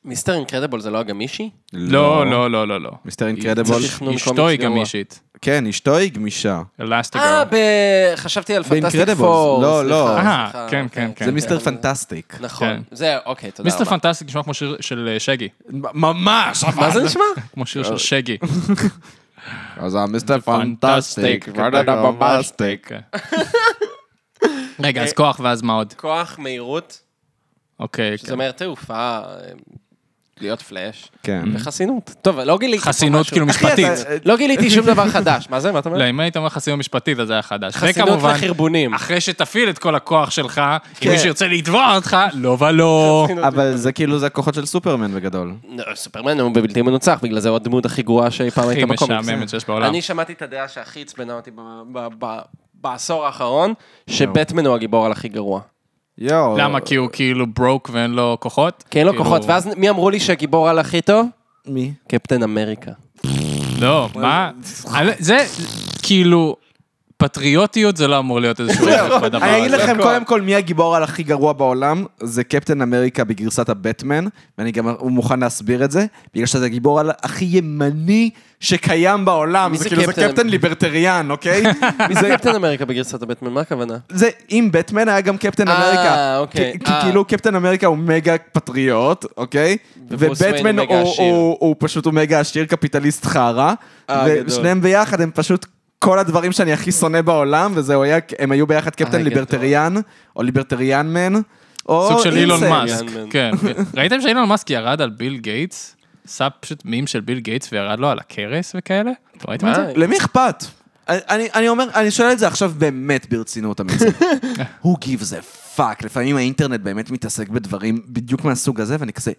[SPEAKER 4] מיסטר אינקרדבול זה לא הגמישי?
[SPEAKER 3] לא, לא, לא, לא, לא.
[SPEAKER 2] מיסטר אינקרדבול?
[SPEAKER 4] תכנון
[SPEAKER 3] אשתו
[SPEAKER 4] קומיקס
[SPEAKER 3] היא גם
[SPEAKER 4] גרוע.
[SPEAKER 3] אישית.
[SPEAKER 2] כן, אשתו היא גמישה.
[SPEAKER 4] אה,
[SPEAKER 3] אלסטיגר.
[SPEAKER 4] ב- חשבתי על פנטסטיק
[SPEAKER 2] ב-Incredibles,
[SPEAKER 4] פור.
[SPEAKER 2] לא, לא.
[SPEAKER 3] אה, כן, כן, כן.
[SPEAKER 2] זה מיסטר פנטסטיק.
[SPEAKER 4] אוקיי. נכון, זה, אוקיי, תודה
[SPEAKER 3] מיסטר
[SPEAKER 4] רבה.
[SPEAKER 3] פנטסטיק נשמע כמו שיר של אה, שגי.
[SPEAKER 2] ממש!
[SPEAKER 4] מה
[SPEAKER 3] כן.
[SPEAKER 4] זה נשמע? אה,
[SPEAKER 3] כמו שיר של שגי.
[SPEAKER 2] אז המיסטר
[SPEAKER 3] פנטסטיק,
[SPEAKER 2] פנטסטיק, פנטסטיק.
[SPEAKER 3] כן. רגע, אז כוח ואז מה עוד?
[SPEAKER 4] כוח, מהירות,
[SPEAKER 3] אוקיי.
[SPEAKER 4] שזה אומר תעופה, אה, להיות פלאש,
[SPEAKER 2] כן.
[SPEAKER 3] נכון.
[SPEAKER 4] וחסינות. טוב, לא גיליתי פה
[SPEAKER 3] Mm-hmm. חסינות
[SPEAKER 4] משהו.
[SPEAKER 3] כאילו משפטית.
[SPEAKER 4] לא גיליתי שום דבר חדש. מה זה, מה אתה אומר?
[SPEAKER 3] לא, אם היית אומר חסינות משפטית, אז זה היה חדש.
[SPEAKER 4] חסינות
[SPEAKER 3] וכמובן,
[SPEAKER 4] וחרבונים. כן.
[SPEAKER 3] אחרי שתפעיל את כל הכוח שלך, אם מישהו ירצה לתבוע אותך, לא ולא.
[SPEAKER 2] אבל זה כאילו, זה הכוחות של סופרמן בגדול.
[SPEAKER 4] לא, סופרמן הוא בבלתי מנוצח, בגלל זה הוא הדמות הכי גרועה שאי פעם
[SPEAKER 3] הכי
[SPEAKER 4] הייתה בקומיקס.
[SPEAKER 3] משעממת שיש בעולם.
[SPEAKER 4] אני שמעתי את הדעה שהכי עצבנה אותי ב- ב- ב- בעשור האחרון, שבטמן הוא הגיבור על הכי גרוע.
[SPEAKER 2] יואו.
[SPEAKER 3] למה? כי הוא כאילו ברוק ואין לו כוחות?
[SPEAKER 4] כי אין לו
[SPEAKER 3] כאילו-
[SPEAKER 4] כן, לא כוחות, ואז מי אמרו לי שהגיבור על הכי טוב?
[SPEAKER 2] מי?
[SPEAKER 4] קפטן אמריקה.
[SPEAKER 3] לא, מה?
[SPEAKER 4] אה,
[SPEAKER 3] אני- זה כאילו... פטריוטיות זה לא אמור להיות איזשהו ערך בדבר
[SPEAKER 2] אני אגיד
[SPEAKER 3] הזה.
[SPEAKER 2] לכם קודם כל מי הגיבור על הכי גרוע בעולם, זה קפטן אמריקה בגרסת הבטמן, ואני גם הוא מוכן להסביר את זה, בגלל שזה הגיבור על הכי ימני שקיים בעולם,
[SPEAKER 4] מי
[SPEAKER 2] זה
[SPEAKER 4] זה
[SPEAKER 2] כאילו זה
[SPEAKER 4] קפטן?
[SPEAKER 2] קפטן ליברטריאן, אוקיי?
[SPEAKER 4] מי זה קפטן אמריקה בגרסת הבטמן? מה הכוונה?
[SPEAKER 2] זה אם בטמן היה גם קפטן
[SPEAKER 4] אה,
[SPEAKER 2] אמריקה.
[SPEAKER 4] אוקיי.
[SPEAKER 2] כי- כי
[SPEAKER 4] אה.
[SPEAKER 2] כאילו קפטן אמריקה הוא מגה פטריוט, אוקיי?
[SPEAKER 4] וברוס וויין
[SPEAKER 2] ובטמן
[SPEAKER 4] הוא מגה
[SPEAKER 2] הוא-
[SPEAKER 4] עשיר.
[SPEAKER 2] הוא הוא פשוט הוא מגה עשיר קפיטליסט חרא,
[SPEAKER 4] אה, גדול.
[SPEAKER 2] ושניהם ביחד הם פשוט... כל הדברים שאני הכי שונא בעולם, וזהו, היה- הם היו ביחד קפטן
[SPEAKER 4] גדול.
[SPEAKER 2] ליברטריאן, או ליברטריאן מן, או
[SPEAKER 3] סוג של אילון
[SPEAKER 2] אינסקט.
[SPEAKER 3] מאסק,
[SPEAKER 4] יאן מן.
[SPEAKER 3] כן. ראיתם שאילון מאסק ירד על ביל גייטס? עשה פשוט מים של ביל גייטס וירד לו על הכרס וכאלה? אתם ראיתם את זה?
[SPEAKER 2] למי אכפת? אני- אני, אני אומר, אני שואל את זה עכשיו באמת ברצינות אמיתית. Who gives a fuck? לפעמים האינטרנט באמת מתעסק בדברים בדיוק מהסוג הזה, ואני כזה,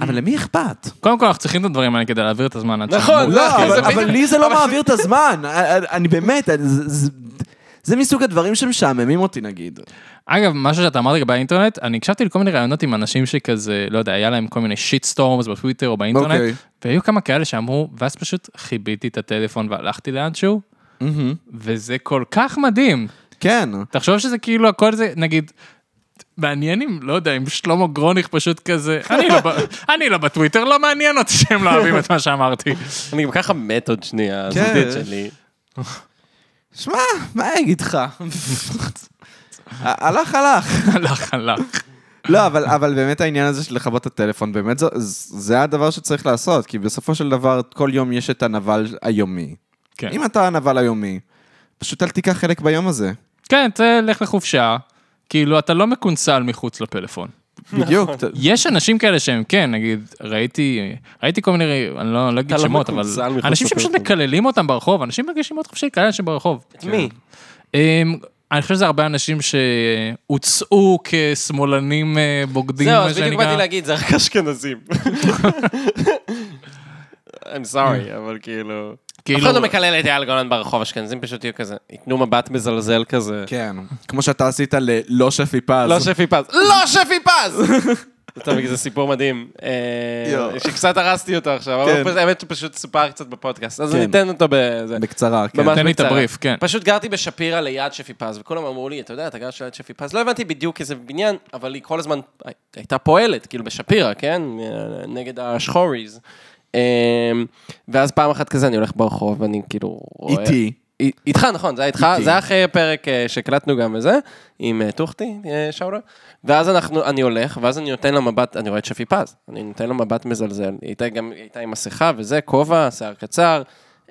[SPEAKER 2] אבל למי אכפת?
[SPEAKER 3] קודם כל, אנחנו צריכים את הדברים האלה כדי להעביר את הזמן. עד
[SPEAKER 4] נכון,
[SPEAKER 3] שאנחנו-
[SPEAKER 2] לא,
[SPEAKER 4] כי זה
[SPEAKER 2] אבל-
[SPEAKER 4] בדיוק-
[SPEAKER 2] אבל לי זה לא מעביר את הזמן. אני- אני באמת, אני- זה- זה- זה מסוג הדברים שמשעממים אותי נגיד.
[SPEAKER 3] אגב, משהו שאתה אמרת לגבי האינטרנט, אני הקשבתי לכל מיני ראיונות עם אנשים שכזה, לא יודע, היה להם כל מיני שיט סטורמס בטוויטר או
[SPEAKER 2] אוקיי.
[SPEAKER 3] באינטרנט, והיו כמה כאלה שאמרו, ואז פשוט כיביתי את הטלפון והלכתי לאנשהו, וזה כל כך מדהים.
[SPEAKER 2] כן.
[SPEAKER 3] תחשוב שזה כאילו הכל זה, נגיד, מעניין אם, לא יודע, אם שלמה גרוניך פשוט כזה, אני לא, ב- אני לא בטוויטר, לא מעניין אותי שהם לא אוהבים את מה שאמרתי.
[SPEAKER 4] אני גם ככה מת עוד שנייה,
[SPEAKER 2] כן.
[SPEAKER 4] הזוגית שלי.
[SPEAKER 2] שמע, מה אני אגיד לך? הלך, הלך.
[SPEAKER 3] הלך, הלך.
[SPEAKER 2] לא, אבל, אבל באמת העניין הזה של לכבות את הטלפון, באמת זה, זה הדבר שצריך לעשות, כי בסופו של דבר כל יום יש את הנבל היומי.
[SPEAKER 3] כן.
[SPEAKER 2] אם אתה הנבל היומי, פשוט אל תיקח חלק ביום הזה.
[SPEAKER 3] כן, תלך לחופשה, כאילו, אתה לא מקונסל מחוץ לפלאפון.
[SPEAKER 2] בדיוק. ת-
[SPEAKER 3] יש אנשים כאלה שהם כן, נגיד, ראיתי, ראיתי כל מיני, אני לא, לא אגיד
[SPEAKER 4] אתה לא
[SPEAKER 3] שמות, אבל
[SPEAKER 4] מקולזל מחוץ
[SPEAKER 3] אנשים שפשוט
[SPEAKER 4] לפלאפון.
[SPEAKER 3] מקללים אותם ברחוב, אנשים מרגישים מאוד חופשי, כאלה אנשים ברחוב.
[SPEAKER 4] מי?
[SPEAKER 3] אמ, אני חושב שזה הרבה אנשים שהוצאו כשמאלנים אה, בוגדים,
[SPEAKER 4] זהו,
[SPEAKER 3] מה
[SPEAKER 4] אז בדיוק
[SPEAKER 3] שנקרא.
[SPEAKER 4] באתי להגיד, זה רק אשכנזים. I'm sorry, אבל כאילו... אף
[SPEAKER 3] כאילו,
[SPEAKER 4] אחד לא מקלל את אייל גולן ברחוב, אשכנזים פשוט יהיו כזה, ייתנו מבט מזלזל כזה.
[SPEAKER 2] כן, כמו שאתה עשית ללא שפי פז.
[SPEAKER 4] לא שפי פז, לא שפי פז! טוב, זה סיפור מדהים, אה,
[SPEAKER 2] יואו.
[SPEAKER 4] שקצת הרסתי אותו עכשיו, אבל
[SPEAKER 2] כן.
[SPEAKER 4] פשוט- האמת שפשוט סופר קצת בפודקאסט, אז
[SPEAKER 2] כן.
[SPEAKER 4] אני אתן אותו בזה.
[SPEAKER 2] בקצרה, כן.
[SPEAKER 4] ממש
[SPEAKER 3] תן לי את
[SPEAKER 4] בקצרה.
[SPEAKER 3] הבריף, כן.
[SPEAKER 4] פשוט גרתי בשפירא ליד שפי פז, וכולם אמרו לי, אתה יודע, אתה גר ליד שפי פז, לא הבנתי בדיוק איזה בניין, אבל היא כל הזמן הי- הייתה פועלת, כאילו בשפירא, כן? אה, נגד השחוריז. אה, ואז פעם אחת כזה אני הולך ברחוב, ואני כאילו רואה...
[SPEAKER 2] איתי.
[SPEAKER 4] אי- איתך, נכון, זה היה איתך,
[SPEAKER 2] איתי.
[SPEAKER 4] זה היה אחרי פרק אה, שהקלטנו גם וזה, עם אה, טוחתי, אה, שאולה. ואז אנחנו, אני הולך, ואז אני נותן לה מבט, אני רואה את שפי פז, אני נותן לה מבט מזלזל. היא הייתה גם, היא הייתה עם מסכה וזה, כובע, שיער קצר.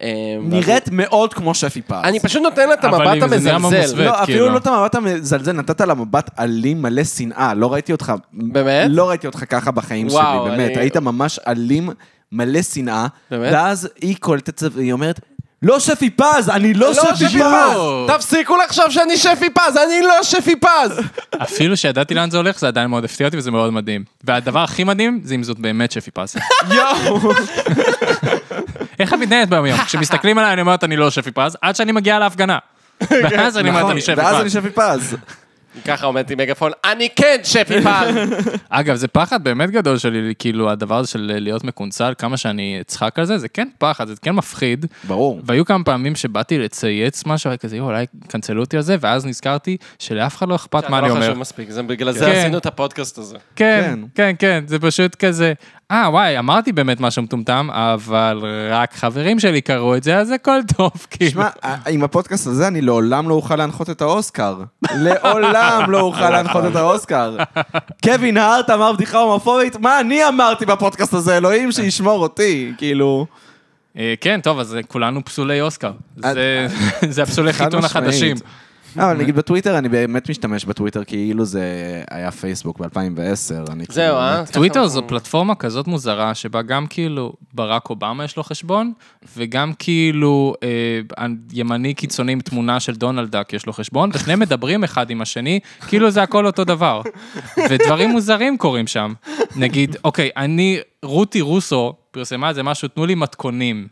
[SPEAKER 4] אה, ואז-
[SPEAKER 2] נראית מאוד כמו שפי פז.
[SPEAKER 4] אני פשוט נותן לה את
[SPEAKER 3] אבל
[SPEAKER 4] המבט
[SPEAKER 3] אם זה נהיה
[SPEAKER 4] המזלזל.
[SPEAKER 3] ממוסווה.
[SPEAKER 2] לא,
[SPEAKER 3] כאילו.
[SPEAKER 2] אפילו לא את המבט המזלזל, נתת לה מבט אלים מלא שנאה, לא ראיתי אותך...
[SPEAKER 4] באמת?
[SPEAKER 2] לא ראיתי אותך ככה בחיים
[SPEAKER 4] וואו,
[SPEAKER 2] שלי, באמת.
[SPEAKER 4] אני-
[SPEAKER 2] היית ממש אלים מלא שנאה.
[SPEAKER 4] באמת?
[SPEAKER 2] ואז היא קולטת את זה, והיא אומרת, לא שפי פז, אני לא
[SPEAKER 4] לא
[SPEAKER 2] שפי פז!
[SPEAKER 4] תפסיקו לחשוב שאני שפי פז, אני לא שפי פז!
[SPEAKER 3] אפילו שידעתי לאן זה הולך, זה עדיין מאוד הפתיע אותי וזה מאוד מדהים. והדבר הכי מדהים, זה אם זאת באמת שפי פז.
[SPEAKER 2] יואו!
[SPEAKER 3] איך את מתנהלת ביום יום? כשמסתכלים עליי, אני אומרת, אני לא שפי פז, עד שאני מגיעה להפגנה. ואז אני אומרת,
[SPEAKER 2] נכון,
[SPEAKER 3] אני שפי
[SPEAKER 2] ואז אני
[SPEAKER 3] פז.
[SPEAKER 2] שפי פז.
[SPEAKER 4] ככה עומד עם מגפון, אני כן שפי פז!
[SPEAKER 3] אגב, זה פחד באמת גדול שלי, כאילו, הדבר הזה של להיות מקונצל, כמה שאני אצחק על זה, זה כן פחד, זה כן מפחיד.
[SPEAKER 2] ברור.
[SPEAKER 3] והיו כמה פעמים שבאתי לצייץ משהו, היה כזה, "יואו, אולי קנצלו אותי על זה, ואז נזכרתי שלאף אחד לא אכפת מה אני
[SPEAKER 4] לא
[SPEAKER 3] אומר.
[SPEAKER 4] חשוב מספיק, זה בגלל
[SPEAKER 3] כן.
[SPEAKER 4] זה עשינו את הפודקאסט הזה.
[SPEAKER 3] כן,
[SPEAKER 2] כן.
[SPEAKER 3] כן, כן, זה פשוט כזה, אה, וואי, אמרתי באמת משהו מטומטם, אבל רק חברים שלי קראו את זה, אז הכל טוב, כאילו.
[SPEAKER 2] שמע, ה- עם הפודקאסט הזה אני לעולם לא אוכל להנחות את האוסקר. לעולם לא אוכל להנחות את האוסקר. קווין הארט אמר בדיחה הומופובית, מה אני אמרתי בפודקאסט הזה? אלוהים שישמור אותי, כאילו...
[SPEAKER 3] אה, כן, טוב, אז כולנו פסולי אוסקר. זה- זה הפסולי
[SPEAKER 2] אה, חד
[SPEAKER 3] חיתון
[SPEAKER 2] משמעית. לא,
[SPEAKER 3] החדשים.
[SPEAKER 2] אבל נגיד בטוויטר, אני באמת משתמש בטוויטר, כאילו זה היה פייסבוק ב-2010. אני
[SPEAKER 4] זהו,
[SPEAKER 2] כאילו-
[SPEAKER 4] אה?
[SPEAKER 3] טוויטר זו פלטפורמה כזאת מוזרה, שבה גם כאילו ברק אובמה יש לו חשבון, וגם כאילו אה, ימני קיצוני עם תמונה של דונלד דאק יש לו חשבון, ושניהם מדברים אחד עם השני, כאילו זה הכל אותו דבר. ודברים מוזרים קורים שם. נגיד, אוקיי, אני, רותי רוסו פרסמה איזה משהו, תנו לי מתכונים.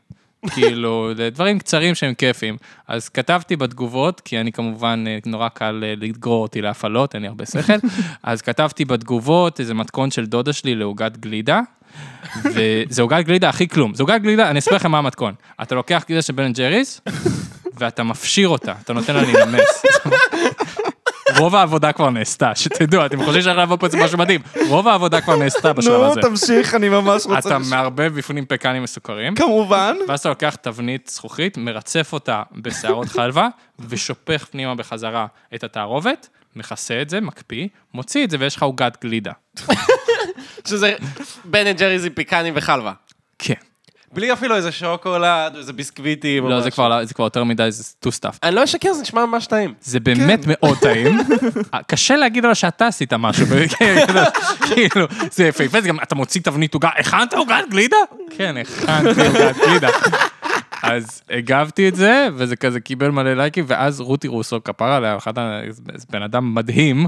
[SPEAKER 3] כאילו, דברים קצרים שהם כיפים. אז כתבתי בתגובות, כי אני כמובן, אה, נורא קל אה, לגרור אותי להפעלות, אין לי הרבה שכל, אז כתבתי בתגובות איזה מתכון של דודה שלי לעוגת גלידה, וזה עוגת גלידה הכי כלום. זה עוגת גלידה, אני אסביר לכם מה המתכון. אתה לוקח גלידה של בן אנד ג'ריס, ואתה מפשיר אותה, אתה נותן לה להימס. רוב העבודה כבר נעשתה, שתדעו, אתם חושבים שאני הולך לבוא פה איזה משהו מדהים, רוב העבודה כבר נעשתה בשלב הזה.
[SPEAKER 2] נו, תמשיך, אני ממש רוצה...
[SPEAKER 3] אתה
[SPEAKER 2] לש-
[SPEAKER 3] מערבב בפנים פקנים מסוכרים,
[SPEAKER 2] כמובן.
[SPEAKER 3] ואז אתה לוקח תבנית זכוכית, מרצף אותה בשערות חלבה, ושופך פנימה בחזרה את התערובת, מכסה את זה, מקפיא, מוציא את זה, ויש לך עוגת גלידה.
[SPEAKER 4] שזה בן אנד ג'ריז עם פיקנים וחלבה.
[SPEAKER 3] כן.
[SPEAKER 4] בלי אפילו איזה שוקולד או איזה ביסקוויטים. או
[SPEAKER 3] לא, זה
[SPEAKER 4] משהו.
[SPEAKER 3] כבר לא- זה כבר יותר מדי, זה טו סטאפ.
[SPEAKER 4] אני לא אשקר, זה נשמע ממש טעים.
[SPEAKER 3] זה באמת מאוד טעים. קשה להגיד לו שאתה עשית משהו, כאילו, זה יפהפה, זה גם, אתה מוציא תבנית עוגה, הכנת עוגת גלידה? כן, הכנתי עוגת גלידה. אז הגבתי את זה, וזה כזה קיבל מלא לייקים, ואז רותי רוסו, כפרה עליה, אחת ה- זה בן אדם מדהים,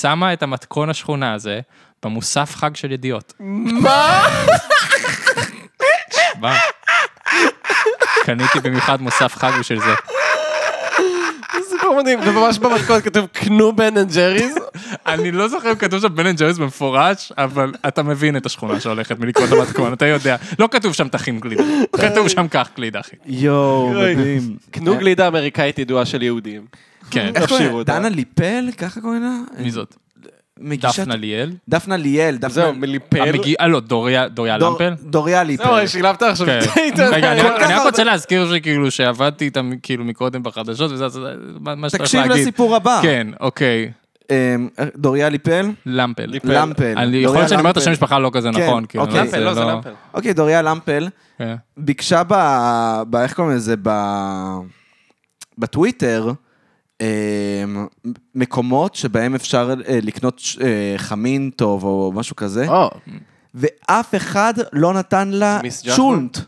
[SPEAKER 3] שמה את המתכון השכונה הזה במוסף חג של ידיעות. מה? קניתי במיוחד מוסף חג בשביל זה.
[SPEAKER 4] סיפור מדהים, וממש במתכונת כתוב קנו בן אנד ג'ריז.
[SPEAKER 3] אני לא זוכר אם כתוב שם בן אנד ג'ריס במפורש, אבל אתה מבין את השכונה שהולכת מלקרוא את המתכון, אתה יודע. לא כתוב שם תכין גלידה,
[SPEAKER 2] אוקיי.
[SPEAKER 3] כתוב שם קח גלידה, אחי.
[SPEAKER 2] יואו, מדהים.
[SPEAKER 4] קנו גלידה אמריקאית ידועה של יהודים.
[SPEAKER 3] כן,
[SPEAKER 2] איך
[SPEAKER 4] תפשירו
[SPEAKER 2] קוראים לה?
[SPEAKER 4] אותה.
[SPEAKER 2] דנה ליפל? ככה קוראים לה?
[SPEAKER 3] מי זאת?
[SPEAKER 2] מגישת-
[SPEAKER 3] דפנה ליאל?
[SPEAKER 2] דפנה ליאל. דפנה-
[SPEAKER 4] זהו, מליפל.
[SPEAKER 3] המגיעה, לא, דוריה דוריה
[SPEAKER 2] דור-
[SPEAKER 3] למפל?
[SPEAKER 2] דוריה ליפל.
[SPEAKER 4] זהו, שילבת לא, עכשיו
[SPEAKER 3] כן.
[SPEAKER 4] את העיתונאי.
[SPEAKER 3] רגע, אני
[SPEAKER 2] כל
[SPEAKER 3] רק-
[SPEAKER 2] כך
[SPEAKER 3] אני רק
[SPEAKER 2] הרבה-
[SPEAKER 3] רוצה להזכיר שכאילו שעבדתי איתם כאילו מקודם בחדשות וזה, זה- זה- מה מה שצריך
[SPEAKER 2] תקשיב
[SPEAKER 3] להגיד.
[SPEAKER 2] לסיפור הבא.
[SPEAKER 3] כן, אוקיי,
[SPEAKER 2] אמ, דוריה ליפל?
[SPEAKER 3] למפל.
[SPEAKER 2] למפל.
[SPEAKER 3] אני- יכול
[SPEAKER 2] דוריה
[SPEAKER 3] להיות שאני אומר את
[SPEAKER 2] למפל.
[SPEAKER 3] השם משפחה לא כזה
[SPEAKER 2] כן,
[SPEAKER 3] נכון, כאילו.
[SPEAKER 2] אוקיי.
[SPEAKER 4] למפל, לא, זה למפל.
[SPEAKER 2] אוקיי, דוריה למפל
[SPEAKER 3] כן.
[SPEAKER 2] ביקשה ב... ב- איך קוראים לזה? ב... בטוויטר. אמ, מקומות שבהם אפשר אה, לקנות ש- אה, חמין טוב או משהו כזה,
[SPEAKER 4] או.
[SPEAKER 2] ואף אחד לא נתן לה
[SPEAKER 4] מיס ג'חמן?
[SPEAKER 2] צ'ונט.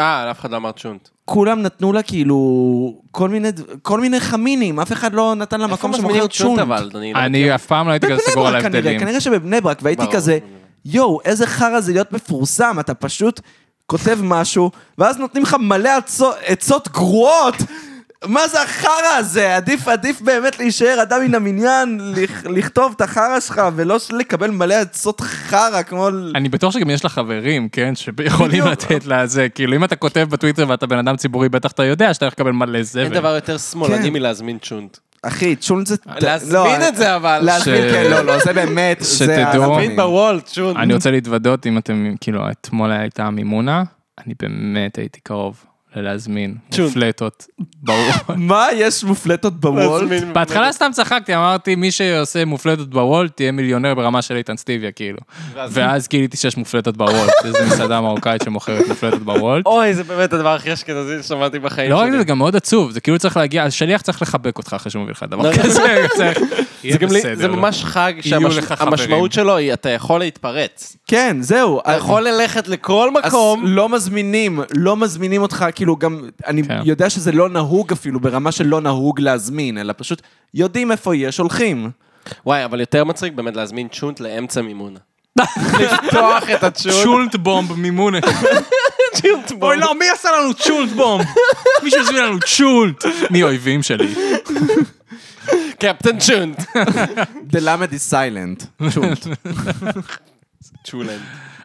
[SPEAKER 4] אה, אף אחד לא אמר צ'ונט.
[SPEAKER 2] כולם נתנו לה כאילו כל מיני, ד- כל מיני חמינים, אף אחד לא נתן לה מקום שמוכר צ'ונט.
[SPEAKER 4] אבל, דניאל?
[SPEAKER 3] אני אף פעם לא הייתי כזה
[SPEAKER 2] בבני
[SPEAKER 3] סגור על
[SPEAKER 2] ברק כנראה,
[SPEAKER 3] ההבדלים.
[SPEAKER 2] כנראה שבבני ברק, והייתי
[SPEAKER 4] ברור,
[SPEAKER 2] כזה, יואו, איזה חרא זה להיות מפורסם, אתה פשוט כותב משהו, ואז נותנים לך מלא עצו- עצות גרועות. מה זה החרא הזה? עדיף, עדיף באמת להישאר אדם מן המניין, לכ- לכתוב את החרא שלך, ולא לקבל מלא עצות חרא, כמו... ל-
[SPEAKER 3] אני בטוח שגם יש לך חברים, כן, שיכולים
[SPEAKER 2] בדיוק.
[SPEAKER 3] לתת לה זה, כאילו אם אתה כותב בטוויטר ואתה בן אדם ציבורי, בטח אתה יודע שאתה הולך לקבל מלא זבל.
[SPEAKER 4] אין דבר יותר שמאלני
[SPEAKER 2] כן.
[SPEAKER 4] מלהזמין צ'ונט.
[SPEAKER 2] אחי, צ'ולנט זה... לא,
[SPEAKER 4] להזמין את זה אבל.
[SPEAKER 2] להזמין,
[SPEAKER 3] ש-
[SPEAKER 2] כן, לא, לא, זה באמת, זה...
[SPEAKER 3] שתדעו.
[SPEAKER 2] הפנים.
[SPEAKER 4] להזמין בוול, צ'ונט.
[SPEAKER 3] אני רוצה להתוודות אם אתם, כאילו, אתמול הייתה מימונה, אני באמת הייתי קרוב ללהזמין
[SPEAKER 4] צ'ון.
[SPEAKER 3] מופלטות. ברור.
[SPEAKER 2] מה, יש מופלטות בוולט?
[SPEAKER 4] להזמין-
[SPEAKER 3] בהתחלה סתם צחקתי, אמרתי, מי שעושה מופלטות בוולט תהיה מיליונר ברמה של איתן סטיביה, כאילו. ואז גיליתי שיש מופלטות בוולט, איזו מסעדה מרוקאית שמוכרת מופלטות בוולט.
[SPEAKER 4] אוי, זה באמת הדבר הכי אשכנזי ששמעתי בחיים
[SPEAKER 3] לא רק
[SPEAKER 4] שלי.
[SPEAKER 3] זה, זה גם מאוד עצוב, זה כאילו צריך להגיע, השליח צריך לחבק אותך אחרי שהוא מביא לך דבר
[SPEAKER 4] לא, לא.
[SPEAKER 3] כזה, צריך- יהיה
[SPEAKER 4] זה גם לי-
[SPEAKER 3] בסדר.
[SPEAKER 4] זה ממש חג
[SPEAKER 3] לך חברים.
[SPEAKER 4] שהמשמעות שלו היא, אתה יכול להתפרץ.
[SPEAKER 2] כן, זהו.
[SPEAKER 4] אתה יכול ללכת לכל
[SPEAKER 2] אז
[SPEAKER 4] מקום.
[SPEAKER 2] לא מזמינים, לא מזמינים אותך, כאילו גם, אני
[SPEAKER 3] כן.
[SPEAKER 2] יודע שזה לא נהוג אפילו, ברמה של לא נהוג להזמין, אלא פשוט יודעים איפה יש, הולכים.
[SPEAKER 4] וואי, אבל יותר מצחיק באמת להזמין צ'ונט לאמצע מימונה. לפתוח את הצ'ונט.
[SPEAKER 3] צ'ולט בומב מימונה.
[SPEAKER 4] צ'ונט בו.
[SPEAKER 3] אוי לא, מי עשה לנו צ'ולט בומב? מישהו הזמין לנו צ'ולט. מי אויבים שלי?
[SPEAKER 4] קפטן צ'ונט.
[SPEAKER 2] The למד is silent.
[SPEAKER 4] צ'ולנט.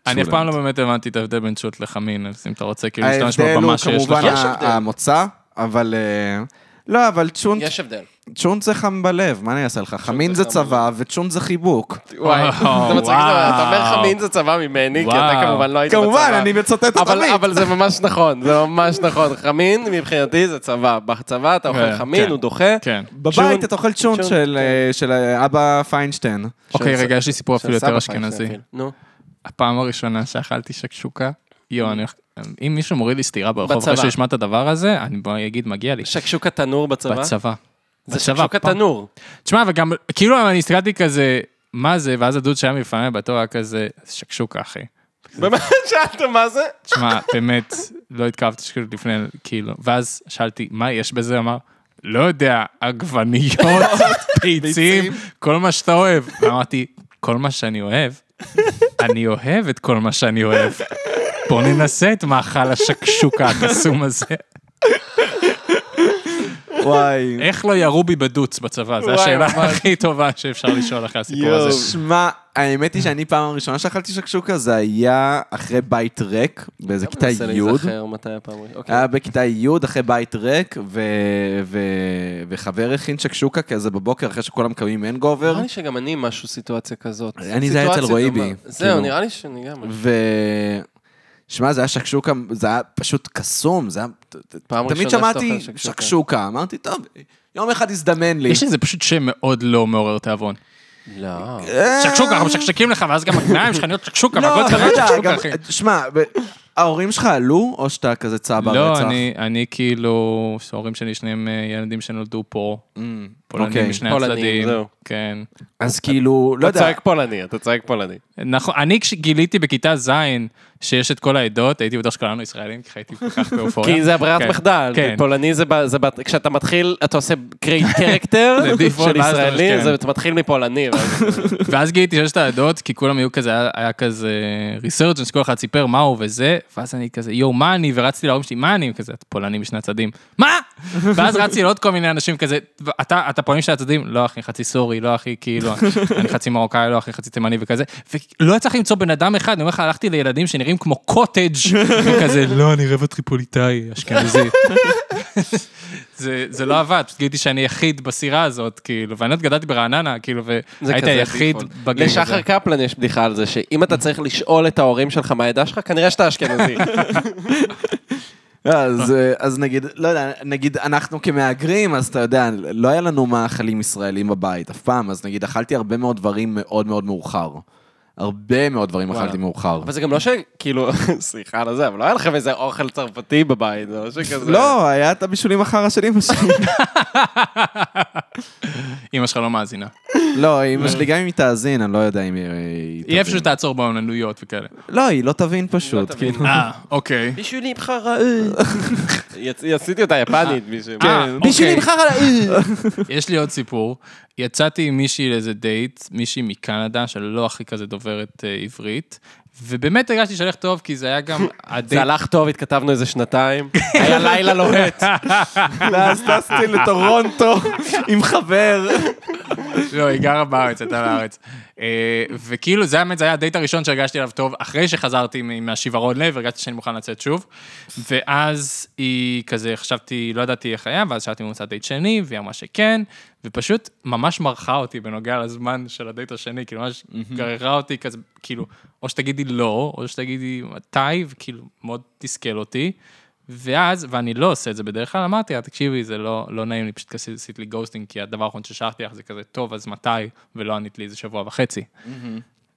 [SPEAKER 3] אני אף פעם לא באמת הבנתי את ההבדל בין צ'ולט לחמין, אז אם אתה רוצה כאילו להשתמש
[SPEAKER 2] ההבדל הוא
[SPEAKER 3] בבמה שיש
[SPEAKER 2] כמובן
[SPEAKER 3] לך.
[SPEAKER 4] יש הבדל.
[SPEAKER 2] ה- המוצא, אבל... אה, לא, אבל צ'ונט,
[SPEAKER 4] יש הבדל.
[SPEAKER 2] צ'ונט זה חם בלב, מה אני אעשה לך? חמין
[SPEAKER 4] זה
[SPEAKER 2] זה
[SPEAKER 4] חם
[SPEAKER 2] צבא וצ'ונט זה חיבוק.
[SPEAKER 4] וואי,
[SPEAKER 3] וואו.
[SPEAKER 4] זה מצחיק, אתה אתה אומר חמין זה צבא ממני, כי אתה
[SPEAKER 3] וואו.
[SPEAKER 4] כמובן לא היית בצבא.
[SPEAKER 2] כמובן, אני מצטט את
[SPEAKER 4] אבל,
[SPEAKER 2] עמית.
[SPEAKER 4] אבל זה ממש נכון, זה ממש נכון. חמין מבחינתי זה צבא. בצבא אתה אוכל
[SPEAKER 3] כן,
[SPEAKER 4] חמין,
[SPEAKER 3] כן.
[SPEAKER 4] הוא דוחה.
[SPEAKER 3] כן.
[SPEAKER 2] בבית
[SPEAKER 4] צ'ונט-
[SPEAKER 2] אתה אוכל צ'ונט
[SPEAKER 4] צ'ונט,
[SPEAKER 2] של, אה, של אה, אבא פיינשטיין.
[SPEAKER 3] אוקיי,
[SPEAKER 4] של-
[SPEAKER 3] רגע, יש לי סיפור
[SPEAKER 4] של
[SPEAKER 3] אפילו יותר
[SPEAKER 4] סבא
[SPEAKER 3] אשכנזי.
[SPEAKER 4] אפילו. נו.
[SPEAKER 3] הפעם הראשונה שאכלתי שקשוקה, יואו, אני... אם מישהו מוריד לי סטירה ברחוב
[SPEAKER 4] בצבא.
[SPEAKER 3] אחרי שישמע את הדבר הזה, אני בוא אגיד, מגיע לי.
[SPEAKER 4] שקשוקה תנור בצבא?
[SPEAKER 3] בצבא.
[SPEAKER 4] זה
[SPEAKER 3] בצבא,
[SPEAKER 4] שקשוקה
[SPEAKER 3] פעם-
[SPEAKER 4] תנור.
[SPEAKER 3] תשמע, וגם, כאילו אני הסתכלתי כזה, מה זה, ואז הדוד שהיה מלפני בתור היה כזה, "זה שקשוקה, אחי.
[SPEAKER 4] באמת שאלת מה זה?
[SPEAKER 3] תשמע, באמת, לא התקרבתי שכאילו לפני, כאילו, ואז שאלתי, מה יש בזה? הוא אמר, לא יודע, עגבניות, ביצים, כל מה שאתה אוהב. אמרתי, כל מה שאני אוהב, אני אוהב את כל מה שאני אוהב. בוא ננסה את מאכל השקשוקה הקסום הזה.
[SPEAKER 2] וואי.
[SPEAKER 3] איך לא ירו בי בדוץ בצבא? זו
[SPEAKER 4] וואי,
[SPEAKER 3] השאלה
[SPEAKER 4] ממש.
[SPEAKER 3] הכי טובה שאפשר לשאול אחרי הסיפור
[SPEAKER 4] יואו.
[SPEAKER 3] הזה.
[SPEAKER 2] שמע, האמת היא שאני פעם הראשונה שאכלתי שקשוקה זה היה אחרי בית ריק, באיזה כיתה
[SPEAKER 4] מנסה
[SPEAKER 2] י'.
[SPEAKER 4] להיזכר מתי הפעם הראשונה. אוקיי.
[SPEAKER 2] היה בכיתה י' אחרי בית ריק, ו... ו... וחבר הכין שקשוקה כזה בבוקר אחרי שכולם קמים הנגובר,
[SPEAKER 4] נראה לי שגם אני משהו סיטואציה כזאת.
[SPEAKER 2] אני, זה היה אצל
[SPEAKER 4] סיטואציה
[SPEAKER 2] רועי
[SPEAKER 4] דומה.
[SPEAKER 2] בי,
[SPEAKER 4] זהו,
[SPEAKER 2] כאילו.
[SPEAKER 4] נראה לי שאני גם.
[SPEAKER 2] ו... שמע, זה היה שקשוקה, זה היה פשוט קסום, זה היה...
[SPEAKER 4] פעם
[SPEAKER 2] תמיד
[SPEAKER 4] ראשונה שאתה אוכל
[SPEAKER 2] שמעתי
[SPEAKER 4] שקשוקה.
[SPEAKER 2] שקשוקה, אמרתי, טוב, יום אחד הזדמן לי.
[SPEAKER 3] יש לזה פשוט שם מאוד לא מעורר תיאבון.
[SPEAKER 4] לא.
[SPEAKER 3] שקשוקה, אנחנו משקשקים לך, ואז גם הגניים שלך נהיות שקשוקה,
[SPEAKER 2] לא,
[SPEAKER 3] והכל
[SPEAKER 2] אתה
[SPEAKER 3] צריך
[SPEAKER 2] לא
[SPEAKER 3] להיות
[SPEAKER 2] יודע,
[SPEAKER 3] שקשוקה,
[SPEAKER 2] גם-
[SPEAKER 3] אחי.
[SPEAKER 2] שמע, ב- ההורים שלך עלו, או שאתה כזה צבר
[SPEAKER 3] לא,
[SPEAKER 2] רצח?
[SPEAKER 3] אני- אני כאילו, ההורים שלי שניהם אה, ילדים שנולדו פה, פולנים
[SPEAKER 2] אוקיי.
[SPEAKER 3] משני
[SPEAKER 4] פולנים,
[SPEAKER 3] הצדדים.
[SPEAKER 4] זהו.
[SPEAKER 3] כן.
[SPEAKER 2] אז כאילו, לא
[SPEAKER 4] אתה
[SPEAKER 2] יודע.
[SPEAKER 4] צועק פולני, אתה צועק פולני.
[SPEAKER 3] נכון, אני כשגיליתי בכיתה ז' שיש את כל העדות, הייתי בטוח שכולנו ישראלים, כי הייתי כל כך באופוריה.
[SPEAKER 4] כי זה הברירת
[SPEAKER 3] כן,
[SPEAKER 4] מחדל.
[SPEAKER 3] כן.
[SPEAKER 4] פולני זה, ב- זה ב- כשאתה מתחיל, אתה עושה קרייט קרקטר
[SPEAKER 3] זה
[SPEAKER 4] של
[SPEAKER 3] default, ואז אתה
[SPEAKER 4] ישראלי,
[SPEAKER 3] משכן.
[SPEAKER 4] זה- אתה מתחיל מפולני. ואז-
[SPEAKER 3] ואז גיליתי שיש את העדות, כי כולם היו כזה, היה- היה כזה ריסרג'ן, שכל אחד סיפר מה הוא וזה, ואז אני כזה, יואו, מה אני? ורצתי להורים שלי, מה אני? כזה, "את פולני משני הצדדים, מה? ואז רצתי לעוד כל מיני אנשים כזה, אתה, אתה פולני משני הצדדים? לא, אחי, חצי סורי, לא, אחי, כאילו, אני חצי מרוקאי, לא, אחי, חצי תימני וכזה, ולא יצא למצוא בן אדם אחד, אני אומר לך, הלכתי לילדים שנראים כמו קוטג', וכזה, לא, אני רבע טריפוליטאי, אשכנזי. זה, זה לא עבד, פשוט גיליתי שאני יחיד בסירה הזאת, כאילו, ואני עוד גדלתי ברעננה, כאילו,
[SPEAKER 4] זה
[SPEAKER 3] והיית
[SPEAKER 4] כזה
[SPEAKER 3] היחיד
[SPEAKER 4] default.
[SPEAKER 3] בגג הזה.
[SPEAKER 4] לשחר קפלן יש בדיחה על זה, שאם אתה צריך לשאול את ההורים שלך מה העדה שלך, כנראה שאתה אשכנזי.
[SPEAKER 2] אז, אה, אז נגיד, לא יודע, נגיד אנחנו כמהגרים, אז אתה יודע, לא היה לנו מאכלים ישראלים בבית אף פעם, אז נגיד אכלתי הרבה מאוד דברים מאוד מאוד מאוחר. הרבה מאוד דברים אכלתי מאוחר.
[SPEAKER 4] אבל זה גם לא שכאילו, סליחה על זה, אבל לא היה לכם איזה אוכל צרפתי בבית, זה לא שכזה...
[SPEAKER 2] לא, היה את הבישולים אחר של אמא שלי.
[SPEAKER 3] אמא שלך לא מאזינה.
[SPEAKER 2] לא, אמא שלי, גם אם היא תאזין, אני לא יודע אם היא- היא תבין.
[SPEAKER 3] יהיה אפשר שתעצור באומנויות וכאלה.
[SPEAKER 2] לא, היא לא תבין פשוט. כאילו.
[SPEAKER 3] אה, אוקיי.
[SPEAKER 4] בישולי בחרה... עשיתי אותה יפנית, מישהו.
[SPEAKER 3] אה, אוקיי.
[SPEAKER 2] חרא.
[SPEAKER 3] יש לי עוד סיפור. יצאתי עם מישהי לאיזה דייט, מישהי מקנדה, שלא הכי כזה דוברת אה, עברית, ובאמת הרגשתי שהלך טוב, כי זה היה גם
[SPEAKER 4] זה
[SPEAKER 3] הדייט.
[SPEAKER 4] הלך טוב, התכתבנו איזה שנתיים,
[SPEAKER 3] לא,
[SPEAKER 4] היה לילה לוהט.
[SPEAKER 2] ואז טסתי לטורונטו עם חבר.
[SPEAKER 3] לא, היא גרה בארץ, הייתה בארץ. אה, וכאילו, זה האמת, זה היה הדייט הראשון שהרגשתי עליו טוב, אחרי שחזרתי מ- מהשיוורון לב, הרגשתי שאני מוכן לצאת שוב. ואז היא כזה, חשבתי, לא ידעתי איך היה, ואז שאלתי אם הוא רוצה דייט שני, והיא אמרה שכן, ופשוט ממש מרחה אותי בנוגע לזמן של הדייט השני, כאילו, ממש גררה אותי כזה, כאילו, או שתגידי לא, או שתגידי מתי, וכאילו, מאוד תסכל אותי. ואז, ואני לא עושה את זה בדרך כלל, אמרתי לה, תקשיבי, זה לא, לא נעים לי, פשוט כסי- עשית לי גוסטינג, כי הדבר האחרון ששלחתי לך זה כזה, טוב, אז מתי? ולא ענית לי איזה שבוע וחצי.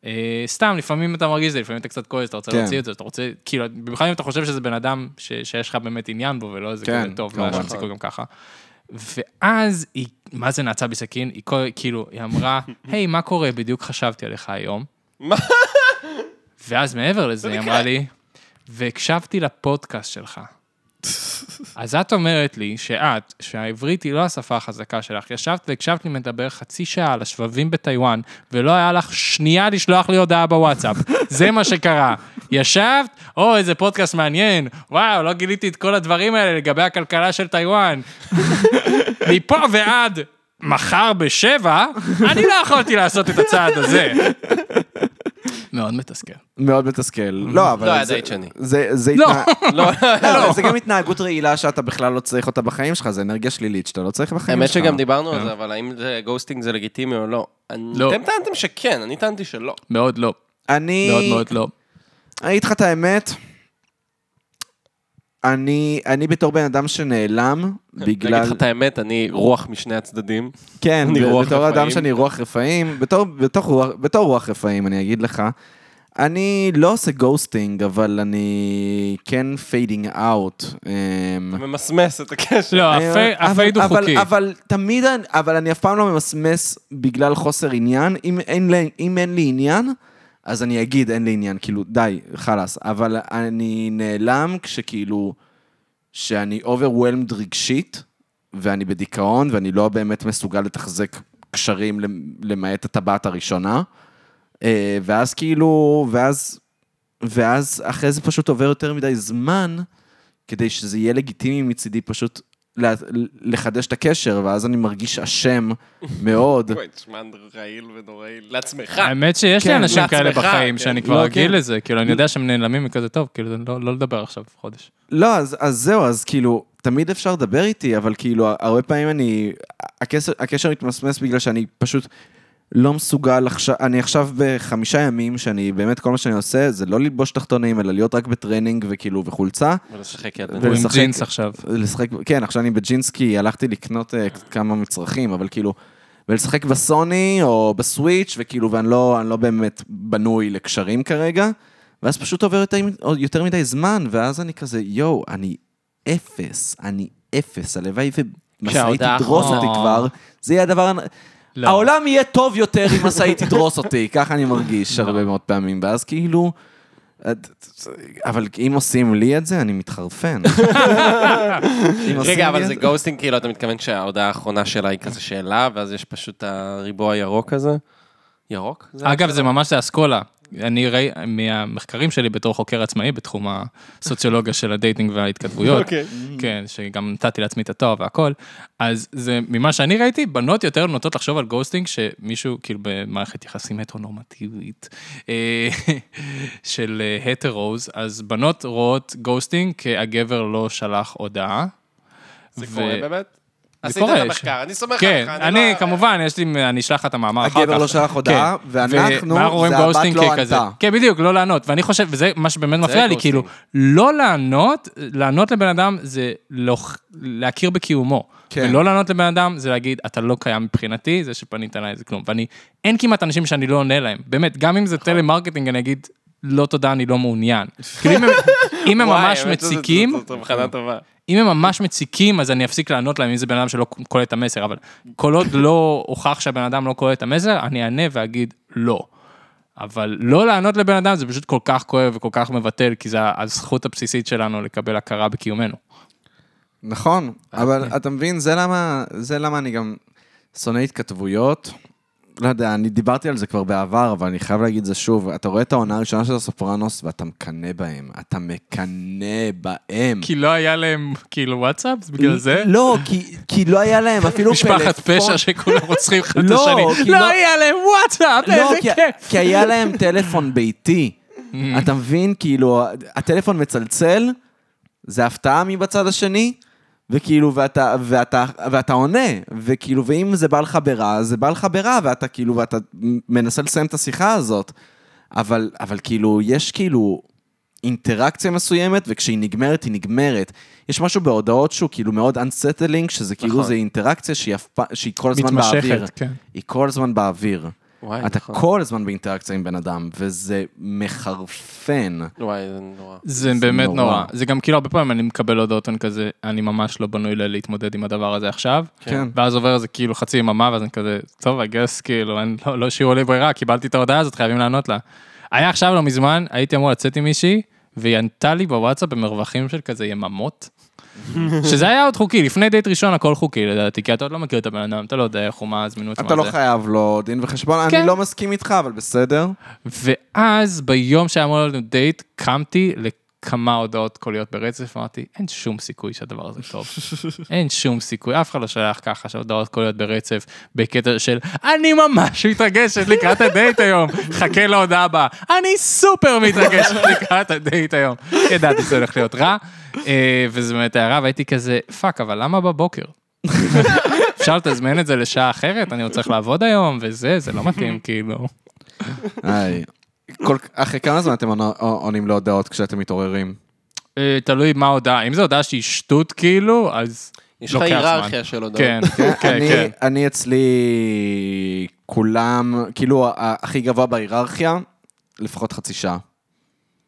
[SPEAKER 3] אה, סתם, לפעמים אתה מרגיש את זה, לפעמים אתה קצת כועס, אתה רוצה
[SPEAKER 2] כן.
[SPEAKER 3] להוציא את זה, אתה רוצה, כאילו, במיוחד אם אתה חושב שזה בן אדם ש- שיש לך באמת עניין בו, ולא איזה
[SPEAKER 2] כן,
[SPEAKER 3] כזה טוב, לא היה
[SPEAKER 2] כמובן.
[SPEAKER 3] שום סיכוי גם ככה. ואז היא, מה זה נעצה בסכין? היא כל- כאילו, היא אמרה, היי, מה קורה? בדיוק חשבתי עליך היום. ואז מעבר לזה, היא אמרה לי, והקשבתי לפודקאסט שלך. אז את אומרת לי שאת, שהעברית היא לא השפה החזקה שלך, ישבת והקשבת לי מדבר חצי שעה על השבבים בטיוואן, ולא היה לך שנייה לשלוח לי הודעה בוואטסאפ. זה מה שקרה. ישבת, או, איזה פודקאסט מעניין, וואו, לא גיליתי את כל הדברים האלה לגבי הכלכלה של טיוואן. מפה ועד מחר בשבע, אני לא יכולתי לעשות את הצעד הזה. מאוד מתסכל.
[SPEAKER 2] מאוד מתסכל. לא, אבל...
[SPEAKER 4] לא היה
[SPEAKER 2] זה-
[SPEAKER 4] דייט שני.
[SPEAKER 2] זה- זה
[SPEAKER 3] לא.
[SPEAKER 2] התנהג-
[SPEAKER 4] לא,
[SPEAKER 2] לא, אבל זה גם התנהגות רעילה שאתה בכלל לא צריך אותה בחיים שלך, זה אנרגיה שלילית שאתה לא צריך בחיים
[SPEAKER 4] האמת
[SPEAKER 3] כן,
[SPEAKER 2] שלך.
[SPEAKER 4] שגם דיברנו על זה, אבל האם זה- גוסטינג זה לגיטימי או לא? אני-
[SPEAKER 3] לא.
[SPEAKER 4] אתם טענתם שכן, אני טענתי שלא.
[SPEAKER 3] מאוד לא. מאוד
[SPEAKER 2] אני,
[SPEAKER 3] מאוד לא.
[SPEAKER 2] אני אגיד לך את האמת, אני, אני בתור בן אדם שנעלם,
[SPEAKER 4] בגלל...
[SPEAKER 2] בגלל...
[SPEAKER 4] כן, להגיד לך את האמת, אני רוח משני הצדדים.
[SPEAKER 2] כן,
[SPEAKER 4] אני
[SPEAKER 2] ב-
[SPEAKER 4] רוח
[SPEAKER 2] בתור
[SPEAKER 4] רפאים.
[SPEAKER 2] אדם שאני רוח רפאים, בתור, בתור, רוח, בתור רוח רפאים, אני אגיד לך, אני לא עושה גוסטינג, אבל אני כן אמ, פיידינג אאוט.
[SPEAKER 4] ממסמס את הקשר.
[SPEAKER 3] לא,
[SPEAKER 2] אני-
[SPEAKER 3] הפי-
[SPEAKER 2] אבל-
[SPEAKER 3] הפייד הוא
[SPEAKER 2] אבל-
[SPEAKER 3] חוקי.
[SPEAKER 2] אבל תמיד, אני- אבל אני אף פעם לא ממסמס בגלל חוסר עניין. אם אין לי- אם אין לי עניין, אז אני אגיד אין לי עניין, כאילו, די, חלאס. אבל אני נעלם כשכאילו, שאני overwhelmed רגשית, ואני בדיכאון, ואני לא באמת מסוגל לתחזק קשרים למ- למעט הטבעת הראשונה. אה, ואז כאילו, ואז, ואז אחרי זה פשוט עובר יותר מדי זמן, כדי שזה יהיה לגיטימי מצידי פשוט לה- לחדש את הקשר, ואז אני מרגיש אשם
[SPEAKER 3] לא.
[SPEAKER 2] מאוד.
[SPEAKER 4] אוי, תשמע, רעיל ונוראי. לעצמך.
[SPEAKER 3] האמת שיש לי
[SPEAKER 2] כן,
[SPEAKER 3] אנשים כאלה
[SPEAKER 4] לעצמך,
[SPEAKER 3] בחיים
[SPEAKER 4] כן.
[SPEAKER 3] שאני
[SPEAKER 2] לא,
[SPEAKER 3] כבר רגיל
[SPEAKER 2] כן.
[SPEAKER 3] לזה, כאילו, אני יודע שהם נעלמים מכזה טוב, כאילו, לא לא לדבר עכשיו חודש.
[SPEAKER 2] לא, אז, אז זהו, אז כאילו, תמיד אפשר לדבר איתי, אבל כאילו, הרבה פעמים אני... הקשר, הקשר מתמסמס בגלל שאני פשוט לא מסוגל עכשיו... אני עכשיו בחמישה ימים, שאני באמת, כל מה שאני עושה זה לא ללבוש תחתונים, אלא להיות רק בטרנינג וכאילו, וחולצה.
[SPEAKER 4] ולשחק יד.
[SPEAKER 2] ו-
[SPEAKER 3] הוא עם
[SPEAKER 2] ולשחק-
[SPEAKER 3] ג'ינס עכשיו.
[SPEAKER 2] לשחק, כן, עכשיו אני בג'ינסקי, הלכתי לקנות אה, כמה מצרכים, אבל כאילו, ולשחק בסוני או בסוויץ', וכאילו, ואני לא, אני לא באמת בנוי לקשרים כרגע, ואז פשוט עובר יותר, יותר מדי זמן, ואז אני כזה, יואו, אני אפס, אני אפס, הלוואי ומשאית
[SPEAKER 4] כשההודעה
[SPEAKER 2] תדרוס אותי
[SPEAKER 3] האחרונה-
[SPEAKER 2] כבר, זה יהיה הדבר... הנ-
[SPEAKER 3] לא.
[SPEAKER 2] העולם יהיה טוב יותר אם משאית תדרוס אותי, ככה אני מרגיש
[SPEAKER 3] נכון.
[SPEAKER 2] הרבה מאוד פעמים, ואז כאילו... את- אבל אם עושים לי את זה, אני מתחרפן. אם עושים לי
[SPEAKER 4] רגע, אבל
[SPEAKER 2] את
[SPEAKER 4] זה גוסטינג, כאילו, אתה מתכוון שההודעה האחרונה שלה היא כזה שאלה, ואז יש פשוט הריבוע הירוק הזה? ירוק? זה?
[SPEAKER 3] אגב, זה ממש האסכולה. אני ראי, מהמחקרים שלי בתור חוקר עצמאי בתחום הסוציולוגיה של הדייטינג וההתכתבויות, כן, שגם נתתי לעצמי את התואר והכל, אז זה ממה שאני ראיתי, בנות יותר נוטות לחשוב על גוסטינג, שמישהו כאילו במערכת יחסים הטרונורמטיבית אה, של אה, הטרוז, אז בנות רואות גוסטינג כהגבר לא שלח הודעה.
[SPEAKER 4] זה
[SPEAKER 3] ו-
[SPEAKER 4] קורה אה, באמת? עשית
[SPEAKER 3] קורה,
[SPEAKER 4] את המחקר, אני לא- סומך
[SPEAKER 3] כן,
[SPEAKER 4] עליך.
[SPEAKER 3] אני כמובן, יש לי, אני אשלח לך את המאמר אחר כך.
[SPEAKER 2] הגבר לא שלח הודעה,
[SPEAKER 3] כן.
[SPEAKER 2] ואנחנו,
[SPEAKER 3] ואנחנו רואים
[SPEAKER 2] זה הבת
[SPEAKER 3] גוסטינג
[SPEAKER 2] לא
[SPEAKER 3] ככזה.
[SPEAKER 2] ענתה.
[SPEAKER 3] כן, בדיוק, לא לענות. ואני חושב, וזה מה שבאמת מפריע לי,
[SPEAKER 4] גוסטינג.
[SPEAKER 3] כאילו, לא לענות, לענות לבן אדם זה לא- להכיר בקיומו.
[SPEAKER 2] כן.
[SPEAKER 3] ולא לענות לבן אדם זה להגיד, אתה לא קיים מבחינתי, זה שפנית אליי זה כלום. ואני, אין כמעט אנשים שאני לא עונה להם. באמת, גם אם זה
[SPEAKER 2] נכון.
[SPEAKER 3] טלמרקטינג, אני אגיד, לא תודה, אני לא מעוניין. כאילו, אם הם- אם הם ממש מציקים,
[SPEAKER 4] זאת הבחנה טובה.
[SPEAKER 3] אם הם ממש מציקים, אז אני אפסיק לענות להם אם זה בן אדם שלא קולט את המסר, אבל כל עוד לא הוכח שהבן אדם לא קולט את המסר, אני אענה ואגיד לא. אבל לא לענות לבן אדם זה פשוט כל כך כואב וכל כך מבטל, כי זו הזכות הבסיסית שלנו לקבל הכרה בקיומנו.
[SPEAKER 2] נכון,
[SPEAKER 3] אה,
[SPEAKER 2] אבל
[SPEAKER 3] כן.
[SPEAKER 2] אתה מבין, זה למה, זה למה אני גם שונא התכתבויות. לא יודע, אני דיברתי על זה כבר בעבר, אבל אני חייב להגיד זה שוב. אתה רואה את העונה הראשונה של הסופרנוס ואתה מקנא בהם. אתה מקנא בהם.
[SPEAKER 3] כי לא היה להם כאילו וואטסאפ, בגלל זה?
[SPEAKER 2] לא, כי, כי לא היה להם אפילו
[SPEAKER 3] משפחת פשע שכולם רוצחים אחד את
[SPEAKER 2] לא,
[SPEAKER 3] השני.
[SPEAKER 2] כי
[SPEAKER 3] לא
[SPEAKER 2] לא-
[SPEAKER 3] היה להם וואטסאפ,
[SPEAKER 2] לא,
[SPEAKER 3] איזה
[SPEAKER 2] כי,
[SPEAKER 3] כיף.
[SPEAKER 2] כי היה להם טלפון ביתי. אתה מבין? כאילו, הטלפון מצלצל, זה הפתעה מבצד השני, וכאילו, ואתה, ואתה, ואתה עונה, וכאילו, ואם זה בא לך ברע, אז זה בא לך ברע, ואתה כאילו, ואתה מנסה לסיים את השיחה הזאת. אבל, אבל כאילו, יש כאילו אינטראקציה מסוימת, וכשהיא נגמרת, היא נגמרת. יש משהו בהודעות שהוא כאילו מאוד unsettling, שזה כאילו,
[SPEAKER 4] נכון.
[SPEAKER 2] זה אינטראקציה שהיא, אף פ... שהיא כל הזמן באוויר.
[SPEAKER 3] מתמשכת, כן.
[SPEAKER 2] היא כל הזמן באוויר.
[SPEAKER 4] וואי,
[SPEAKER 2] אתה
[SPEAKER 4] נכון.
[SPEAKER 2] כל הזמן באינטראקציה עם בן אדם, וזה מחרפן.
[SPEAKER 4] וואי, זה נורא.
[SPEAKER 3] זה באמת
[SPEAKER 2] נורא.
[SPEAKER 3] נורא. זה גם כאילו הרבה פעמים אני מקבל הודעות אני כזה, אני ממש לא בנוי ל- להתמודד עם הדבר הזה עכשיו.
[SPEAKER 2] כן.
[SPEAKER 3] ואז עובר איזה כאילו חצי יממה, ואז אני כזה, טוב, I guess, כאילו, אין, לא, לא השאירו לי ברירה, קיבלתי את ההודעה הזאת, חייבים לענות לה. היה עכשיו לא מזמן, הייתי אמור לצאת עם מישהי, והיא ענתה לי בוואטסאפ במרווחים של כזה יממות. שזה היה עוד חוקי, לפני דייט ראשון הכל חוקי לדעתי, כי אתה עוד לא מכיר את הבן אדם, אתה לא יודע איך הוא, מה הזמינות, מה
[SPEAKER 2] אתה לא
[SPEAKER 3] זה.
[SPEAKER 2] חייב לו דין וחשבון,
[SPEAKER 3] כן.
[SPEAKER 2] אני לא מסכים איתך, אבל בסדר.
[SPEAKER 3] ואז ביום שהיה אמור לנו דייט, קמתי לכמה הודעות קוליות ברצף, אמרתי, אין שום סיכוי שהדבר הזה טוב. אין שום סיכוי, אף אחד לא שלח ככה שהודעות קוליות ברצף, בקטע של, אני ממש מתרגשת לקראת הדייט היום, חכה להודעה הבאה, אני סופר מתרגשת לקראת הדייט היום. ידעתי שזה הולך להיות רע, אה, וזה באמת היה רע, והייתי כזה, פאק, אבל למה בבוקר? אפשר לתזמן את זה לשעה אחרת, אני עוד צריך לעבוד היום, וזה, זה לא מתאים, כאילו.
[SPEAKER 2] היי. כל- אחרי כמה זמן אתם עונה- אה, עונים להודעות כשאתם מתעוררים?
[SPEAKER 3] אה, תלוי מה ההודעה. אם זו הודעה שהיא שטות כאילו, אז
[SPEAKER 4] יש לך
[SPEAKER 3] לוקח זמן.
[SPEAKER 4] היררכיה של הודעות.
[SPEAKER 3] כן, כן,
[SPEAKER 2] לא. אני-
[SPEAKER 3] כן.
[SPEAKER 2] אני אצלי, כולם, כאילו, ה- ה- הכי גבוה בהיררכיה, לפחות חצי שעה.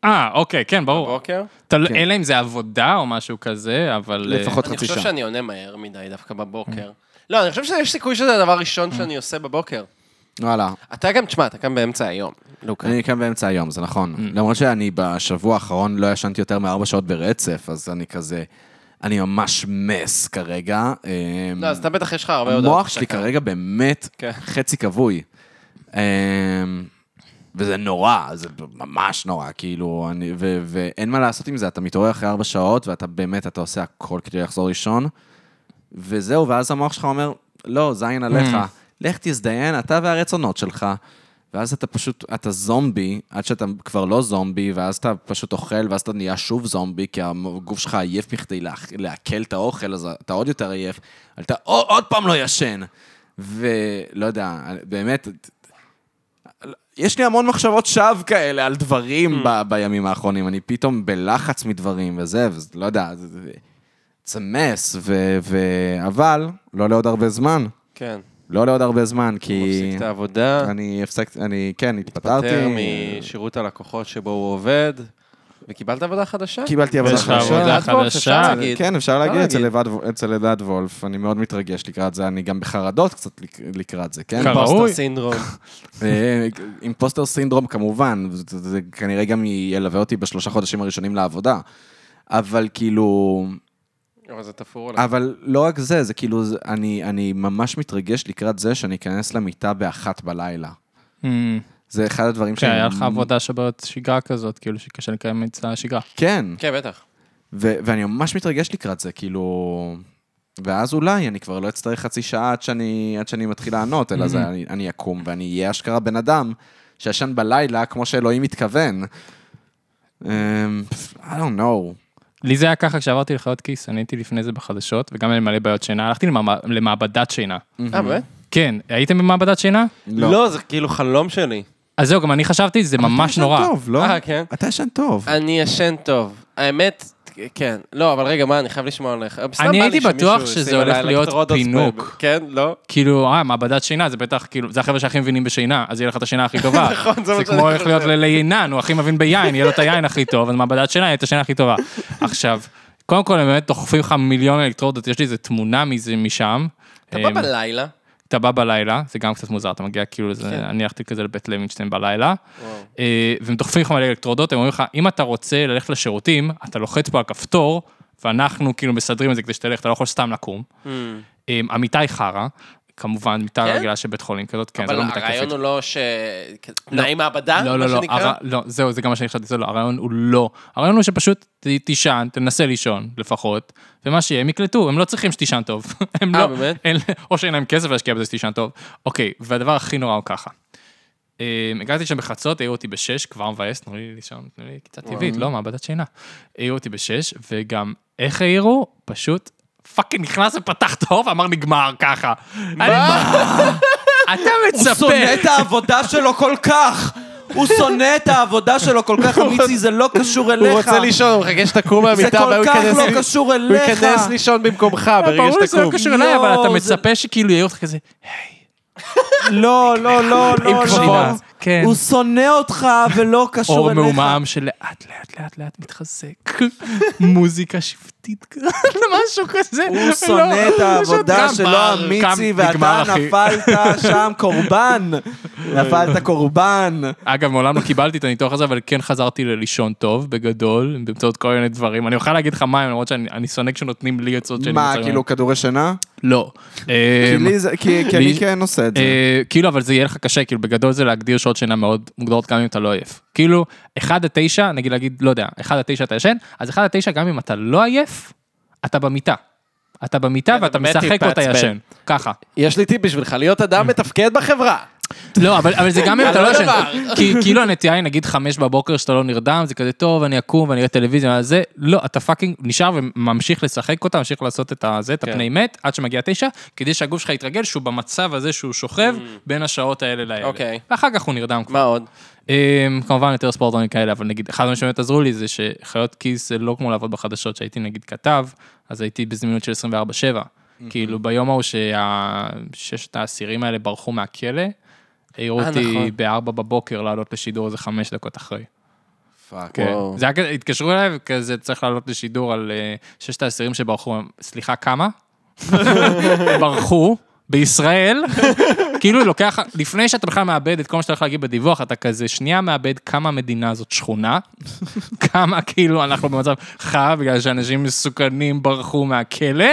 [SPEAKER 3] אה, אוקיי, כן, ברור.
[SPEAKER 4] בבוקר?
[SPEAKER 3] תל-
[SPEAKER 2] כן.
[SPEAKER 3] אלא אם זה עבודה או משהו כזה, אבל... אה,
[SPEAKER 2] לפחות
[SPEAKER 4] אני
[SPEAKER 2] חצי
[SPEAKER 4] חושב
[SPEAKER 2] שעה.
[SPEAKER 4] שאני עונה מהר מדי דווקא בבוקר. לא, אני חושב שיש סיכוי שזה הדבר הראשון
[SPEAKER 2] Mm.
[SPEAKER 4] שאני עושה בבוקר.
[SPEAKER 2] וואלה.
[SPEAKER 4] אתה גם, תשמע, אתה קם באמצע היום.
[SPEAKER 2] Mm.
[SPEAKER 4] לוקה.
[SPEAKER 2] אני קם באמצע היום, זה
[SPEAKER 4] Mm.
[SPEAKER 2] נכון. למרות שאני בשבוע האחרון לא ישנתי יותר מארבע שעות ברצף, אז אני כזה, אני ממש מס כרגע. אמ,
[SPEAKER 4] לא, אז אתה בטח יש לך הרבה הודעות.
[SPEAKER 2] המוח שלי כרגע באמת
[SPEAKER 4] כן.
[SPEAKER 2] חצי כבוי. אמ, וזה נורא, זה ממש נורא, כאילו, אני, ו, ואין מה לעשות עם זה, אתה מתעורר אחרי ארבע שעות, ואתה באמת, אתה עושה הכל כדי לחזור לישון, וזהו, ואז המוח שלך אומר, לא, זין עליך, לך תזדיין, אתה והרצונות שלך. ואז אתה פשוט, אתה זומבי, עד שאתה כבר לא זומבי, ואז אתה פשוט אוכל, ואז אתה נהיה שוב זומבי, כי הגוף שלך עייף מכדי לה- לעכל את האוכל, אז אתה עוד יותר עייף, אבל אתה עוד, עוד פעם לא ישן. ולא יודע, באמת, יש לי המון מחשבות שווא כאלה על דברים ב- בימים האחרונים, אני פתאום בלחץ מדברים וזה, ולא יודע, זה- זה- it's a mess, ו- ו- אבל לא לעוד לא הרבה זמן.
[SPEAKER 4] כן.
[SPEAKER 2] לא לעוד הרבה זמן, כי...
[SPEAKER 4] מפסיק את העבודה,
[SPEAKER 2] אני הפסקתי, אני, כן, התפטרתי.
[SPEAKER 4] יותר משירות הלקוחות שבו הוא עובד, וקיבלת עבודה חדשה?
[SPEAKER 2] קיבלתי כן, עבודה
[SPEAKER 3] יש לך
[SPEAKER 2] חדשה.
[SPEAKER 3] עבודה
[SPEAKER 4] עד פה,
[SPEAKER 3] חדשה.
[SPEAKER 4] אפשר להגיד. לא
[SPEAKER 2] כן, אפשר להגיד,
[SPEAKER 4] להגיד.
[SPEAKER 2] אצל לבד- אצל אלעד וולף, אני מאוד מתרגש לקראת זה, אני גם בחרדות קצת לק- לקראת זה, כן?
[SPEAKER 3] כמה? ראוי.
[SPEAKER 4] פוסטר סינדרום.
[SPEAKER 2] אה, אימפוסטר סינדרום כמובן, זה- זה זה כנראה גם ילווה אותי בשלושה חודשים הראשונים לעבודה. אבל כאילו,
[SPEAKER 4] אבל זה תפור עליך.
[SPEAKER 2] אבל לא רק זה, זה כאילו, זה- אני, אני ממש מתרגש לקראת זה שאני אכנס למיטה באחת בלילה. כן.
[SPEAKER 3] אמ,
[SPEAKER 2] זה אחד הדברים
[SPEAKER 3] כן, היה לך עבודה שבעת שגרה כזאת, כאילו שקשה לקיים את השגרה.
[SPEAKER 2] כן,
[SPEAKER 4] כן, בטח.
[SPEAKER 2] ו- ואני ממש מתרגש לקראת זה, כאילו... ואז אולי אני כבר לא אצטרך חצי שעה עד שאני, עד שאני מתחיל לענות, אלא
[SPEAKER 3] Mm-hmm.
[SPEAKER 2] זה, אני, אני אקום ואני אהיה אשכרה בן אדם שישן בלילה כמו שאלוהים התכוון. אמ, I don't know.
[SPEAKER 3] לי זה היה ככה כשעברתי לחיות כיס, אני הייתי לפני זה בחדשות, וגם היה לי מלא בעיות שינה, הלכתי למעמ- למעבדת שינה.
[SPEAKER 2] Mm-hmm.
[SPEAKER 4] אה, באמת?
[SPEAKER 3] כן, הייתם במעבדת שינה?
[SPEAKER 4] לא, זה כאילו חלום שלי.
[SPEAKER 3] אז זהו, גם אני חשבתי, זה ממש נורא.
[SPEAKER 2] אתה ישן טוב, לא?
[SPEAKER 4] אה, כן.
[SPEAKER 2] אתה ישן טוב.
[SPEAKER 4] אני ישן טוב. האמת, כן. לא, אבל רגע, מה, אני חייב לשמוע עליך. סתם
[SPEAKER 3] אני
[SPEAKER 4] בא
[SPEAKER 3] הייתי
[SPEAKER 4] לי שמישהו
[SPEAKER 3] בטוח
[SPEAKER 4] ישים
[SPEAKER 3] שזה הולך
[SPEAKER 4] עליי
[SPEAKER 3] להיות
[SPEAKER 4] אלקטרודות
[SPEAKER 3] פינוק.
[SPEAKER 4] ב- כן, לא?
[SPEAKER 3] כאילו, אה, מעבדת שינה, זה בטח, כאילו, זה החבר'ה שהכי מבינים בשינה, אז יהיה לך את השינה הכי טובה.
[SPEAKER 4] נכון, זה מה
[SPEAKER 3] זה
[SPEAKER 4] שאני
[SPEAKER 3] כמו הולך
[SPEAKER 4] חושב.
[SPEAKER 3] להיות ל- ליינן, הוא הכי מבין ביין, יהיה לו את היין הכי טוב, אז מעבדת שינה, יהיה את השינה הכי טובה. עכשיו, קודם כל, הם באמת דוחפים לך מיליון אלקטרודות, יש לי איזה תמונה מזה, משם. אמ,
[SPEAKER 4] אתה בא בלילה.
[SPEAKER 3] אתה בא בלילה, זה גם קצת מוזר, אתה מגיע כאילו
[SPEAKER 4] כן.
[SPEAKER 3] לזה, אני הלכתי כזה לבית לוינשטיין בלילה, אה, והם דוחפים לך מלא אלקטרודות, הם אומרים לך, אם אתה רוצה ללכת לשירותים, אתה לוחץ פה על כפתור, ואנחנו כאילו מסדרים את זה כדי שתלך, אתה לא יכול סתם לקום. אה, המיטה היא חרא, כמובן, מיטה
[SPEAKER 4] כן?
[SPEAKER 3] רגילה של בית חולים כזאת, כן, זה
[SPEAKER 4] אבל
[SPEAKER 3] לא מיטה
[SPEAKER 4] הרעיון
[SPEAKER 3] כיפית.
[SPEAKER 4] הוא לא ש... תנאי מעבדה,
[SPEAKER 3] לא, לא,
[SPEAKER 4] מה
[SPEAKER 3] לא,
[SPEAKER 4] שנקרא?
[SPEAKER 3] הר- לא, זהו, זה גם מה שאני חשבתי, זה לא, הרעיון הוא לא. הרעיון הוא שפשוט ת- תישן, תנסה לישון לפחות, ומה שיהיה, הם יקלטו, הם לא צריכים שתישן טוב. הם
[SPEAKER 4] אה,
[SPEAKER 3] לא,
[SPEAKER 4] באמת?
[SPEAKER 3] אין- או שאין להם כסף להשקיע בזה שתישן טוב. אוקיי, והדבר הכי נורא הוא ככה. אמ, הגעתי שם בחצות, העירו אותי בשש, כבר מבאס, תנו לי לישון, תנו לי קצת טבעית, לא, מעבדת שינה. העירו אותי בשש, וגם איך העירו? פשוט פאקינג נכנס ופתח את האור ואמר נגמר ככה. אני- אתה מצפה.
[SPEAKER 12] הוא שונא את העבודה שלו כל כך! הוא שונא את העבודה שלו כל כך, אמיצי, זה לא קשור אליך.
[SPEAKER 4] הוא רוצה לישון, הוא מחכה שתקום
[SPEAKER 12] זה
[SPEAKER 4] מהמיטה,
[SPEAKER 12] כל
[SPEAKER 4] והוא
[SPEAKER 12] כך
[SPEAKER 4] ייכנס-
[SPEAKER 12] לא אה, קשור
[SPEAKER 4] הוא
[SPEAKER 12] אליך.
[SPEAKER 4] ייכנס לישון במקומך ברגע
[SPEAKER 3] ברור לי שזה לא
[SPEAKER 4] שתקום.
[SPEAKER 3] קשור אליי, אבל אתה
[SPEAKER 12] יואו, זה-
[SPEAKER 3] מצפה שכאילו יהיה אותך כזה,
[SPEAKER 12] לא, לא, לא, לא, לא.
[SPEAKER 3] כפפות, כן.
[SPEAKER 12] הוא שונא אותך ולא קשור
[SPEAKER 3] אור
[SPEAKER 12] אליך.
[SPEAKER 3] מעומעם שלאט לאט לאט לאט מתחזק, מוזיקה שבטית, כזה, משהו כזה.
[SPEAKER 12] הוא שונא
[SPEAKER 2] לא,
[SPEAKER 12] את העבודה שלו, מיצי, ואתה נפלת שם קורבן.
[SPEAKER 2] אה.
[SPEAKER 12] נפלת קורבן.
[SPEAKER 3] אגב, מעולם לא קיבלתי את הניתוח הזה, אבל כן חזרתי ללישון טוב, בגדול, באמצעות כל מיני דברים. אני אוכל להגיד לך מה הם, למרות שאני אני שונא כשנותנים לי עצות שאני
[SPEAKER 2] מה,
[SPEAKER 3] מוצא-
[SPEAKER 2] כאילו כדורי שינה?
[SPEAKER 3] לא.
[SPEAKER 2] כי
[SPEAKER 3] אמ,
[SPEAKER 2] אה, לי זה- כי כי אני
[SPEAKER 3] לי-
[SPEAKER 2] כן עושה את זה.
[SPEAKER 3] אה, כאילו, אבל זה יהיה לך קשה, כאילו, בגדול זה להגדיר שעות שינה מאוד מוגדרות גם אם אתה לא עייף. כאילו, 1 עד 9, נגיד להגיד, לא יודע, 1 עד 9 אתה ישן, אז 1 עד 9 גם אם אתה לא עייף, אתה במיטה. אתה במיטה
[SPEAKER 4] כן, אתה
[SPEAKER 3] ואתה
[SPEAKER 4] באמת
[SPEAKER 3] משחק ואתה
[SPEAKER 4] טיפ-טאצ
[SPEAKER 3] ישן. ככה.
[SPEAKER 4] יש לי טיפ בשבילך, להיות אדם מתפקד בחברה.
[SPEAKER 3] לא, אבל, אבל זה גם אם אתה לא
[SPEAKER 4] אותו
[SPEAKER 3] ישן.
[SPEAKER 4] דבר.
[SPEAKER 3] כי כאילו הנטייה היא נגיד חמש בבוקר שאתה לא נרדם, זה כזה טוב, אני אקום ואני אראה טלוויזיה, אז זה, לא, אתה פאקינג נשאר וממשיך לשחק אותה, ממשיך לעשות את הזה, את
[SPEAKER 4] כן.
[SPEAKER 3] הפני מת, עד שמגיע תשע, כדי שהגוף שלך יתרגל שהוא במצב הזה שהוא שוכב בין השעות האלה לאלה.
[SPEAKER 4] Mm. אוקיי.
[SPEAKER 3] ואחר כך הוא נרדם כבר.
[SPEAKER 4] מה עוד?
[SPEAKER 3] אמ, כמובן יותר ספורטונים כאלה, אבל נגיד, אחד הדברים שבאמת עזרו לי זה שחיות כיס זה לא כמו לעבוד בחדשות, שהייתי נגיד כתב, אז הייתי בזמינות של 24-7. כאילו ביום ההוא שהששת האסירים האלה ברחו מהכלא, העירו
[SPEAKER 4] אה,
[SPEAKER 3] אותי
[SPEAKER 4] נכון.
[SPEAKER 3] בארבע בבוקר לעלות לשידור איזה חמש דקות אחרי.
[SPEAKER 2] פאק.
[SPEAKER 3] כן.
[SPEAKER 4] וואו.
[SPEAKER 3] זה היה כזה, התקשרו אליי וכזה צריך לעלות לשידור על אה, ששת האסירים שברחו, סליחה, כמה? ברחו. בישראל, כאילו לוקח, לפני שאתה בכלל מאבד את כל מה שאתה הולך להגיד בדיווח, אתה כזה שנייה מאבד כמה המדינה הזאת שכונה, כמה כאילו אנחנו במצב חרא בגלל שאנשים מסוכנים ברחו מהכלא,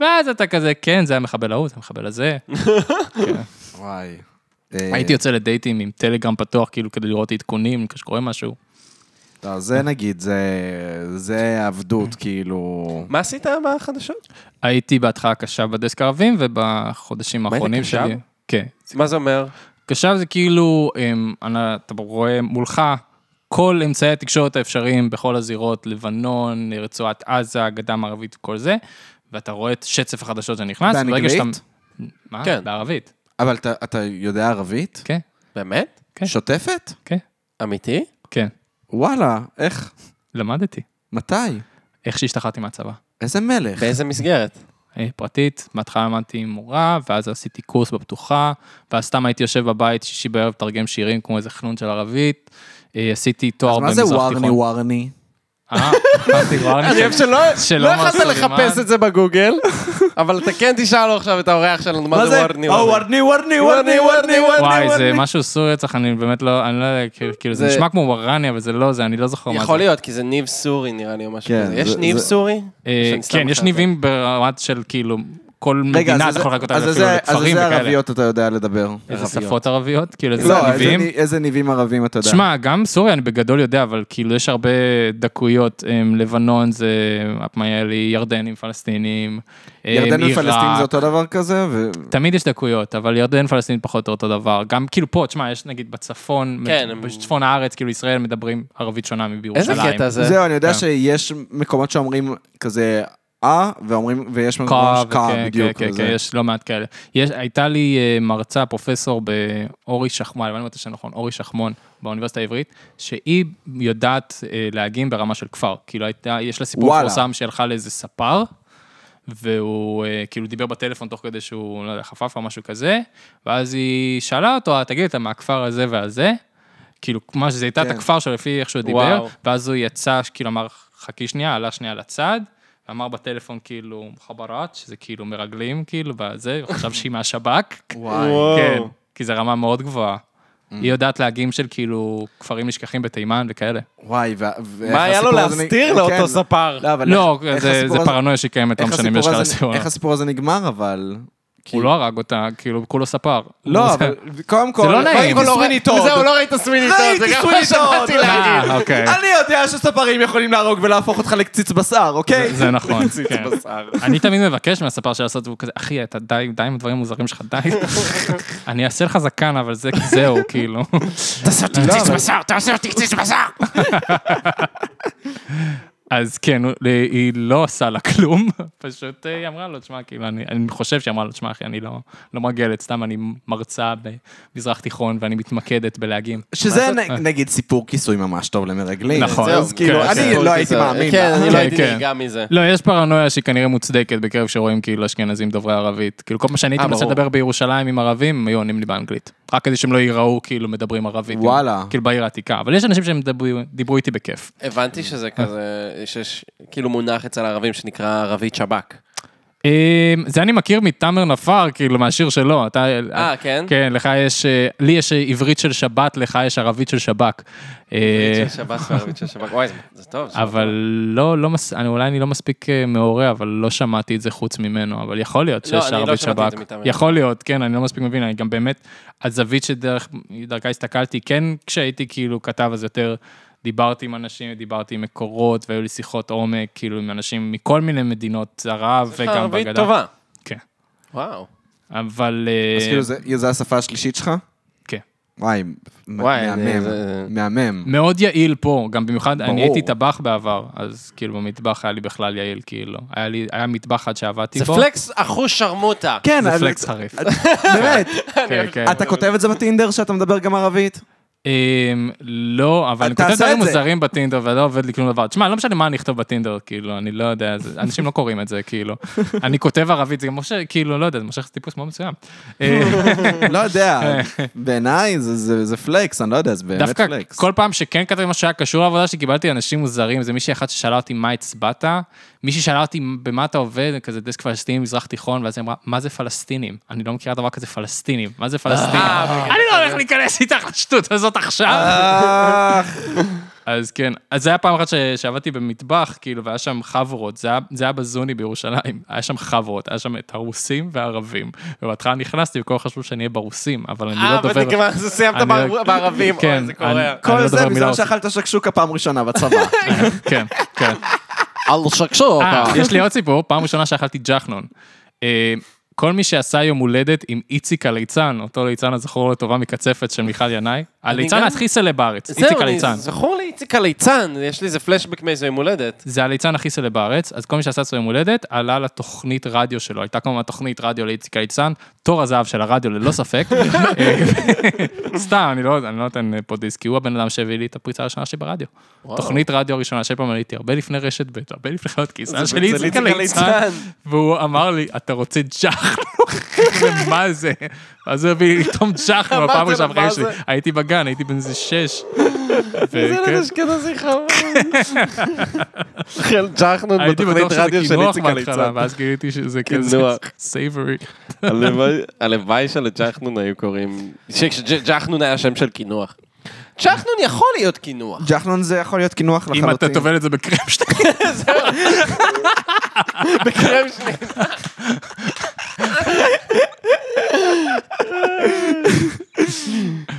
[SPEAKER 3] ואז אתה כזה, כן, זה המחבל ההוא, זה המחבל הזה.
[SPEAKER 2] וואי. אה,
[SPEAKER 3] הייתי יוצא לדייטים עם טלגרם פתוח, כאילו כדי לראות עדכונים, כשקורה משהו.
[SPEAKER 2] לא, זה נגיד, זה- זה עבדות, כאילו...
[SPEAKER 4] מה עשית בחדשות?
[SPEAKER 3] הייתי בהתחלה קשב בדסק הערבים, ובחודשים
[SPEAKER 4] זה,
[SPEAKER 3] האחרונים
[SPEAKER 4] קשב?
[SPEAKER 3] שלי... כן.
[SPEAKER 4] מה זה אומר?
[SPEAKER 3] קשב זה כאילו, אמ, אנ- אתה רואה מולך כל אמצעי התקשורת האפשריים בכל הזירות, לבנון, רצועת עזה, הגדה המערבית וכל זה, ואתה רואה את שצף החדשות שנכנס.
[SPEAKER 2] באנגלית?
[SPEAKER 3] ברגע שאתה- מה?
[SPEAKER 4] כן.
[SPEAKER 3] בערבית.
[SPEAKER 2] אבל אתה- אתה יודע ערבית?
[SPEAKER 3] כן,
[SPEAKER 4] באמת?
[SPEAKER 3] כן.
[SPEAKER 2] שוטפת?
[SPEAKER 3] כן,
[SPEAKER 4] אמיתי?
[SPEAKER 3] כן.
[SPEAKER 2] וואלה, איך?
[SPEAKER 3] למדתי.
[SPEAKER 2] מתי?
[SPEAKER 3] איך שהשתחררתי מהצבא.
[SPEAKER 2] איזה מלך.
[SPEAKER 4] באיזה מסגרת?
[SPEAKER 3] אה, פרטית, בהתחלה למדתי עם מורה, ואז עשיתי קורס בפתוחה, ואז סתם הייתי יושב בבית שישי בערב, מתרגם שירים כמו איזה חנון של ערבית, אה, עשיתי תואר
[SPEAKER 2] אז מה
[SPEAKER 3] במזרח
[SPEAKER 2] זה
[SPEAKER 3] תיכון.
[SPEAKER 2] וורני וורני?
[SPEAKER 3] אה, הבנתי, ווארני.
[SPEAKER 4] אני אוהב שלא
[SPEAKER 3] של
[SPEAKER 4] לא
[SPEAKER 3] עומר
[SPEAKER 4] יכולת
[SPEAKER 3] סולימאן.
[SPEAKER 4] לחפש את זה בגוגל, אבל אתה כן תשאל לו עכשיו את האורח שלנו, מה זה וורני
[SPEAKER 2] או,
[SPEAKER 4] וורני.
[SPEAKER 2] אה, וורני וורני וורני וורני וורני
[SPEAKER 3] וואי, זה
[SPEAKER 2] וורני.
[SPEAKER 3] משהו סורי רצח, אני באמת לא, אני לא יודע, כאילו- כאילו, זה
[SPEAKER 4] זה-
[SPEAKER 3] נשמע כמו ווארני, אבל זה לא זה, אני לא זוכר מה זה.
[SPEAKER 4] יכול להיות, כי זה ניב סורי נראה לי או משהו
[SPEAKER 2] כן,
[SPEAKER 4] כזה. יש
[SPEAKER 2] זה-
[SPEAKER 4] ניב
[SPEAKER 2] זה-
[SPEAKER 4] סורי?
[SPEAKER 3] אה,
[SPEAKER 4] שאני סתם
[SPEAKER 3] כן, יש
[SPEAKER 4] מחרטט.
[SPEAKER 3] ניבים ברמת של כאילו, כל
[SPEAKER 2] רגע,
[SPEAKER 3] מדינה,
[SPEAKER 2] אז
[SPEAKER 3] אתה יכול לחלק אותה
[SPEAKER 2] איזה- אז
[SPEAKER 3] אפילו
[SPEAKER 2] איזה- אז
[SPEAKER 3] לכפרים
[SPEAKER 2] איזה
[SPEAKER 3] וכאלה.
[SPEAKER 2] ערביות אתה יודע לדבר?
[SPEAKER 3] איזה שפות ערביות? כאילו, איזה
[SPEAKER 2] לא, איזה
[SPEAKER 3] ניבים?
[SPEAKER 2] ני- איזה ניבים ערבים אתה יודע?
[SPEAKER 3] שמע, גם סוריה אני בגדול יודע, אבל כאילו יש הרבה דקויות, אמ, לבנון זה אפמיילי, ירדנים, פלסטינים, אמ,
[SPEAKER 2] ירדן ופלסטין
[SPEAKER 3] עיראק.
[SPEAKER 2] זה אותו דבר כזה? ו-
[SPEAKER 3] תמיד יש דקויות, אבל ירדן פלסטין פחות או אותו דבר. גם כאילו פה, תשמע, יש נגיד בצפון,
[SPEAKER 4] כן,
[SPEAKER 3] מד-
[SPEAKER 4] הם-
[SPEAKER 3] בצפון הארץ, כאילו ישראל מדברים ערבית שונה
[SPEAKER 4] איזה
[SPEAKER 3] מבירושלים.
[SPEAKER 4] קטע זה?
[SPEAKER 2] זהו, אני יודע
[SPEAKER 3] כן.
[SPEAKER 2] שיש מקומות שאומרים כזה אה, ואומרים, ויש מקומות
[SPEAKER 3] קו,
[SPEAKER 2] שקה,
[SPEAKER 3] כן, כן,
[SPEAKER 2] בדיוק.
[SPEAKER 3] כן,
[SPEAKER 2] וזה.
[SPEAKER 3] כן, יש לא מעט כאלה. יש, הייתה לי אה, מרצה, פרופסור באורי שחמון, אני לא יודעת שנכון, אורי שחמון, באוניברסיטה העברית, שהיא יודעת אה, להגים ברמה של כפר. כאילו הייתה, יש לה סיפור
[SPEAKER 2] וואלה.
[SPEAKER 3] מפורסם שהיא הלכה לאיזה ספר, והוא אה, כאילו דיבר בטלפון תוך כדי שהוא, לא יודע, חפף או משהו כזה, ואז היא שאלה אותו, "אה, תגיד, אתה מהכפר הזה והזה? כאילו, מה שזה הייתה את
[SPEAKER 2] כן.
[SPEAKER 3] הכפר שלו לפי איך שהוא דיבר,
[SPEAKER 4] וואו.
[SPEAKER 3] ואז הוא יצא, כאילו אמר, חכי שנייה, עלה שנייה לצד, ואמר בטלפון כאילו, חברת, שזה כאילו מרגלים, כאילו, בזה, הוא חשב שהיא מהשב"כ.
[SPEAKER 2] וואי.
[SPEAKER 3] כן, כי זו רמה מאוד גבוהה.
[SPEAKER 2] Mm.
[SPEAKER 3] היא יודעת להגים של כאילו כפרים נשכחים בתימן וכאלה.
[SPEAKER 2] וואי, ו- ואיך
[SPEAKER 4] מה היה לו
[SPEAKER 2] הסיפור הזה נ-
[SPEAKER 4] להסתיר
[SPEAKER 2] כן,
[SPEAKER 4] לאותו ספר?
[SPEAKER 2] לא, אבל
[SPEAKER 3] לא,
[SPEAKER 2] איך- איך
[SPEAKER 3] זה-
[SPEAKER 2] הסיפור
[SPEAKER 3] זה
[SPEAKER 2] הזה-
[SPEAKER 3] פרנויה שקיימת, לא
[SPEAKER 2] איך
[SPEAKER 3] משנה אם יש
[SPEAKER 2] הסיפור
[SPEAKER 3] לך
[SPEAKER 2] הזה-
[SPEAKER 3] לסיפור.
[SPEAKER 2] איך הסיפור הזה נגמר, אבל...
[SPEAKER 3] הוא לא הרג אותה, כאילו, הוא כולו ספר. הוא-
[SPEAKER 2] לא, אבל קודם כל...
[SPEAKER 3] זה לא נעים.
[SPEAKER 2] ראיתי
[SPEAKER 3] אבל
[SPEAKER 2] סוויני טוד.
[SPEAKER 4] זהו, לא ראית סוויניטות, זה
[SPEAKER 2] ראיתי
[SPEAKER 4] גם מה
[SPEAKER 2] סוויניטות.
[SPEAKER 4] שבאתי להגיד.
[SPEAKER 3] אה, אוקיי.
[SPEAKER 2] אני יודע שספרים יכולים להרוג ולהפוך אותך לקציץ בשר, אוקיי?
[SPEAKER 3] זה נכון, כן.
[SPEAKER 2] בשר.
[SPEAKER 3] אני תמיד מבקש מהספר של לעשות, והוא כזה, אחי, אתה די, די עם הדברים המוזרים שלך, די. אני אעשה לך זקן, אבל זה, זהו, כאילו.
[SPEAKER 4] תעשה אותי קציץ בשר, תעשה אותי קציץ בשר.
[SPEAKER 3] אז כן, הוא- היא לא עשה לה כלום, פשוט אה, היא אמרה לו, תשמע, כאילו, אני, אני חושב שהיא אמרה לו, תשמע, אחי, אני לא, לא מרגלת, סתם אני מרצה במזרח תיכון ואני מתמקדת בלהגים.
[SPEAKER 2] שזה נ- נגיד סיפור כיסוי ממש טוב למרגלים.
[SPEAKER 3] נכון.
[SPEAKER 2] אז
[SPEAKER 3] כן,
[SPEAKER 2] כאילו,
[SPEAKER 3] כן.
[SPEAKER 2] אני לא הייתי מאמין.
[SPEAKER 4] כן,
[SPEAKER 2] לה.
[SPEAKER 4] אני
[SPEAKER 3] כן,
[SPEAKER 4] לא הייתי
[SPEAKER 3] כן.
[SPEAKER 4] נרגע מזה.
[SPEAKER 3] לא, יש פרנויה שהיא כנראה מוצדקת בקרב שרואים כאילו אשכנזים דוברי ערבית. כאילו, כל פעם שאני הייתי
[SPEAKER 4] אה,
[SPEAKER 3] מנסה
[SPEAKER 4] ברור.
[SPEAKER 3] לדבר בירושלים עם ערבים, הם היו עונים לי באנגלית. רק כדי שהם לא ייראו כאילו מדברים ערבית.
[SPEAKER 2] וואלה.
[SPEAKER 3] כאילו, בעיר העתיקה. אבל יש אנשים שהם דברו- דיברו איתי בכיף.
[SPEAKER 4] הבנתי שזה כזה, שיש כאילו מונח אצל הערבים שנקרא ערבית שב"כ.
[SPEAKER 3] אמ, זה אני מכיר מתאמר נפאר, כאילו, מהשיר שלו. אתה...
[SPEAKER 4] אה, כן?
[SPEAKER 3] כן, לך יש... אה, לי יש אה, עברית של שבת, לך יש ערבית של שב"כ. אה,
[SPEAKER 4] ערבית של שב"כ וערבית של שב"כ, וואי, זה- זה טוב. זה
[SPEAKER 3] אבל לא, לא מס... אני, אולי אני לא מספיק אה, מעורה, אבל לא שמעתי את זה חוץ ממנו, אבל יכול להיות
[SPEAKER 4] לא,
[SPEAKER 3] שיש
[SPEAKER 4] אני לא
[SPEAKER 3] ערבית
[SPEAKER 4] שמעתי את
[SPEAKER 3] שב"כ.
[SPEAKER 4] זה מטעמנו.
[SPEAKER 3] יכול להיות, כן, אני לא מספיק מבין, אני גם באמת, הזווית שדרכה הסתכלתי, כן, כשהייתי כאילו כתב אז יותר, דיברתי עם אנשים, דיברתי עם מקורות, והיו לי שיחות עומק, כאילו, עם אנשים מכל מיני מדינות ערב
[SPEAKER 4] טוב.
[SPEAKER 3] וגם
[SPEAKER 4] ערבית
[SPEAKER 3] בגדה.
[SPEAKER 4] טובה.
[SPEAKER 3] כן.
[SPEAKER 4] וואו.
[SPEAKER 3] אבל...
[SPEAKER 2] אז
[SPEAKER 3] אה,
[SPEAKER 2] כאילו, זה- זו השפה השלישית שלך?
[SPEAKER 3] כן.
[SPEAKER 2] וואי,
[SPEAKER 4] וואי,
[SPEAKER 2] מהמם.
[SPEAKER 4] זה- זה-
[SPEAKER 2] מהמם.
[SPEAKER 3] מאוד יעיל פה, גם במיוחד,
[SPEAKER 2] ברור.
[SPEAKER 3] אני הייתי טבח בעבר, אז כאילו במטבח היה לי בכלל יעיל, כאילו. היה לי, היה מטבח אחד שעבדתי
[SPEAKER 4] זה
[SPEAKER 3] בו.
[SPEAKER 4] פלקס אחוש שרמוטה.
[SPEAKER 2] כן,
[SPEAKER 3] זה
[SPEAKER 2] אבל-
[SPEAKER 3] פלקס חריף.
[SPEAKER 2] באמת.
[SPEAKER 3] כן, כן.
[SPEAKER 2] אתה כותב את זה בטינדר שאתה מדבר גם ערבית?
[SPEAKER 3] אמ, לא, אבל אני
[SPEAKER 2] תעשה
[SPEAKER 3] כותב
[SPEAKER 2] את
[SPEAKER 3] דברים
[SPEAKER 2] זה.
[SPEAKER 3] מוזרים בטינדר ולא עובד לי כלום דבר. תשמע, לא משנה מה אני אכתוב בטינדר, כאילו, אני לא יודע, זה- אנשים לא קוראים את זה, כאילו. אני כותב ערבית, זה מושך, כאילו, לא יודע, זה מושך טיפוס מאוד מסוים. אה,
[SPEAKER 2] לא יודע, בעיניי זה- זה זה פלקס, אני לא יודע, זה באמת
[SPEAKER 3] כן. דווקא
[SPEAKER 2] פלקס.
[SPEAKER 3] כל פעם שכן כתבתי משהו שהיה קשור לעבודה שלי, קיבלתי אנשים מוזרים, זה מישהי אחת ששאלה אותי מה הצבעת, מישהי שאלה אותי במה אתה עובד, כזה דסק פלסטיני, מזרח תיכון, ואז היא אמרה, מה זה פלסטינים? אני לא מכירה דבר כזה פלסטינים, מה זה פלסטינים? אני לא הולך להיכנס איתך לשטות הזאת עכשיו.
[SPEAKER 2] אה,
[SPEAKER 3] אז כן, אז זה היה פעם אחת ש- שעבדתי במטבח, כאילו, והיה שם חברות, זה היה- זה היה בזוני בירושלים, היה שם חברות, היה שם את הרוסים והערבים. ובהתחלה נכנסתי, וכולם חשבו שאני אהיה ברוסים, אבל אני לא
[SPEAKER 4] אה,
[SPEAKER 3] דובר...
[SPEAKER 4] וכבר סיימת
[SPEAKER 3] אני-
[SPEAKER 4] בערב- בערבים,
[SPEAKER 3] כן,
[SPEAKER 4] אוי, זה קורע.
[SPEAKER 3] אני- אני
[SPEAKER 2] כל
[SPEAKER 3] לא
[SPEAKER 2] זה
[SPEAKER 3] דובר מילה
[SPEAKER 2] בזמן שאכלת שקשוקה פעם ראשונה בצבא.
[SPEAKER 3] כן, כן.
[SPEAKER 13] על שקשור.
[SPEAKER 3] אה, יש לי עוד סיפור, פעם ראשונה שאכלתי ג'חנון. אה, כל מי שעשה יום הולדת עם איציק הליצן, אותו ליצן הזכור לטובה מקצפת של מיכל ינאי, הליצן
[SPEAKER 4] גם-
[SPEAKER 3] הכי סלב בארץ,
[SPEAKER 4] זהו,
[SPEAKER 3] איציק
[SPEAKER 4] אני-
[SPEAKER 3] הליצן.
[SPEAKER 4] זכור לי איציק הליצן, יש לי איזה פלשבק מאיזה יום הולדת.
[SPEAKER 3] זה הליצן הכי סלב בארץ, אז כל מי שעשה אצלו יום הולדת, עלה לתוכנית רדיו שלו, הייתה כמובן תוכנית רדיו לאיציק הליצן, תור הזהב של הרדיו ללא ספק. סתם, אני לא אני לא נותן פה דיסק, כי הוא הבן אדם שהביא לי את הפריצה הראשונה שלי ברדיו. תוכנית רדיו הראשונה שאי פעם עליתי, הרבה לפני רשת ב', הרבה לפני חיות כיסה של איציק הליצן, והוא אמר לי, אתה רוצה ג'חנוך? ומה זה? אז הוא הביא לי פתאום ג'חנוך, הפעם
[SPEAKER 4] אמרת לו,
[SPEAKER 3] הראשונה
[SPEAKER 4] "מה
[SPEAKER 3] בחיים שלי.
[SPEAKER 4] זה?"
[SPEAKER 3] הייתי בגן, הייתי בן איזה שש. וכן.
[SPEAKER 4] אשכנזי חמוד. אוכל ג'חנון
[SPEAKER 3] הייתי
[SPEAKER 4] בתוכנית
[SPEAKER 3] בטוח
[SPEAKER 4] רדיו
[SPEAKER 3] שזה
[SPEAKER 4] של
[SPEAKER 3] קינוח
[SPEAKER 4] איציק
[SPEAKER 3] בהתחלה,
[SPEAKER 4] הליצן.
[SPEAKER 3] ואז גיליתי שזה כזה
[SPEAKER 4] קינוח.
[SPEAKER 3] סייברי.
[SPEAKER 4] הלוואי- הלוואי שלג'חנון היו קוראים... שג'חנון היה שם של קינוח. ג'חנון יכול להיות קינוח.
[SPEAKER 2] ג'חנון זה יכול להיות קינוח לחלוטין.
[SPEAKER 3] אם אתה טובל את זה בקרם שאתה...
[SPEAKER 4] בקרם שלי.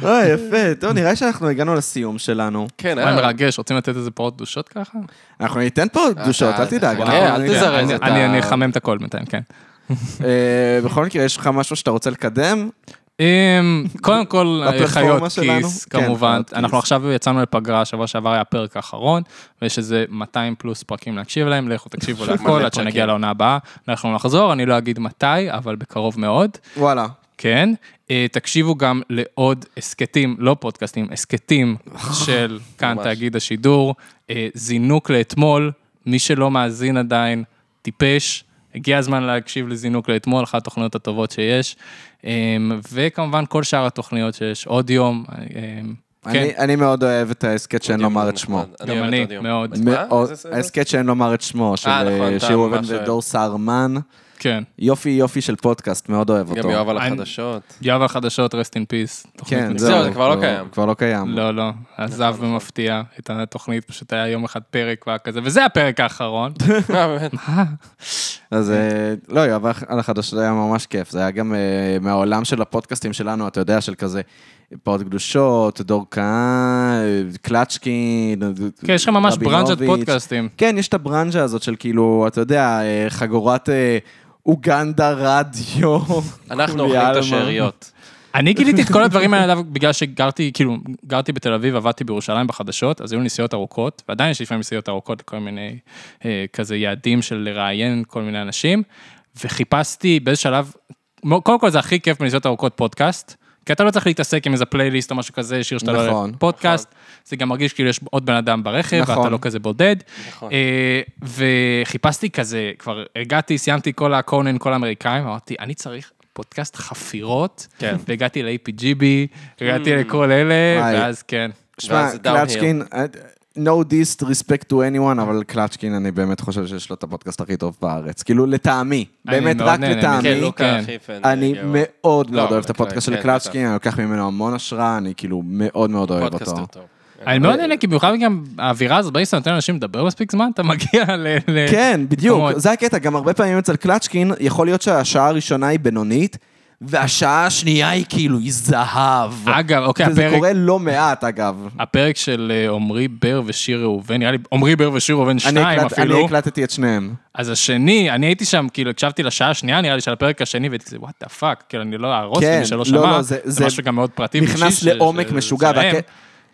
[SPEAKER 2] אוי, אה, יפה. טוב, נראה שאנחנו הגענו לסיום שלנו.
[SPEAKER 4] כן,
[SPEAKER 3] מה
[SPEAKER 4] אה.
[SPEAKER 3] מרגש, רוצים לתת איזה פרעות קדושות ככה?
[SPEAKER 2] אנחנו ניתן פה דושות, אל תדאג.
[SPEAKER 4] וואו,
[SPEAKER 2] אנחנו-
[SPEAKER 4] אל תזרז.
[SPEAKER 3] אני-
[SPEAKER 4] אתה-
[SPEAKER 3] אני אני אחמם את הכל בינתיים, כן.
[SPEAKER 2] אה, בכל מקרה, יש לך משהו שאתה רוצה לקדם?
[SPEAKER 3] אמ, קודם כל,
[SPEAKER 2] הפלטפורמה
[SPEAKER 3] חיות
[SPEAKER 2] שלנו?
[SPEAKER 3] כיס,
[SPEAKER 2] כן,
[SPEAKER 3] כמובן.
[SPEAKER 2] חיות כיס.
[SPEAKER 3] אנחנו עכשיו יצאנו לפגרה, שבוע שעבר היה הפרק האחרון, ויש איזה 200 פלוס פרקים להקשיב להם, לכו תקשיבו להכל עד שנגיע לעונה הבאה. אנחנו נחזור, אני לא אגיד מתי, אבל בקרוב מאוד.
[SPEAKER 2] וואלה.
[SPEAKER 3] כן. אה, תקשיבו גם לעוד הסכתים, לא פודקאסטים, הסכתים של כאן תאגיד השידור. אה, זינוק לאתמול, מי שלא מאזין עדיין, טיפש. הגיע הזמן להקשיב לזינוק לאתמול, אחת התוכניות הטובות שיש. אה, וכמובן כל שאר התוכניות שיש, עוד יום. אה, אה, כן,
[SPEAKER 2] אני- אני מאוד אוהב את ההסכת שאין לומר את שמו.
[SPEAKER 4] נחמד.
[SPEAKER 3] גם
[SPEAKER 4] אוהב לא את
[SPEAKER 3] אני,
[SPEAKER 4] הדיון.
[SPEAKER 3] מאוד.
[SPEAKER 2] מאוד-
[SPEAKER 4] זה סדר?
[SPEAKER 2] ההסכת שאין לומר את שמו, של
[SPEAKER 4] נכון, אתה
[SPEAKER 2] אה, שיר ראובן
[SPEAKER 4] ממש אוהב.
[SPEAKER 2] ודור סהרמן.
[SPEAKER 3] כן.
[SPEAKER 2] יופי יופי של פודקאסט, מאוד אוהב אותו.
[SPEAKER 4] גם יואב על
[SPEAKER 3] אני-
[SPEAKER 4] החדשות.
[SPEAKER 3] יואב החדשות, rest in peace. תוכנית
[SPEAKER 2] כן,
[SPEAKER 3] מצוינת.
[SPEAKER 2] זהו,
[SPEAKER 4] זה כבר לא קיים.
[SPEAKER 2] כבר לא קיים.
[SPEAKER 3] לא, לא, עזב במפתיע את התוכנית, פשוט היה יום אחד פרק והיה כזה, וזה הפרק האחרון.
[SPEAKER 4] אה, באמת.
[SPEAKER 2] אז אה, לא, יואב על החדשות היה ממש כיף. זה היה גם אה, מהעולם של הפודקאסטים שלנו, אתה יודע, של כזה פעות קדושות, דור כהן, קלצ'קין,
[SPEAKER 3] כן, יש לך ממש
[SPEAKER 2] רבינוביץ'.
[SPEAKER 3] ברנז'ת פודקאסטים.
[SPEAKER 2] כן, יש את הברנז'ה הזאת של כאילו, אתה יודע, אה, חגורת אה, אוגנדה רדיו.
[SPEAKER 4] אנחנו
[SPEAKER 2] אולי
[SPEAKER 4] אוכלים את
[SPEAKER 2] אלמה.
[SPEAKER 4] השאריות.
[SPEAKER 3] אני גיליתי את כל הדברים האלה דווקא בגלל שגרתי, כאילו, גרתי בתל אביב, עבדתי בירושלים בחדשות, אז היו לי נסיעות ארוכות, ועדיין יש לפעמים נסיעות ארוכות לכל מיני אה, כזה יעדים של לראיין כל מיני אנשים, וחיפשתי באיזה שלב, מו- קודם כל זה הכי כיף בנסיעות ארוכות פודקאסט, כי אתה לא צריך להתעסק עם איזה פלייליסט או משהו כזה, שיר שאתה לא
[SPEAKER 2] נכון,
[SPEAKER 3] אוהב פודקאסט, זה גם מרגיש כאילו יש עוד בן אדם ברכב,
[SPEAKER 2] נכון.
[SPEAKER 3] ואתה לא כזה בודד.
[SPEAKER 4] נכון.
[SPEAKER 3] אה, וחיפשתי כזה, כבר הגעתי, סיימתי כל הקונן, כל האמריקאים, אמרתי, אני צריך פודקאסט חפירות,
[SPEAKER 4] כן.
[SPEAKER 3] והגעתי ל-APGB, הגעתי לכל אלה,
[SPEAKER 2] וואי.
[SPEAKER 3] ואז כן.
[SPEAKER 2] שמע,
[SPEAKER 4] ואז זה downhill.
[SPEAKER 2] קלצ'קין, אה, no dist respect to anyone, אבל קלצ'קין, אני באמת חושב שיש לו את הפודקאסט הכי טוב בארץ. כאילו, לטעמי.
[SPEAKER 3] אני
[SPEAKER 2] באמת,
[SPEAKER 3] מאוד
[SPEAKER 2] רק
[SPEAKER 3] נהנה מזה.
[SPEAKER 4] כן,
[SPEAKER 2] לטעמי.
[SPEAKER 4] לוקה
[SPEAKER 3] כן.
[SPEAKER 4] חיפן.
[SPEAKER 2] אני
[SPEAKER 4] גאו.
[SPEAKER 2] מאוד
[SPEAKER 4] לא,
[SPEAKER 2] מאוד
[SPEAKER 4] אבל
[SPEAKER 2] אוהב את הפודקאסט של
[SPEAKER 4] כן,
[SPEAKER 2] קלצ'קין, אני לוקח ממנו המון השראה, אני כאילו מאוד מאוד אוהב
[SPEAKER 4] פודקאסט
[SPEAKER 2] אותו.
[SPEAKER 4] יותר טוב.
[SPEAKER 3] אני מאוד נהנה, כי במיוחד גם האווירה הזאת, בייסט נותן לאנשים לדבר מספיק זמן, אתה מגיע ל... ל-
[SPEAKER 2] כן, בדיוק,
[SPEAKER 3] מאוד.
[SPEAKER 2] זה הקטע, גם הרבה פעמים אצל קלצ'קין, יכול להיות שהשעה הראשונה היא בינונית, והשעה השנייה היא כאילו, היא זהב.
[SPEAKER 3] אגב, אוקיי,
[SPEAKER 2] וזה
[SPEAKER 3] הפרק...
[SPEAKER 2] קורה לא מעט, אגב.
[SPEAKER 3] הפרק של אה, עמרי בר ושיר ראובן, נראה לי, עמרי בר ושיר ראובן
[SPEAKER 2] אני
[SPEAKER 3] שניים
[SPEAKER 2] הקלט-
[SPEAKER 3] אפילו.
[SPEAKER 2] אני הקלטתי את שניהם.
[SPEAKER 3] אז השני, אני הייתי שם, כאילו, הקשבתי לשעה השנייה, נראה לי, של הפרק השני, והייתי כזה, וואט דה פאק, כאילו, אני לא אהרוס
[SPEAKER 2] כן,
[SPEAKER 3] למי שלא
[SPEAKER 2] לא,
[SPEAKER 3] שמע,
[SPEAKER 2] לא, זה-
[SPEAKER 3] זה
[SPEAKER 2] זה
[SPEAKER 3] משהו גם מאוד פרטי.
[SPEAKER 2] נכנס
[SPEAKER 3] ואישי ש-
[SPEAKER 2] לעומק
[SPEAKER 3] ש-
[SPEAKER 2] משוגע,
[SPEAKER 3] שלהם.
[SPEAKER 2] והק-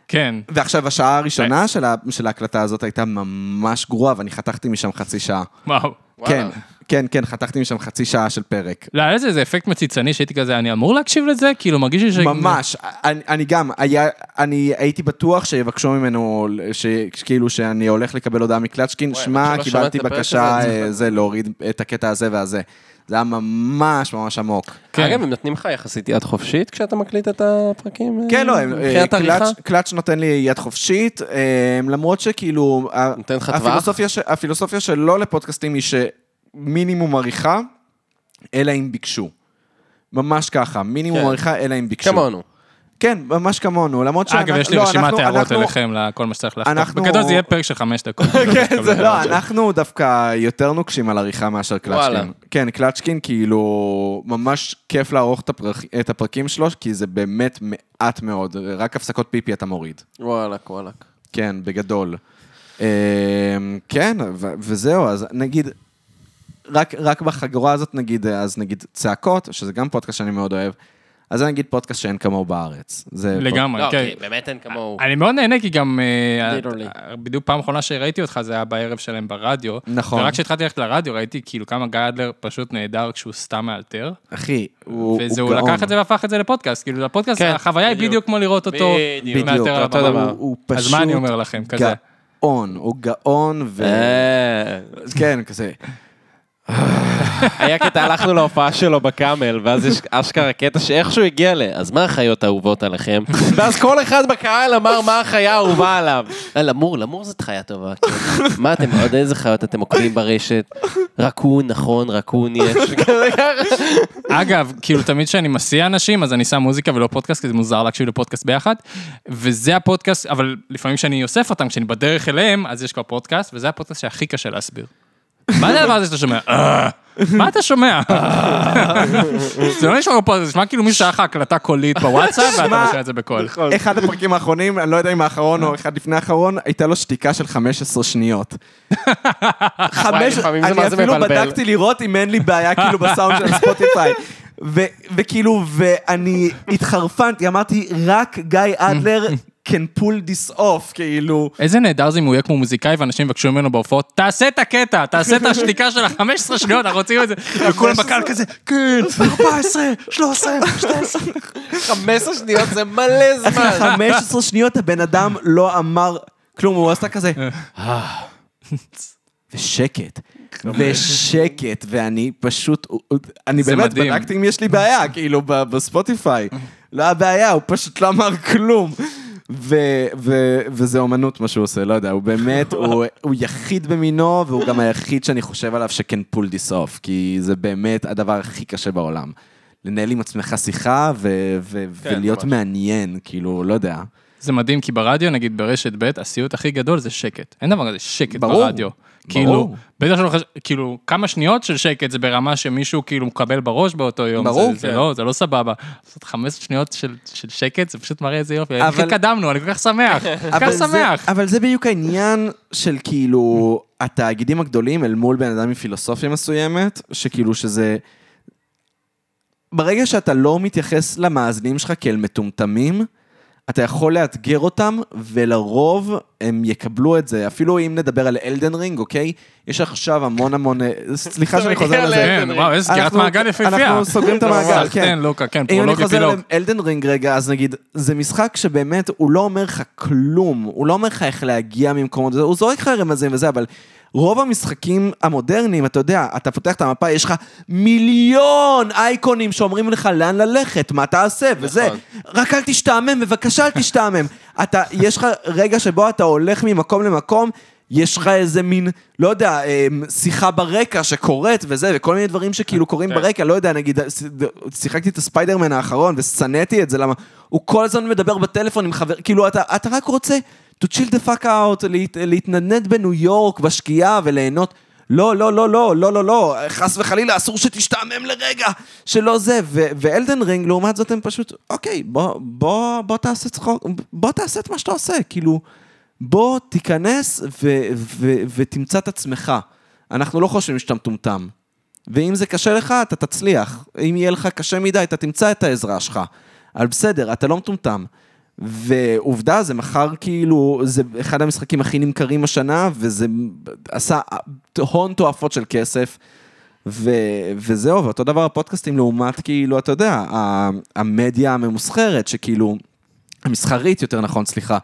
[SPEAKER 3] כן,
[SPEAKER 2] ועכשיו, השעה הראשונה של ה- של ההקלטה הזאת הייתה ממש גרועה, ואני חתכתי משם חצי שעה.
[SPEAKER 3] וואו.
[SPEAKER 2] כן, כן, כן, חתכתי משם חצי שעה של פרק.
[SPEAKER 3] לא, היה לזה איזה אפקט מציצני שהייתי כזה, אני אמור להקשיב לזה? כאילו, מרגיש לי ש...
[SPEAKER 2] ממש, אני, אני גם, היה, אני הייתי בטוח שיבקשו ממנו, ש, כאילו שאני הולך לקבל הודעה מקלצ'קין,
[SPEAKER 4] וואי,
[SPEAKER 2] שמע,
[SPEAKER 4] אבל שלא שמעת
[SPEAKER 2] קיבלתי
[SPEAKER 4] את הפרק
[SPEAKER 2] בקשה
[SPEAKER 4] הזה,
[SPEAKER 2] אה, זה, להוריד את הקטע הזה והזה. זה היה ממש ממש עמוק.
[SPEAKER 3] כן.
[SPEAKER 4] אגב, הם נותנים לך יחסית יד חופשית כשאתה מקליט את הפרקים? אה,
[SPEAKER 2] כן, לא, הם- אה,
[SPEAKER 4] מבחינת עריכה?
[SPEAKER 2] קלאץ'- קלאץ' נותן לי יד חופשית, אה, למרות שכאילו, ה-
[SPEAKER 4] נותן לך טווח?
[SPEAKER 2] הפילוסופיה ש- הפילוסופיה שלו לפודקאסטים היא שמינימום עריכה, אלא אם ביקשו. ממש ככה, מינימום
[SPEAKER 4] כן.
[SPEAKER 2] עריכה, אלא אם ביקשו.
[SPEAKER 4] כמונו.
[SPEAKER 2] כן, ממש כמונו, למרות שאנחנו...
[SPEAKER 3] אגב, יש לי
[SPEAKER 2] לא,
[SPEAKER 3] רשימת
[SPEAKER 2] אנחנו-
[SPEAKER 3] הערות
[SPEAKER 2] אנחנו-
[SPEAKER 3] אליכם, לכל מה שצריך לחתוך.
[SPEAKER 2] אנחנו-
[SPEAKER 3] בגדול זה יהיה פרק של חמש דקות.
[SPEAKER 2] כן, זה לא, אנחנו דווקא יותר נוקשים על עריכה מאשר
[SPEAKER 4] וואלה.
[SPEAKER 2] קלצ'קין. כן, קלצ'קין כאילו ממש כיף לערוך את הפרק- את הפרקים שלו, כי זה באמת מעט מאוד, רק הפסקות פיפי אתה מוריד.
[SPEAKER 4] וואלק, וואלק.
[SPEAKER 2] כן, בגדול. אמ, כן, ו- וזהו, אז נגיד, רק, רק בחגורה הזאת נגיד, אז נגיד צעקות, שזה גם פודקאסט שאני מאוד אוהב, אז זה נגיד פודקאסט שאין כמוהו בארץ. זה פוד-
[SPEAKER 3] לגמרי,
[SPEAKER 4] לא,
[SPEAKER 3] כן.
[SPEAKER 4] כי באמת אין כמוהו.
[SPEAKER 3] אני מאוד נהנה, כי גם... אה,
[SPEAKER 4] Literally.
[SPEAKER 3] אה, בדיוק פעם אחרונה שראיתי אותך, זה היה בערב שלהם ברדיו.
[SPEAKER 2] נכון.
[SPEAKER 3] ורק כשהתחלתי ללכת לרדיו, ראיתי כאילו כמה גיא אדלר פשוט נהדר כשהוא סתם מאלתר.
[SPEAKER 2] אחי, הוא הוא
[SPEAKER 3] וזה, הוא
[SPEAKER 2] גאון.
[SPEAKER 3] לקח את זה והפך את זה לפודקאסט. כאילו, לפודקאסט,
[SPEAKER 4] כן,
[SPEAKER 3] החוויה היא
[SPEAKER 4] בדיוק.
[SPEAKER 3] בדיוק כמו לראות אותו
[SPEAKER 4] בדיוק.
[SPEAKER 3] מאלתר
[SPEAKER 2] בדיוק,
[SPEAKER 3] על
[SPEAKER 2] אותו
[SPEAKER 3] הבמה.
[SPEAKER 2] דבר. הוא- הוא פשוט...
[SPEAKER 3] אז מה אני אומר לכם, כזה? אה.
[SPEAKER 2] גאון, הוא גאון, ו... כן, כזה.
[SPEAKER 4] אה, היה קטע, הלכנו להופעה שלו בקאמל, ואז יש אשכרה קטע שאיכשהו הגיע ל... אז מה החיות האהובות עליכם? ואז כל אחד בקהל אמר מה החיה האהובה עליו. "אה, למור, למור זאת חיה טובה. כן. מה אתם, עוד איזה חיות אתם עוקבים ברשת? רקון, נכון, רקון יש.
[SPEAKER 3] אגב, כאילו תמיד כשאני מסיע אנשים, אז אני שם מוזיקה ולא פודקאסט, כי זה מוזר להקשיב לפודקאסט ביחד. וזה הפודקאסט, אבל לפעמים כשאני אוסף אותם, כשאני בדרך אליהם, אז יש כבר פודקאסט, וזה הפודקאסט שהכי קשה להסביר. מה זה הדבר הזה שאתה שומע? "אה, מה אתה שומע? זה לא נשמע כמו פודקאסט, זה נשמע כאילו מישהו שהיה לך הקלטה קולית בוואטסאפ, ואתה עושה את זה בקול.
[SPEAKER 13] נכון.
[SPEAKER 2] אחד הפרקים האחרונים, אני לא יודע אם האחרון או אחד לפני האחרון, הייתה לו שתיקה של 15 שניות. חמש,
[SPEAKER 13] לפעמים זה
[SPEAKER 2] אני
[SPEAKER 13] מה זה
[SPEAKER 2] אפילו
[SPEAKER 13] מבלבל.
[SPEAKER 2] בדקתי לראות אם אין לי בעיה כאילו בסאונד של ספוטיפיי. ו- וכאילו, ואני התחרפנתי, אמרתי, רק גיא אדלר can pull this off, כאילו.
[SPEAKER 3] איזה נהדר זה אם הוא יהיה כמו מוזיקאי ואנשים יבקשו ממנו בהופעות, תעשה את הקטע, תעשה את השתיקה של ה-15 שניות, אנחנו רוצים את זה. וכולם בקהל כזה, כן,
[SPEAKER 2] 14, 13, 12.
[SPEAKER 4] 15 שניות זה מלא זמן.
[SPEAKER 2] 15 שניות הבן אדם לא אמר כלום, הוא עשה כזה... "אה." ושקט,
[SPEAKER 3] כן.
[SPEAKER 2] ושקט, ואני פשוט, אני
[SPEAKER 3] זה
[SPEAKER 2] באמת
[SPEAKER 3] מדהים.
[SPEAKER 2] בדקתי אם יש לי בעיה, כאילו ב- בספוטיפיי. לא היה בעיה, הוא פשוט לא אמר כלום. ו- ו- וזה אומנות מה שהוא עושה, לא יודע, הוא באמת, הוא, הוא יחיד במינו, והוא גם היחיד שאני חושב עליו שכן pull this off, כי זה באמת הדבר הכי קשה בעולם. לנהל עם עצמך שיחה ו- ו-
[SPEAKER 3] כן,
[SPEAKER 2] ולהיות מעניין, כאילו, לא יודע.
[SPEAKER 3] זה מדהים, כי ברדיו, נגיד ברשת ב', הסיוט הכי גדול זה שקט. אין דבר כזה שקט
[SPEAKER 2] ברור,
[SPEAKER 3] ברדיו. כאילו, בטח שלא חש... כאילו, כמה שניות של שקט זה ברמה שמישהו כאילו מקבל בראש באותו יום.
[SPEAKER 2] ברור,
[SPEAKER 3] זה, זה,
[SPEAKER 2] כן.
[SPEAKER 3] לא, זה לא סבבה. לעשות 15 שניות של, של שקט, זה פשוט מראה איזה יופי.
[SPEAKER 2] אבל-
[SPEAKER 3] אבל... התקדמנו, אני כל כך שמח. כל
[SPEAKER 2] אבל
[SPEAKER 3] כך
[SPEAKER 2] זה-
[SPEAKER 3] שמח.
[SPEAKER 2] אבל זה בדיוק העניין של כאילו התאגידים הגדולים אל מול בן אדם עם פילוסופיה מסוימת, שכאילו שזה... ברגע שאתה לא מתייחס למאזינים שלך כאל מטומטמים, אתה יכול לאתגר אותם, ולרוב הם יקבלו את זה. אפילו אם נדבר על אלדן רינג, אוקיי? יש עכשיו המון המון... אה, סליחה שאני חוזר
[SPEAKER 4] מגיע
[SPEAKER 2] לזה.
[SPEAKER 3] כן, וואו, איזה סגירת
[SPEAKER 2] אנחנו-
[SPEAKER 3] מעגל יפהפייה.
[SPEAKER 2] אנחנו סוגרים את המעגל,
[SPEAKER 3] סחטיין,
[SPEAKER 2] כן.
[SPEAKER 3] לוקה, כן,
[SPEAKER 2] אם אני
[SPEAKER 3] פרולוג
[SPEAKER 2] חוזר
[SPEAKER 3] אפילוג.
[SPEAKER 2] לאלדן רינג רגע, אז נגיד, זה משחק שבאמת הוא לא אומר לך כלום, הוא לא אומר לך איך להגיע ממקומות, הוא זורק לך רמזים וזה, אבל רוב המשחקים המודרניים, אתה יודע, אתה פותח את המפה, יש לך מיליון אייקונים שאומרים לך לאן ללכת, מה תעשה, וזה, רק אל תשתעמם, בבקשה אל תשתעמם. אתה, יש לך רגע שבו אתה הולך ממקום למקום, יש לך איזה מין, לא יודע, אה, שיחה ברקע שקורית וזה, וכל מיני דברים שכאילו קורים ברקע, לא יודע, נגיד, ש- שיחקתי את הספיידרמן האחרון ושנאתי את זה, למה? הוא כל הזמן מדבר בטלפון עם חבר, כאילו, אתה, אתה רק רוצה to chill the fuck out, להת, להתנדנד בניו יורק בשקיעה וליהנות. לא, לא, לא, לא, לא, לא, לא, חס וחלילה, אסור שתשתעמם לרגע, שלא זה. ו- ואלדן רינג, לעומת זאת, הם פשוט, אוקיי, בוא, בוא, בוא תעשה צחוק, בוא תעשה את מה שאתה עושה, כאילו, בוא תיכנס ו- ו- ותמצא את עצמך. אנחנו לא חושבים שאתה מטומטם. ואם זה קשה לך, אתה תצליח. אם יהיה לך קשה מדי, אתה תמצא את העזרה שלך. אבל בסדר, אתה לא מטומטם. ועובדה, זה מכר כאילו, זה אחד המשחקים הכי נמכרים השנה, וזה עשה הון תועפות של כסף. ו- וזהו, ואותו דבר הפודקאסטים לעומת כאילו, אתה יודע, ה- המדיה הממוסחרת, שכאילו, המסחרית יותר נכון, סליחה,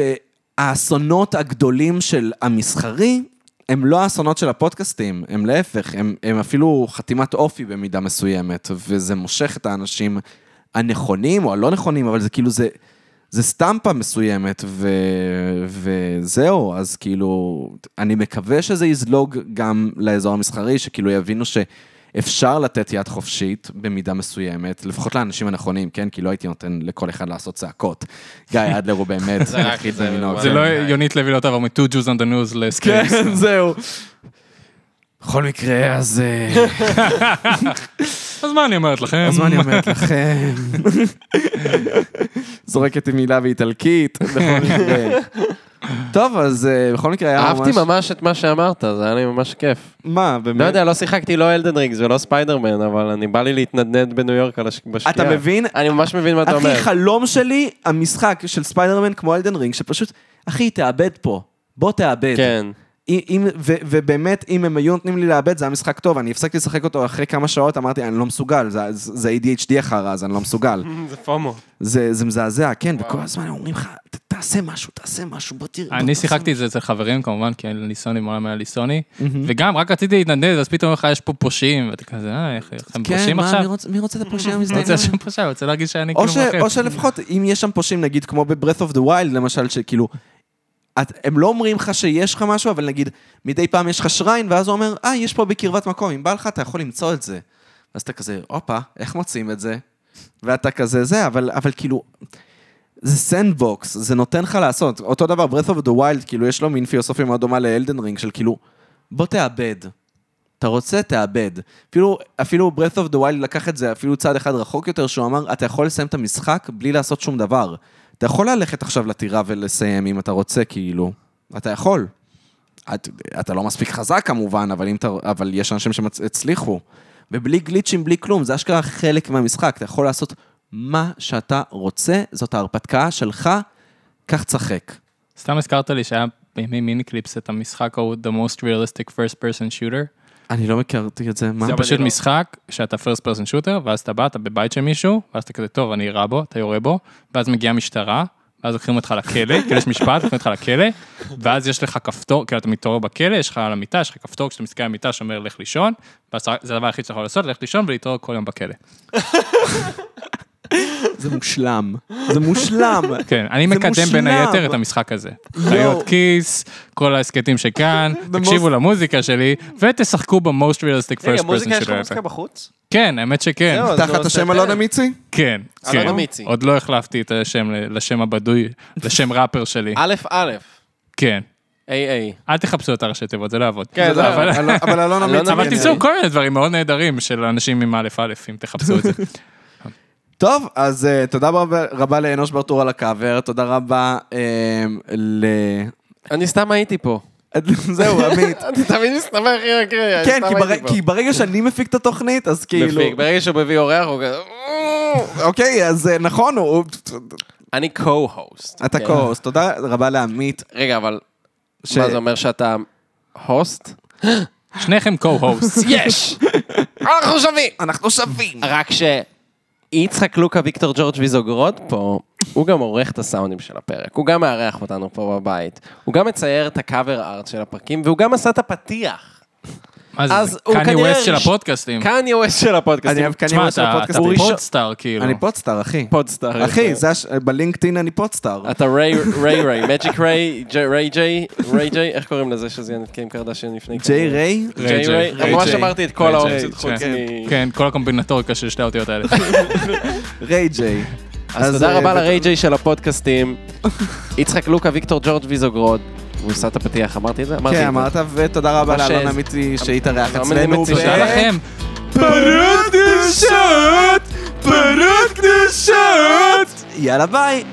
[SPEAKER 2] שהאסונות הגדולים של המסחרי, הם לא האסונות של הפודקאסטים, הם להפך, הם, הם אפילו חתימת אופי במידה מסוימת, וזה מושך את האנשים הנכונים או הלא נכונים, אבל זה כאילו, זה, זה סטמפה מסוימת, ו, וזהו, אז כאילו, אני מקווה שזה יזלוג גם לאזור המסחרי, שכאילו יבינו ש... אפשר לתת יד חופשית במידה מסוימת, לפחות לאנשים הנכונים, כן? כי לא הייתי נותן לכל אחד לעשות צעקות. גיא אדלר הוא באמת היחיד במינו.
[SPEAKER 3] זה לא יונית לוי לא תעבור מ-2 Jews on the news לסקייס.
[SPEAKER 2] כן, זהו. בכל מקרה, אז... אה,
[SPEAKER 3] אז מה אני אומרת לכם?
[SPEAKER 2] אז מה אני אומרת לכם? זורקת עם מילה באיטלקית, בכל מקרה. טוב, אז אה, בכל מקרה היה ממש...
[SPEAKER 4] אהבתי ממש את מה שאמרת, זה היה לי ממש כיף.
[SPEAKER 2] מה, באמת?
[SPEAKER 4] לא יודע, לא שיחקתי לא אלדן רינגס ולא ספיידרמן, אבל אני בא לי להתנדנד בניו יורק על הש- בשקיעה.
[SPEAKER 2] אתה מבין?
[SPEAKER 4] אני ממש מבין מה אתה אומר.
[SPEAKER 2] אחי, חלום שלי, המשחק של ספיידרמן כמו אלדן רינג, שפשוט, אחי, תאבד פה. בוא תאבד.
[SPEAKER 4] כן.
[SPEAKER 2] אם- אם- ו- ובאמת, אם הם היו נותנים לי לאבד, זה היה משחק טוב. אני הפסקתי לשחק אותו אחרי כמה שעות, אמרתי, אני לא מסוגל, זה- זה ADHD אחרא, אז אני לא מסוגל.
[SPEAKER 4] זה פומו.
[SPEAKER 2] זה זה מזעזע, כן, וכל הזמן אומרים לך, "ת- תעשה משהו, תעשה משהו, בוא תראה.
[SPEAKER 3] אני שיחקתי את זה אצל חברים, כמובן, כי אין לי סוני, מעולם היה לי סוני. וגם, רק רציתי להתנדנד, אז פתאום לך יש פה פושעים, ואתה כזה, אה, איך איך הם
[SPEAKER 2] כן,
[SPEAKER 3] פושעים
[SPEAKER 2] מה, מי
[SPEAKER 3] עכשיו?
[SPEAKER 2] רוצה- מי רוצה את הפושע
[SPEAKER 3] לא
[SPEAKER 2] המזדיין?
[SPEAKER 3] רוצה שום פושע, רוצה להרגיש שאני
[SPEAKER 2] או
[SPEAKER 3] כאילו
[SPEAKER 2] ש-
[SPEAKER 3] מרחב.
[SPEAKER 2] או שלפחות, אם יש שם פושעים, נגיד, כמו ב-Breath of the Wild, למשל, שכאילו, את, הם לא אומרים לך שיש לך משהו, אבל נגיד, מדי פעם יש לך שריין, ואז הוא אומר, אה, יש פה בקרבת מקום, אם בא לך, אתה יכול למצוא את זה. ואז אתה כזה, הופה, איך מוצאים את זה? ואתה כזה זה, אבל, אבל כאילו, זה סנדבוקס, זה נותן לך לעשות. אותו דבר, Breath of the Wild, כאילו, יש לו מין פילוסופיה מאוד דומה לאלדן רינג, של כאילו, בוא תאבד. אתה רוצה, תאבד. אפילו, אפילו Breath of the Wild לקח את זה אפילו צעד אחד רחוק יותר, שהוא אמר, אתה יכול לסיים את המשחק בלי לעשות שום דבר. אתה יכול ללכת עכשיו לטירה ולסיים אם אתה רוצה, כאילו. אתה יכול. את, אתה לא מספיק חזק כמובן, אבל, אם אתה, אבל יש אנשים שהצליחו. ובלי גליצ'ים, בלי כלום, זה אשכרה חלק מהמשחק. אתה יכול לעשות מה שאתה רוצה, זאת ההרפתקה שלך, כך תשחק.
[SPEAKER 3] סתם הזכרת לי שהיה בימי מיני קליפס את המשחק ההוא, The Most Realistic First Person Shooter.
[SPEAKER 2] אני לא מכרתי את זה, מה?
[SPEAKER 3] זה לא- פשוט משחק שאתה first person shooter, ואז אתה בא, אתה בבית של מישהו, ואז אתה כזה, טוב, אני אירה בו, אתה יורה בו, ואז מגיעה משטרה, ואז לוקחים אותך לכלא, כאילו יש משפט, לוקחים אותך לכלא, ואז יש לך כפתור, כאילו אתה מתעורר בכלא, יש לך על המיטה, יש לך כפתור, כשאתה מסתכל על המיטה שאומר לך לישון, ואז זה הדבר היחיד שאתה יכול לעשות, ללכת לישון ולהתעורר כל יום בכלא.
[SPEAKER 2] זה מושלם. זה מושלם.
[SPEAKER 3] כן, אני
[SPEAKER 2] זה
[SPEAKER 3] מקדם בין
[SPEAKER 2] מושלם.
[SPEAKER 3] היתר את המשחק הזה. חיות כיס, כל ההסכתים שכאן, תקשיבו למוזיקה שלי, ותשחקו ב-most realistic
[SPEAKER 4] רגע,
[SPEAKER 3] first
[SPEAKER 4] מוזיקה
[SPEAKER 3] person
[SPEAKER 4] יש לך
[SPEAKER 3] שלו.
[SPEAKER 4] מוזיקה בחוץ?
[SPEAKER 3] כן, האמת שכן.
[SPEAKER 4] זהו, אז
[SPEAKER 2] תחת
[SPEAKER 4] נו,
[SPEAKER 2] השם
[SPEAKER 4] תתאר.
[SPEAKER 2] אלונה מיצי?
[SPEAKER 3] כן,
[SPEAKER 4] אלון
[SPEAKER 3] כן.
[SPEAKER 4] אמיצי.
[SPEAKER 3] עוד לא החלפתי את השם ל- לשם הבדוי, לשם ראפר שלי.
[SPEAKER 4] א' א',
[SPEAKER 3] כן.
[SPEAKER 4] איי איי.
[SPEAKER 3] אל תחפשו את הראשי תיבות, זה לא יעבוד.
[SPEAKER 4] כן, זה לא
[SPEAKER 3] אבל-
[SPEAKER 2] אבל אבל אלונה
[SPEAKER 4] אלונה
[SPEAKER 2] מיצי.
[SPEAKER 3] אבל
[SPEAKER 2] כן.
[SPEAKER 3] תמצאו כל מיני דברים מאוד נהדרים של אנשים עם א' א', אם תחפשו את זה.
[SPEAKER 2] טוב, אז אה, תודה רבה- רבה לאנוש ברטור על הקאבר, תודה רבה אה, ל...
[SPEAKER 4] אני סתם הייתי פה.
[SPEAKER 2] זהו, עמית.
[SPEAKER 4] אני תמיד מסתבר הכי מקרי,
[SPEAKER 2] כן, כי בר- כי ברגע שאני מפיק את התוכנית, אז כאילו...
[SPEAKER 4] מפיק, ברגע שהוא מביא אורח הוא כזה...
[SPEAKER 2] אוקיי, אז אה, נכון, הוא-
[SPEAKER 4] אני co-host.
[SPEAKER 2] אתה
[SPEAKER 4] כן.
[SPEAKER 2] קורס, תודה רבה לעמית.
[SPEAKER 4] רגע, אבל
[SPEAKER 2] ש-
[SPEAKER 4] מה זה אומר שאתה הוסט?
[SPEAKER 3] שניכם co-hosts.
[SPEAKER 4] יש! אנחנו שווים!
[SPEAKER 2] אנחנו שווים.
[SPEAKER 4] רק שיצחק לוקה ויקטור ג'ורג' ויזוגרוד פה, הוא גם עורך את הסאונדים של הפרק, הוא גם מארח אותנו פה בבית, הוא גם מצייר את הקאבר ארט של הפרקים, והוא גם עשה את הפתיח.
[SPEAKER 3] מה זה,
[SPEAKER 4] אז
[SPEAKER 3] זה
[SPEAKER 4] הוא
[SPEAKER 3] קניה
[SPEAKER 4] כנראה
[SPEAKER 3] ווסט של
[SPEAKER 4] ראש-
[SPEAKER 3] הפודקאסטים.
[SPEAKER 4] קניה ווסט של
[SPEAKER 2] אני
[SPEAKER 4] הפודקאסטים.
[SPEAKER 2] אוהב כנראה
[SPEAKER 3] תשמע,
[SPEAKER 2] של
[SPEAKER 3] אתה אתה
[SPEAKER 2] הפודקאסט. הוא ראשון.
[SPEAKER 3] פודסטאר, כאילו.
[SPEAKER 2] אני פודסטאר, אחי.
[SPEAKER 4] פודסטאר.
[SPEAKER 2] אחי, זה הש- בלינקדאין אני פודסטאר.
[SPEAKER 4] כן. אתה ריי ריי ריי, מג'יק ריי, ג'יי- ריי ג'יי, ריי ג'יי, איך קוראים לזה שזיין את קים קרדשן לפני כמה
[SPEAKER 2] ג'יי
[SPEAKER 4] ימים?
[SPEAKER 2] ריי?
[SPEAKER 4] ג'יי ריי,
[SPEAKER 3] ריי
[SPEAKER 4] ממש
[SPEAKER 3] ג'יי.
[SPEAKER 4] אמרתי את כל
[SPEAKER 3] ריי
[SPEAKER 4] האופציות
[SPEAKER 3] ג'יי,
[SPEAKER 4] חוץ
[SPEAKER 3] כן.
[SPEAKER 4] מ...
[SPEAKER 3] כן, כל הקומבינטוריקה של שתי האותיות האלה.
[SPEAKER 2] ריי ג'יי.
[SPEAKER 4] אז תודה
[SPEAKER 2] אה,
[SPEAKER 4] רבה
[SPEAKER 2] ו-
[SPEAKER 4] לריי ג'יי של הפודקאסטים, יצחק לוקה, ויקטור ג'ורג' ויזוגרוד, הוא עשה את הפתיח, אמרתי את זה? אמרתי את
[SPEAKER 2] כן,
[SPEAKER 4] זה.
[SPEAKER 2] אמרת, ותודה רבה
[SPEAKER 4] מה ש-
[SPEAKER 2] לאלונה מיצי שהתארח
[SPEAKER 4] אלונה
[SPEAKER 2] אצלנו.
[SPEAKER 4] מיצי
[SPEAKER 2] ב-
[SPEAKER 3] תודה לכם.
[SPEAKER 2] פרות קדושות! פרות קדושות! יאללה ביי!